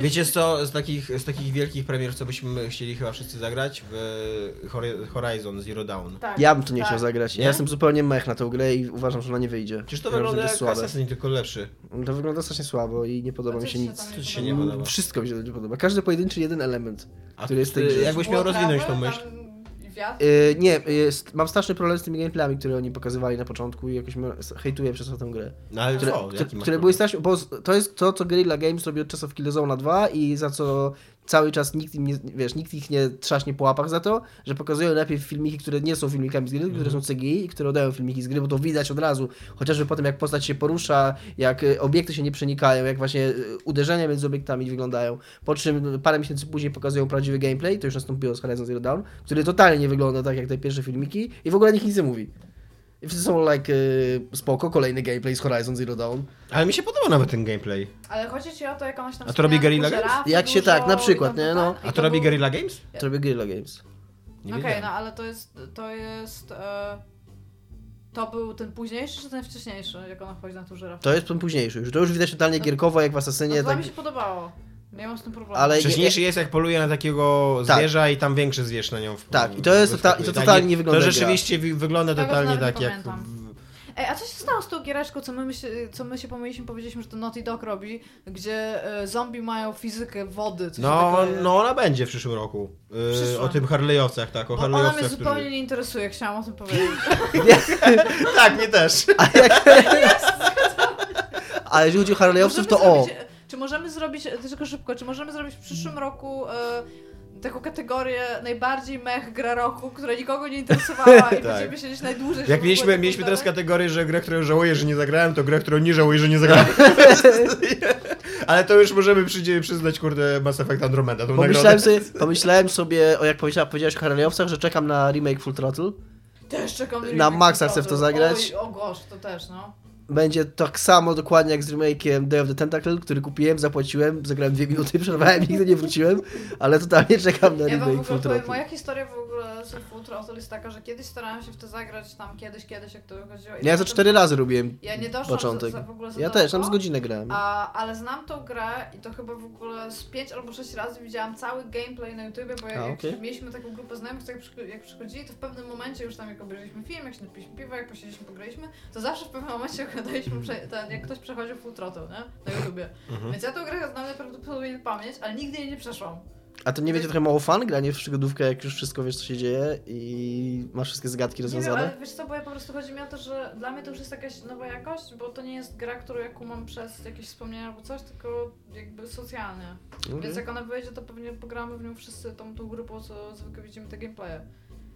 [SPEAKER 4] Wiecie co, z takich, z takich wielkich premier, co byśmy chcieli chyba wszyscy zagrać? W Hori- Horizon Zero Dawn.
[SPEAKER 2] Tak,
[SPEAKER 3] Ja bym tu nie
[SPEAKER 2] tak.
[SPEAKER 3] chciał zagrać.
[SPEAKER 4] Nie?
[SPEAKER 3] Ja jestem zupełnie mech na tą grę i uważam, że ona nie wyjdzie.
[SPEAKER 4] Przecież to
[SPEAKER 3] Uważam, że
[SPEAKER 4] wygląda
[SPEAKER 3] jest
[SPEAKER 4] jak Assassin, tylko lepszy.
[SPEAKER 3] To wygląda strasznie słabo i nie podoba
[SPEAKER 2] A co
[SPEAKER 3] mi się
[SPEAKER 2] ci się
[SPEAKER 3] nic.
[SPEAKER 2] Znaczy, tam
[SPEAKER 4] Co ci się nie
[SPEAKER 2] podoba?
[SPEAKER 4] podoba?
[SPEAKER 3] Wszystko mi się nie podoba. Każdy pojedynczy jeden element.
[SPEAKER 4] A
[SPEAKER 3] Który jest
[SPEAKER 4] ty-
[SPEAKER 3] tej grze?
[SPEAKER 4] Jakbyś miał
[SPEAKER 2] Było
[SPEAKER 4] rozwinąć tą
[SPEAKER 2] trawy,
[SPEAKER 4] myśl.
[SPEAKER 2] tam świat?
[SPEAKER 3] Yy, nie, yy, st- mam straszny problem z tymi gameplayami, które oni pokazywali na początku i jakoś mnie- hejtuję przez to tę grę.
[SPEAKER 4] No ale
[SPEAKER 3] Które,
[SPEAKER 4] co?
[SPEAKER 3] które,
[SPEAKER 4] Jaki masz
[SPEAKER 3] które
[SPEAKER 4] problem?
[SPEAKER 3] były strasznie, bo z- to jest to, co Guerrilla Games robi od czasów Killzone'a 2 i za co cały czas nikt im nie, wiesz, nikt ich nie trzaśnie po łapach za to, że pokazują najpierw filmiki, które nie są filmikami z gry, które są CGI i które oddają filmiki z gry, bo to widać od razu, chociażby potem jak postać się porusza, jak e, obiekty się nie przenikają, jak właśnie e, uderzenia między obiektami wyglądają, po czym parę miesięcy później pokazują prawdziwy gameplay, to już nastąpiło z Horizon Zero Dawn, który totalnie nie wygląda tak jak te pierwsze filmiki i w ogóle nikt nic nie mówi. I wszyscy są like, e, spoko, kolejny gameplay z Horizon Zero Dawn.
[SPEAKER 4] Ale mi się podoba nawet ten gameplay.
[SPEAKER 2] Ale chodzi ci o to, jak ona się tam
[SPEAKER 4] A to robi
[SPEAKER 2] wspomniała,
[SPEAKER 4] Guerrilla
[SPEAKER 2] tylko
[SPEAKER 4] Games?
[SPEAKER 2] żyrafy
[SPEAKER 3] Jak się
[SPEAKER 2] dużo
[SPEAKER 3] tak, na
[SPEAKER 2] i
[SPEAKER 3] przykład,
[SPEAKER 2] tam
[SPEAKER 3] nie, no.
[SPEAKER 2] ten, i
[SPEAKER 4] A to robi
[SPEAKER 2] był-
[SPEAKER 4] Guerrilla Games?
[SPEAKER 3] To robi Guerrilla Games.
[SPEAKER 4] Nie
[SPEAKER 2] Okej,
[SPEAKER 4] wiedziałem.
[SPEAKER 2] no ale to jest, to jest, e, to był ten późniejszy czy ten wcześniejszy, jak ona wchodzi na tą żyrafę?
[SPEAKER 3] To jest ten późniejszy już. To już widać
[SPEAKER 2] No.
[SPEAKER 3] totalnie gierkowo, jak w
[SPEAKER 4] No
[SPEAKER 3] Assassinie,
[SPEAKER 2] Nie,
[SPEAKER 3] tak...
[SPEAKER 2] mi się podobało. Nie mam z tym problemu.
[SPEAKER 3] Ale-
[SPEAKER 4] Wcześniejszy jest jak poluje na takiego
[SPEAKER 3] Tak.
[SPEAKER 4] zwierza i tam większy zwierz na nią w,
[SPEAKER 3] Tak, i to jest
[SPEAKER 4] wyskakuje.
[SPEAKER 3] tota- i to totalnie
[SPEAKER 4] Tak,
[SPEAKER 3] nie wygląda
[SPEAKER 4] To
[SPEAKER 3] jak
[SPEAKER 4] rzeczywiście wi- wygląda
[SPEAKER 2] Tego
[SPEAKER 4] totalnie
[SPEAKER 2] nawet nie
[SPEAKER 4] tak jak...
[SPEAKER 2] pamiętam.
[SPEAKER 4] w-
[SPEAKER 2] Ej, a co się stało z tą giereczką, co my, myśl, co my się pomyliśmy, powiedzieliśmy, że to Naughty Dog robi, gdzie e, zombie mają fizykę wody, coś
[SPEAKER 4] No,
[SPEAKER 2] takiego.
[SPEAKER 4] no ona będzie w przyszłym roku. Yy,
[SPEAKER 2] Przyszłym.
[SPEAKER 4] O tym Harley'owcach, tak, o
[SPEAKER 2] Bo ona mnie
[SPEAKER 4] Harley'owcach,
[SPEAKER 2] zupełnie nie interesuje, chciałam o tym powiedzieć.
[SPEAKER 4] którzy... Tak, mnie też.
[SPEAKER 3] A jeżeli chodzi o Harley'owców,
[SPEAKER 2] Możemy
[SPEAKER 3] to o!
[SPEAKER 2] zrobić- e, Czy możemy zrobić, e, tylko szybko, czy możemy zrobić w przyszłym roku e, taką kategorię najbardziej mech gra roku, która nikogo nie interesowała i
[SPEAKER 4] Tak.
[SPEAKER 2] będziemy siedzieć najdłużej. żeby
[SPEAKER 4] Jak
[SPEAKER 2] w tak? ogóle
[SPEAKER 4] mieliśmy,
[SPEAKER 2] nie
[SPEAKER 4] mieliśmy teraz
[SPEAKER 2] pogadać?
[SPEAKER 4] kategorię, że grę, którą żałuję, że nie zagrałem, to grę, którą nie żałuję, że nie zagrałem. Ale to już możemy przyjdzie, przyznać, kurde, Mass Effect Andromeda. Tą nagrodę.
[SPEAKER 3] Pomyślałem sobie, pomyślałem sobie o jak powiedzia- powiedziałeś o Harley'owcach, że czekam na remake Full Throttle.
[SPEAKER 2] Też czekam
[SPEAKER 3] na
[SPEAKER 2] remake
[SPEAKER 3] maksa
[SPEAKER 2] Nintendo.
[SPEAKER 3] chcę w to zagrać.
[SPEAKER 2] Oj, o gosh, to też, no.
[SPEAKER 3] Będzie tak samo dokładnie jak z remake'iem Day of the Tentacle, który kupiłem, zapłaciłem, zagrałem dwie minuty, przerwałem, nigdy nie wróciłem, ale totalnie czekam na
[SPEAKER 2] Ja wam w
[SPEAKER 3] remake Full
[SPEAKER 2] ogóle powiem,
[SPEAKER 3] Throttle.
[SPEAKER 2] moja historia w ogóle z Full Throttle jest taka, że kiedyś starałam się w to zagrać, tam kiedyś, kiedyś, jak to wychodziło. i
[SPEAKER 3] Ja za
[SPEAKER 2] potem-
[SPEAKER 3] cztery razy robiłem
[SPEAKER 2] Ja nie doszłam
[SPEAKER 3] początek.
[SPEAKER 2] Za, za, w ogóle za
[SPEAKER 3] Ja
[SPEAKER 2] daleko.
[SPEAKER 3] też, tam z godzinę grałem.
[SPEAKER 2] A, ale znam tą grę i to chyba w ogóle z 5 albo 6 razy widziałam cały gameplay na YouTubie, bo jak,
[SPEAKER 3] A,
[SPEAKER 2] jak
[SPEAKER 3] okej.
[SPEAKER 2] mieliśmy taką grupę znajomych, to jak, przy, jak przychodzili, to w pewnym momencie już tam jak obejrzeliśmy film, jak się napiliśmy piwa, jak posiedzieliśmy, pograliśmy, to zawsze w pewnym momencie oglądaliśmy, prze, ten, jak ktoś przechodził full throttle, nie? Na YouTubie.
[SPEAKER 3] Mhm.
[SPEAKER 4] Mhm.
[SPEAKER 2] Więc ja tą grę znam najprawdopodobniej na pamięć, ale nigdy jej nie przeszłam.
[SPEAKER 3] A to nie będzie trochę mało fan granie w przygodówkę, jak już wszystko wiesz, co się dzieje i masz wszystkie zagadki
[SPEAKER 2] Nie wiem,
[SPEAKER 3] rozwiązane?
[SPEAKER 2] ale wiesz co, bo ja po prostu chodzi mi o to, że dla mnie to już jest jakaś nowa jakość, bo to nie jest gra, którą ja kumam przez jakieś wspomnienia albo coś, tylko jakby socjalnie. Więc
[SPEAKER 3] Okej.
[SPEAKER 2] jak ona wyjdzie, to pewnie pogramy w nią wszyscy tą, tą grupą, co zwykle widzimy te gameplaye.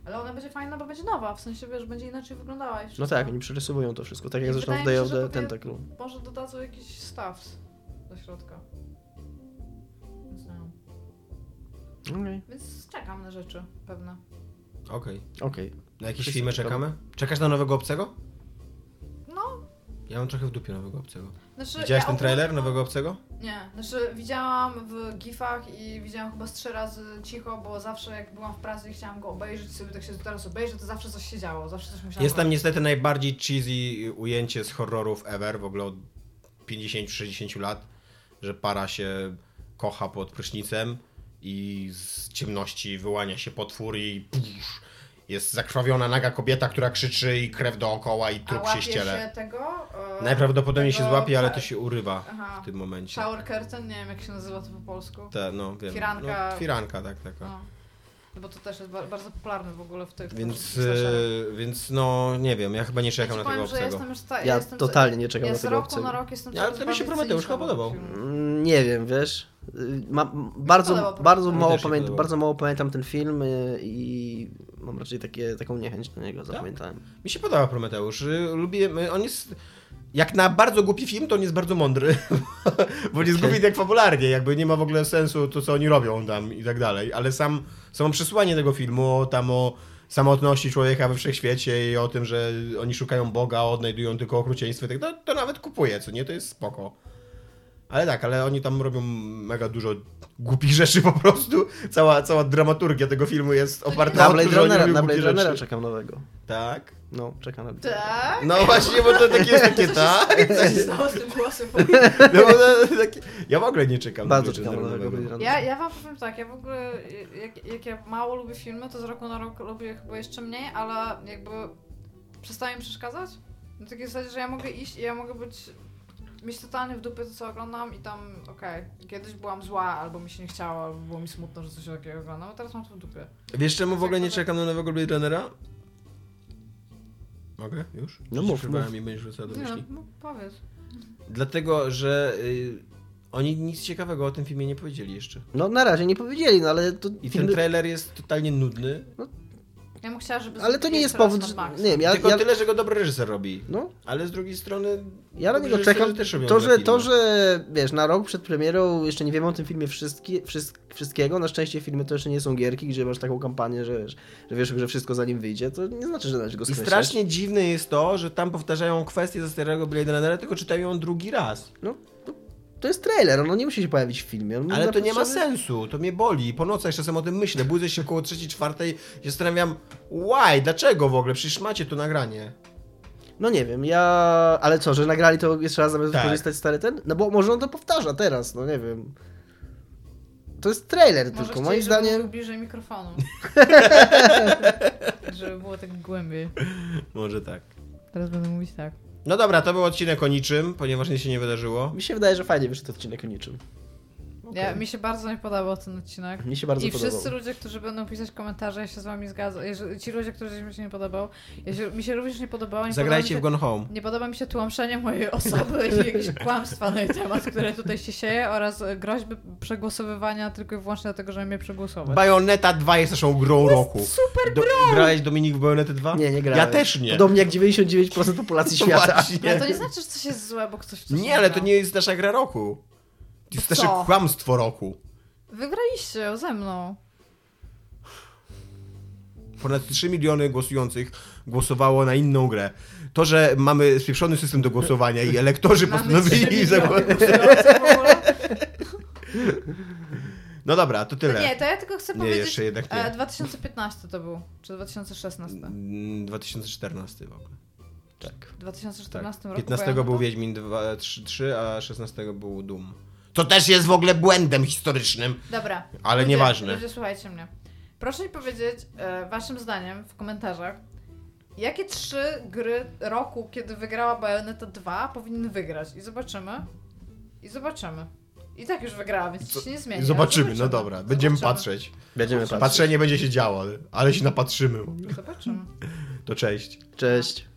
[SPEAKER 2] Ale ona będzie fajna, bo będzie nowa, w sensie wiesz, będzie inaczej wyglądała i
[SPEAKER 3] No
[SPEAKER 2] wszystko.
[SPEAKER 3] tak, oni przerysowują to wszystko, tak jak
[SPEAKER 2] I
[SPEAKER 3] zresztą w
[SPEAKER 2] wydaje mi
[SPEAKER 3] Day
[SPEAKER 2] się,
[SPEAKER 3] of
[SPEAKER 2] że
[SPEAKER 3] the
[SPEAKER 2] po tej-
[SPEAKER 3] Tentacle.
[SPEAKER 2] Może dodadzą jakiś staws do środka. Więc, nie wiem.
[SPEAKER 3] Okej.
[SPEAKER 2] Więc czekam na rzeczy pewne.
[SPEAKER 4] Okej.
[SPEAKER 3] Okej.
[SPEAKER 4] Na jakieś
[SPEAKER 3] Wszyscy
[SPEAKER 4] filmy
[SPEAKER 3] czekamy.
[SPEAKER 4] czekamy? Czekasz na nowego obcego?
[SPEAKER 2] No,
[SPEAKER 4] Ja mam trochę w dupie nowego obcego.
[SPEAKER 2] znaczy...
[SPEAKER 4] Widziałeś
[SPEAKER 2] ja
[SPEAKER 4] ten
[SPEAKER 2] ogólnie-
[SPEAKER 4] trailer nowego obcego?
[SPEAKER 2] Nie, znaczy widziałam w gifach i widziałam chyba z trzy razy cicho, bo zawsze jak byłam w pracy i chciałam go obejrzeć sobie, tak się teraz obejrzę, to zawsze coś się działo, zawsze coś musiałam
[SPEAKER 4] Jest tam
[SPEAKER 2] robić.
[SPEAKER 4] niestety najbardziej cheesy ujęcie z horrorów ever, w ogóle od 50-60 lat, że para się kocha pod prysznicem i z ciemności wyłania się potwór i pusz, jest zakrwawiona naga kobieta, która krzyczy i krew dookoła i
[SPEAKER 2] A
[SPEAKER 4] trup się
[SPEAKER 2] łapie
[SPEAKER 4] ściele.
[SPEAKER 2] się tego... e,
[SPEAKER 4] Najprawdopodobniej się
[SPEAKER 2] tego-
[SPEAKER 4] złapie, ale to się urywa
[SPEAKER 2] Aha.
[SPEAKER 4] w tym momencie.
[SPEAKER 2] Shower curtain, nie wiem jak się nazywa to po polsku.
[SPEAKER 4] Te, no, wiem.
[SPEAKER 2] Firanka.
[SPEAKER 4] No, firanka, tak, taka.
[SPEAKER 2] No. Bo to też jest ba- bardzo popularne w ogóle w tych
[SPEAKER 4] Więc,
[SPEAKER 2] tych slasherach.
[SPEAKER 4] e, więc no, nie wiem, ja chyba nie
[SPEAKER 2] Ja ci
[SPEAKER 4] czekam na tego
[SPEAKER 2] powiem, że
[SPEAKER 4] obcego.
[SPEAKER 2] jestem już ta,
[SPEAKER 3] Ja
[SPEAKER 2] jestem,
[SPEAKER 3] totalnie nie czekam
[SPEAKER 2] ja
[SPEAKER 3] na
[SPEAKER 2] z
[SPEAKER 3] tego
[SPEAKER 2] roku
[SPEAKER 3] obcego.
[SPEAKER 2] na rok jestem
[SPEAKER 4] Ja, ale
[SPEAKER 2] coraz
[SPEAKER 4] to mi się
[SPEAKER 2] bardziej
[SPEAKER 4] Prometeusz
[SPEAKER 2] cyniczna
[SPEAKER 4] chyba
[SPEAKER 2] wobec
[SPEAKER 4] podobał.
[SPEAKER 2] filmu.
[SPEAKER 3] Mm, Nie wiem, wiesz. y, Ma, m- bardzo,
[SPEAKER 2] podobał,
[SPEAKER 3] bardzo,
[SPEAKER 2] mi
[SPEAKER 3] mało
[SPEAKER 4] też się
[SPEAKER 3] pamię-
[SPEAKER 4] podobał.
[SPEAKER 3] bardzo mało pamiętam ten film y, i mam raczej takie, taką niechęć do
[SPEAKER 4] Tak?
[SPEAKER 3] niego, zapamiętałem.
[SPEAKER 4] Mi się podoba Prometeusz. y, Lubię, y, on jest... Jak na bardzo głupi film, to on jest bardzo mądry. Bo on jest
[SPEAKER 3] Okej.
[SPEAKER 4] głupi tak fabularnie, jakby nie ma w ogóle sensu to, co oni robią tam i tak dalej. Ale sam, samo przesłanie tego filmu, tam o samotności człowieka we wszechświecie i o tym, że oni szukają Boga, odnajdują tylko okrucieństwo i tak dalej, to nawet kupuję, co nie? To jest spoko. Ale tak, ale oni tam robią mega dużo głupich rzeczy po prostu. Cała, cała dramaturgia tego filmu jest oparta
[SPEAKER 3] Na
[SPEAKER 4] o to,
[SPEAKER 3] Blade
[SPEAKER 4] że oni
[SPEAKER 3] Runnera,
[SPEAKER 4] robią
[SPEAKER 3] na
[SPEAKER 4] głupie
[SPEAKER 3] Blade Runnera
[SPEAKER 4] rzeczy.
[SPEAKER 3] czekam nowego.
[SPEAKER 4] Tak.
[SPEAKER 3] No, czekam na Blade Runnera.
[SPEAKER 2] Tak?
[SPEAKER 4] No właśnie, bo to takie jest takie tak.
[SPEAKER 2] Co się stało z tym głosem?
[SPEAKER 4] No, bo to, takie, ja w ogóle nie czekam. na
[SPEAKER 3] Bardzo
[SPEAKER 4] Blade
[SPEAKER 3] czekam na
[SPEAKER 4] Runnera
[SPEAKER 3] nowego Blade
[SPEAKER 4] nowego.
[SPEAKER 2] Ja,
[SPEAKER 3] Runnera.
[SPEAKER 2] ja wam powiem tak, ja w ogóle, jak, jak ja mało lubię filmy, to z roku na rok lubię chyba jeszcze mniej, ale jakby przestaje mi przeszkadzać. Na takiej zasadzie, że ja mogę iść i ja mogę być mi się totalnie w dupie to, co oglądam i tam, okej, kiedyś byłam zła, albo mi się nie chciało, albo było mi smutno, że coś takiego oglądam, a teraz mam to w dupie.
[SPEAKER 4] Wiesz czemu w ogóle nie czekam na nowego Blade Runnera? Mogę? Już?
[SPEAKER 3] No mów,
[SPEAKER 4] Przerwałem
[SPEAKER 3] mów.
[SPEAKER 4] i będziesz wrzucała do
[SPEAKER 2] Nie,
[SPEAKER 4] myśli.
[SPEAKER 2] no powiedz.
[SPEAKER 4] Dlatego, że y, oni nic ciekawego o tym filmie nie powiedzieli jeszcze.
[SPEAKER 3] No na razie nie powiedzieli, no ale to...
[SPEAKER 4] I ten trailer jest totalnie nudny.
[SPEAKER 2] Ja bym chciała, żeby
[SPEAKER 3] ale to
[SPEAKER 2] zrobili
[SPEAKER 3] nie jest
[SPEAKER 2] jeszcze raz
[SPEAKER 3] powód,
[SPEAKER 2] Mad Max.
[SPEAKER 3] nie wiem, ja...
[SPEAKER 4] Tylko
[SPEAKER 3] ja
[SPEAKER 4] tyle, że go dobry reżyser robi.
[SPEAKER 3] no,
[SPEAKER 4] Ale z drugiej strony.
[SPEAKER 3] ja na
[SPEAKER 4] dobrzy
[SPEAKER 3] niego
[SPEAKER 4] reżyserzy
[SPEAKER 3] czekam.
[SPEAKER 4] No, Też robią
[SPEAKER 3] To
[SPEAKER 4] dobre
[SPEAKER 3] że, to,
[SPEAKER 4] filmy.
[SPEAKER 3] że wiesz, na rok przed premierą jeszcze nie wiemy o tym filmie wszystkie, wszystk, wszystkiego. Na szczęście filmy to jeszcze nie są gierki, gdzie masz taką kampanię, że wiesz, że, wiesz, że wszystko zanim wyjdzie, to nie znaczy, że należy go
[SPEAKER 4] I
[SPEAKER 3] skreślać.
[SPEAKER 4] strasznie dziwne jest to, że tam powtarzają kwestię ze starego Blade Runnera, tylko czytają ją drugi raz.
[SPEAKER 3] No, to, to jest trailer, on nie musi się pojawić w filmie. on
[SPEAKER 4] Ale
[SPEAKER 3] na
[SPEAKER 4] to nie ma
[SPEAKER 3] potrzeby-
[SPEAKER 4] sensu, to mnie boli. Po nocach czasem o tym myślę. Budzę się około trzeciej, czwartej i zastanawiam, why, dlaczego w ogóle? Przecież macie to nagranie.
[SPEAKER 3] No nie wiem, ja... Ale co, że nagrali to jeszcze raz, zamiast
[SPEAKER 4] Tak.
[SPEAKER 3] wykorzystać stary ten? No bo może on to powtarza teraz, no nie wiem. To jest trailer
[SPEAKER 2] Może
[SPEAKER 3] tylko,
[SPEAKER 2] chcieli,
[SPEAKER 3] moim
[SPEAKER 2] żeby
[SPEAKER 3] zdaniem...
[SPEAKER 2] był bliżej mikrofonu. żeby było tak głębiej.
[SPEAKER 4] Może tak.
[SPEAKER 2] Teraz będę mówić tak.
[SPEAKER 4] No dobra, to był odcinek o niczym, ponieważ nic się nie wydarzyło.
[SPEAKER 3] Mi się wydaje, że fajnie wyszedł odcinek o niczym.
[SPEAKER 2] Ja, mi się bardzo nie podobał ten odcinek.
[SPEAKER 3] Mi się bardzo
[SPEAKER 2] I
[SPEAKER 3] podobał.
[SPEAKER 2] wszyscy ludzie, którzy będą pisać komentarze, ja się z wami zgadzam. Jeżeli, ci ludzie, którzy mi się nie podobał, ja się, mi się również nie podobało. Nie
[SPEAKER 4] Zagrajcie w
[SPEAKER 2] podoba mi
[SPEAKER 4] Gone Home.
[SPEAKER 2] się, Nie podoba mi się tłamszenie mojej osoby i jakieś kłamstwa na jej temat, które tutaj się sieje oraz e, groźby przegłosowywania tylko i wyłącznie dlatego, żeby mnie przegłosować.
[SPEAKER 4] Bajoneta 2 jest naszą grą roku.
[SPEAKER 2] No. super
[SPEAKER 4] Do, grałeś Dominik w Bajonetę 2?
[SPEAKER 3] Nie, nie grałem.
[SPEAKER 4] Ja też nie. No
[SPEAKER 3] Podobnie jak 99% populacji świata.
[SPEAKER 4] Właśnie.
[SPEAKER 2] Ale to nie znaczy, że coś jest złe, bo ktoś w coś
[SPEAKER 4] Nie, ale to
[SPEAKER 2] gra.
[SPEAKER 4] nie jest nasza gra roku. To jest
[SPEAKER 2] To
[SPEAKER 4] nasze
[SPEAKER 2] co?
[SPEAKER 4] kłamstwo roku.
[SPEAKER 2] Wygraliście ze mną.
[SPEAKER 4] Ponad 3 miliony głosujących głosowało na inną grę. To, że mamy spieprzony system do głosowania i elektorzy
[SPEAKER 2] Mamy
[SPEAKER 4] postanowili...
[SPEAKER 2] trzy miliony
[SPEAKER 4] zagło-
[SPEAKER 2] głosujących w ogóle.
[SPEAKER 4] No dobra, to tyle.
[SPEAKER 2] Nie, to ja tylko chcę
[SPEAKER 4] Nie,
[SPEAKER 2] powiedzieć.
[SPEAKER 4] jeszcze jednak nie.
[SPEAKER 2] e, 2015 to był, czy 2016?
[SPEAKER 4] Mm, 2014 w ogóle. Tak.
[SPEAKER 2] W 2014 roku.
[SPEAKER 4] 15
[SPEAKER 2] pojechałem
[SPEAKER 4] Tak, był
[SPEAKER 2] na to?
[SPEAKER 4] Wiedźmin 2, 3, 3, a 16 był Doom. To też jest w ogóle błędem historycznym.
[SPEAKER 2] Dobra.
[SPEAKER 4] Ale
[SPEAKER 2] ludzie,
[SPEAKER 4] nieważne.
[SPEAKER 2] Ludzie, słuchajcie mnie. Proszę mi powiedzieć, e, waszym zdaniem w komentarzach, jakie trzy gry roku, kiedy wygrała Bayonetta 2, powinny wygrać? I zobaczymy. I zobaczymy. I tak już wygrała, więc
[SPEAKER 4] Co-
[SPEAKER 2] się nie zmieni. ale
[SPEAKER 4] Zobaczymy, no dobra, będziemy
[SPEAKER 2] Zobaczymy.
[SPEAKER 4] patrzeć.
[SPEAKER 3] Będziemy patrzeć.
[SPEAKER 4] Patrzenie będzie się działo, ale się napatrzymy.
[SPEAKER 2] Zobaczymy.
[SPEAKER 4] To cześć.
[SPEAKER 3] Cześć.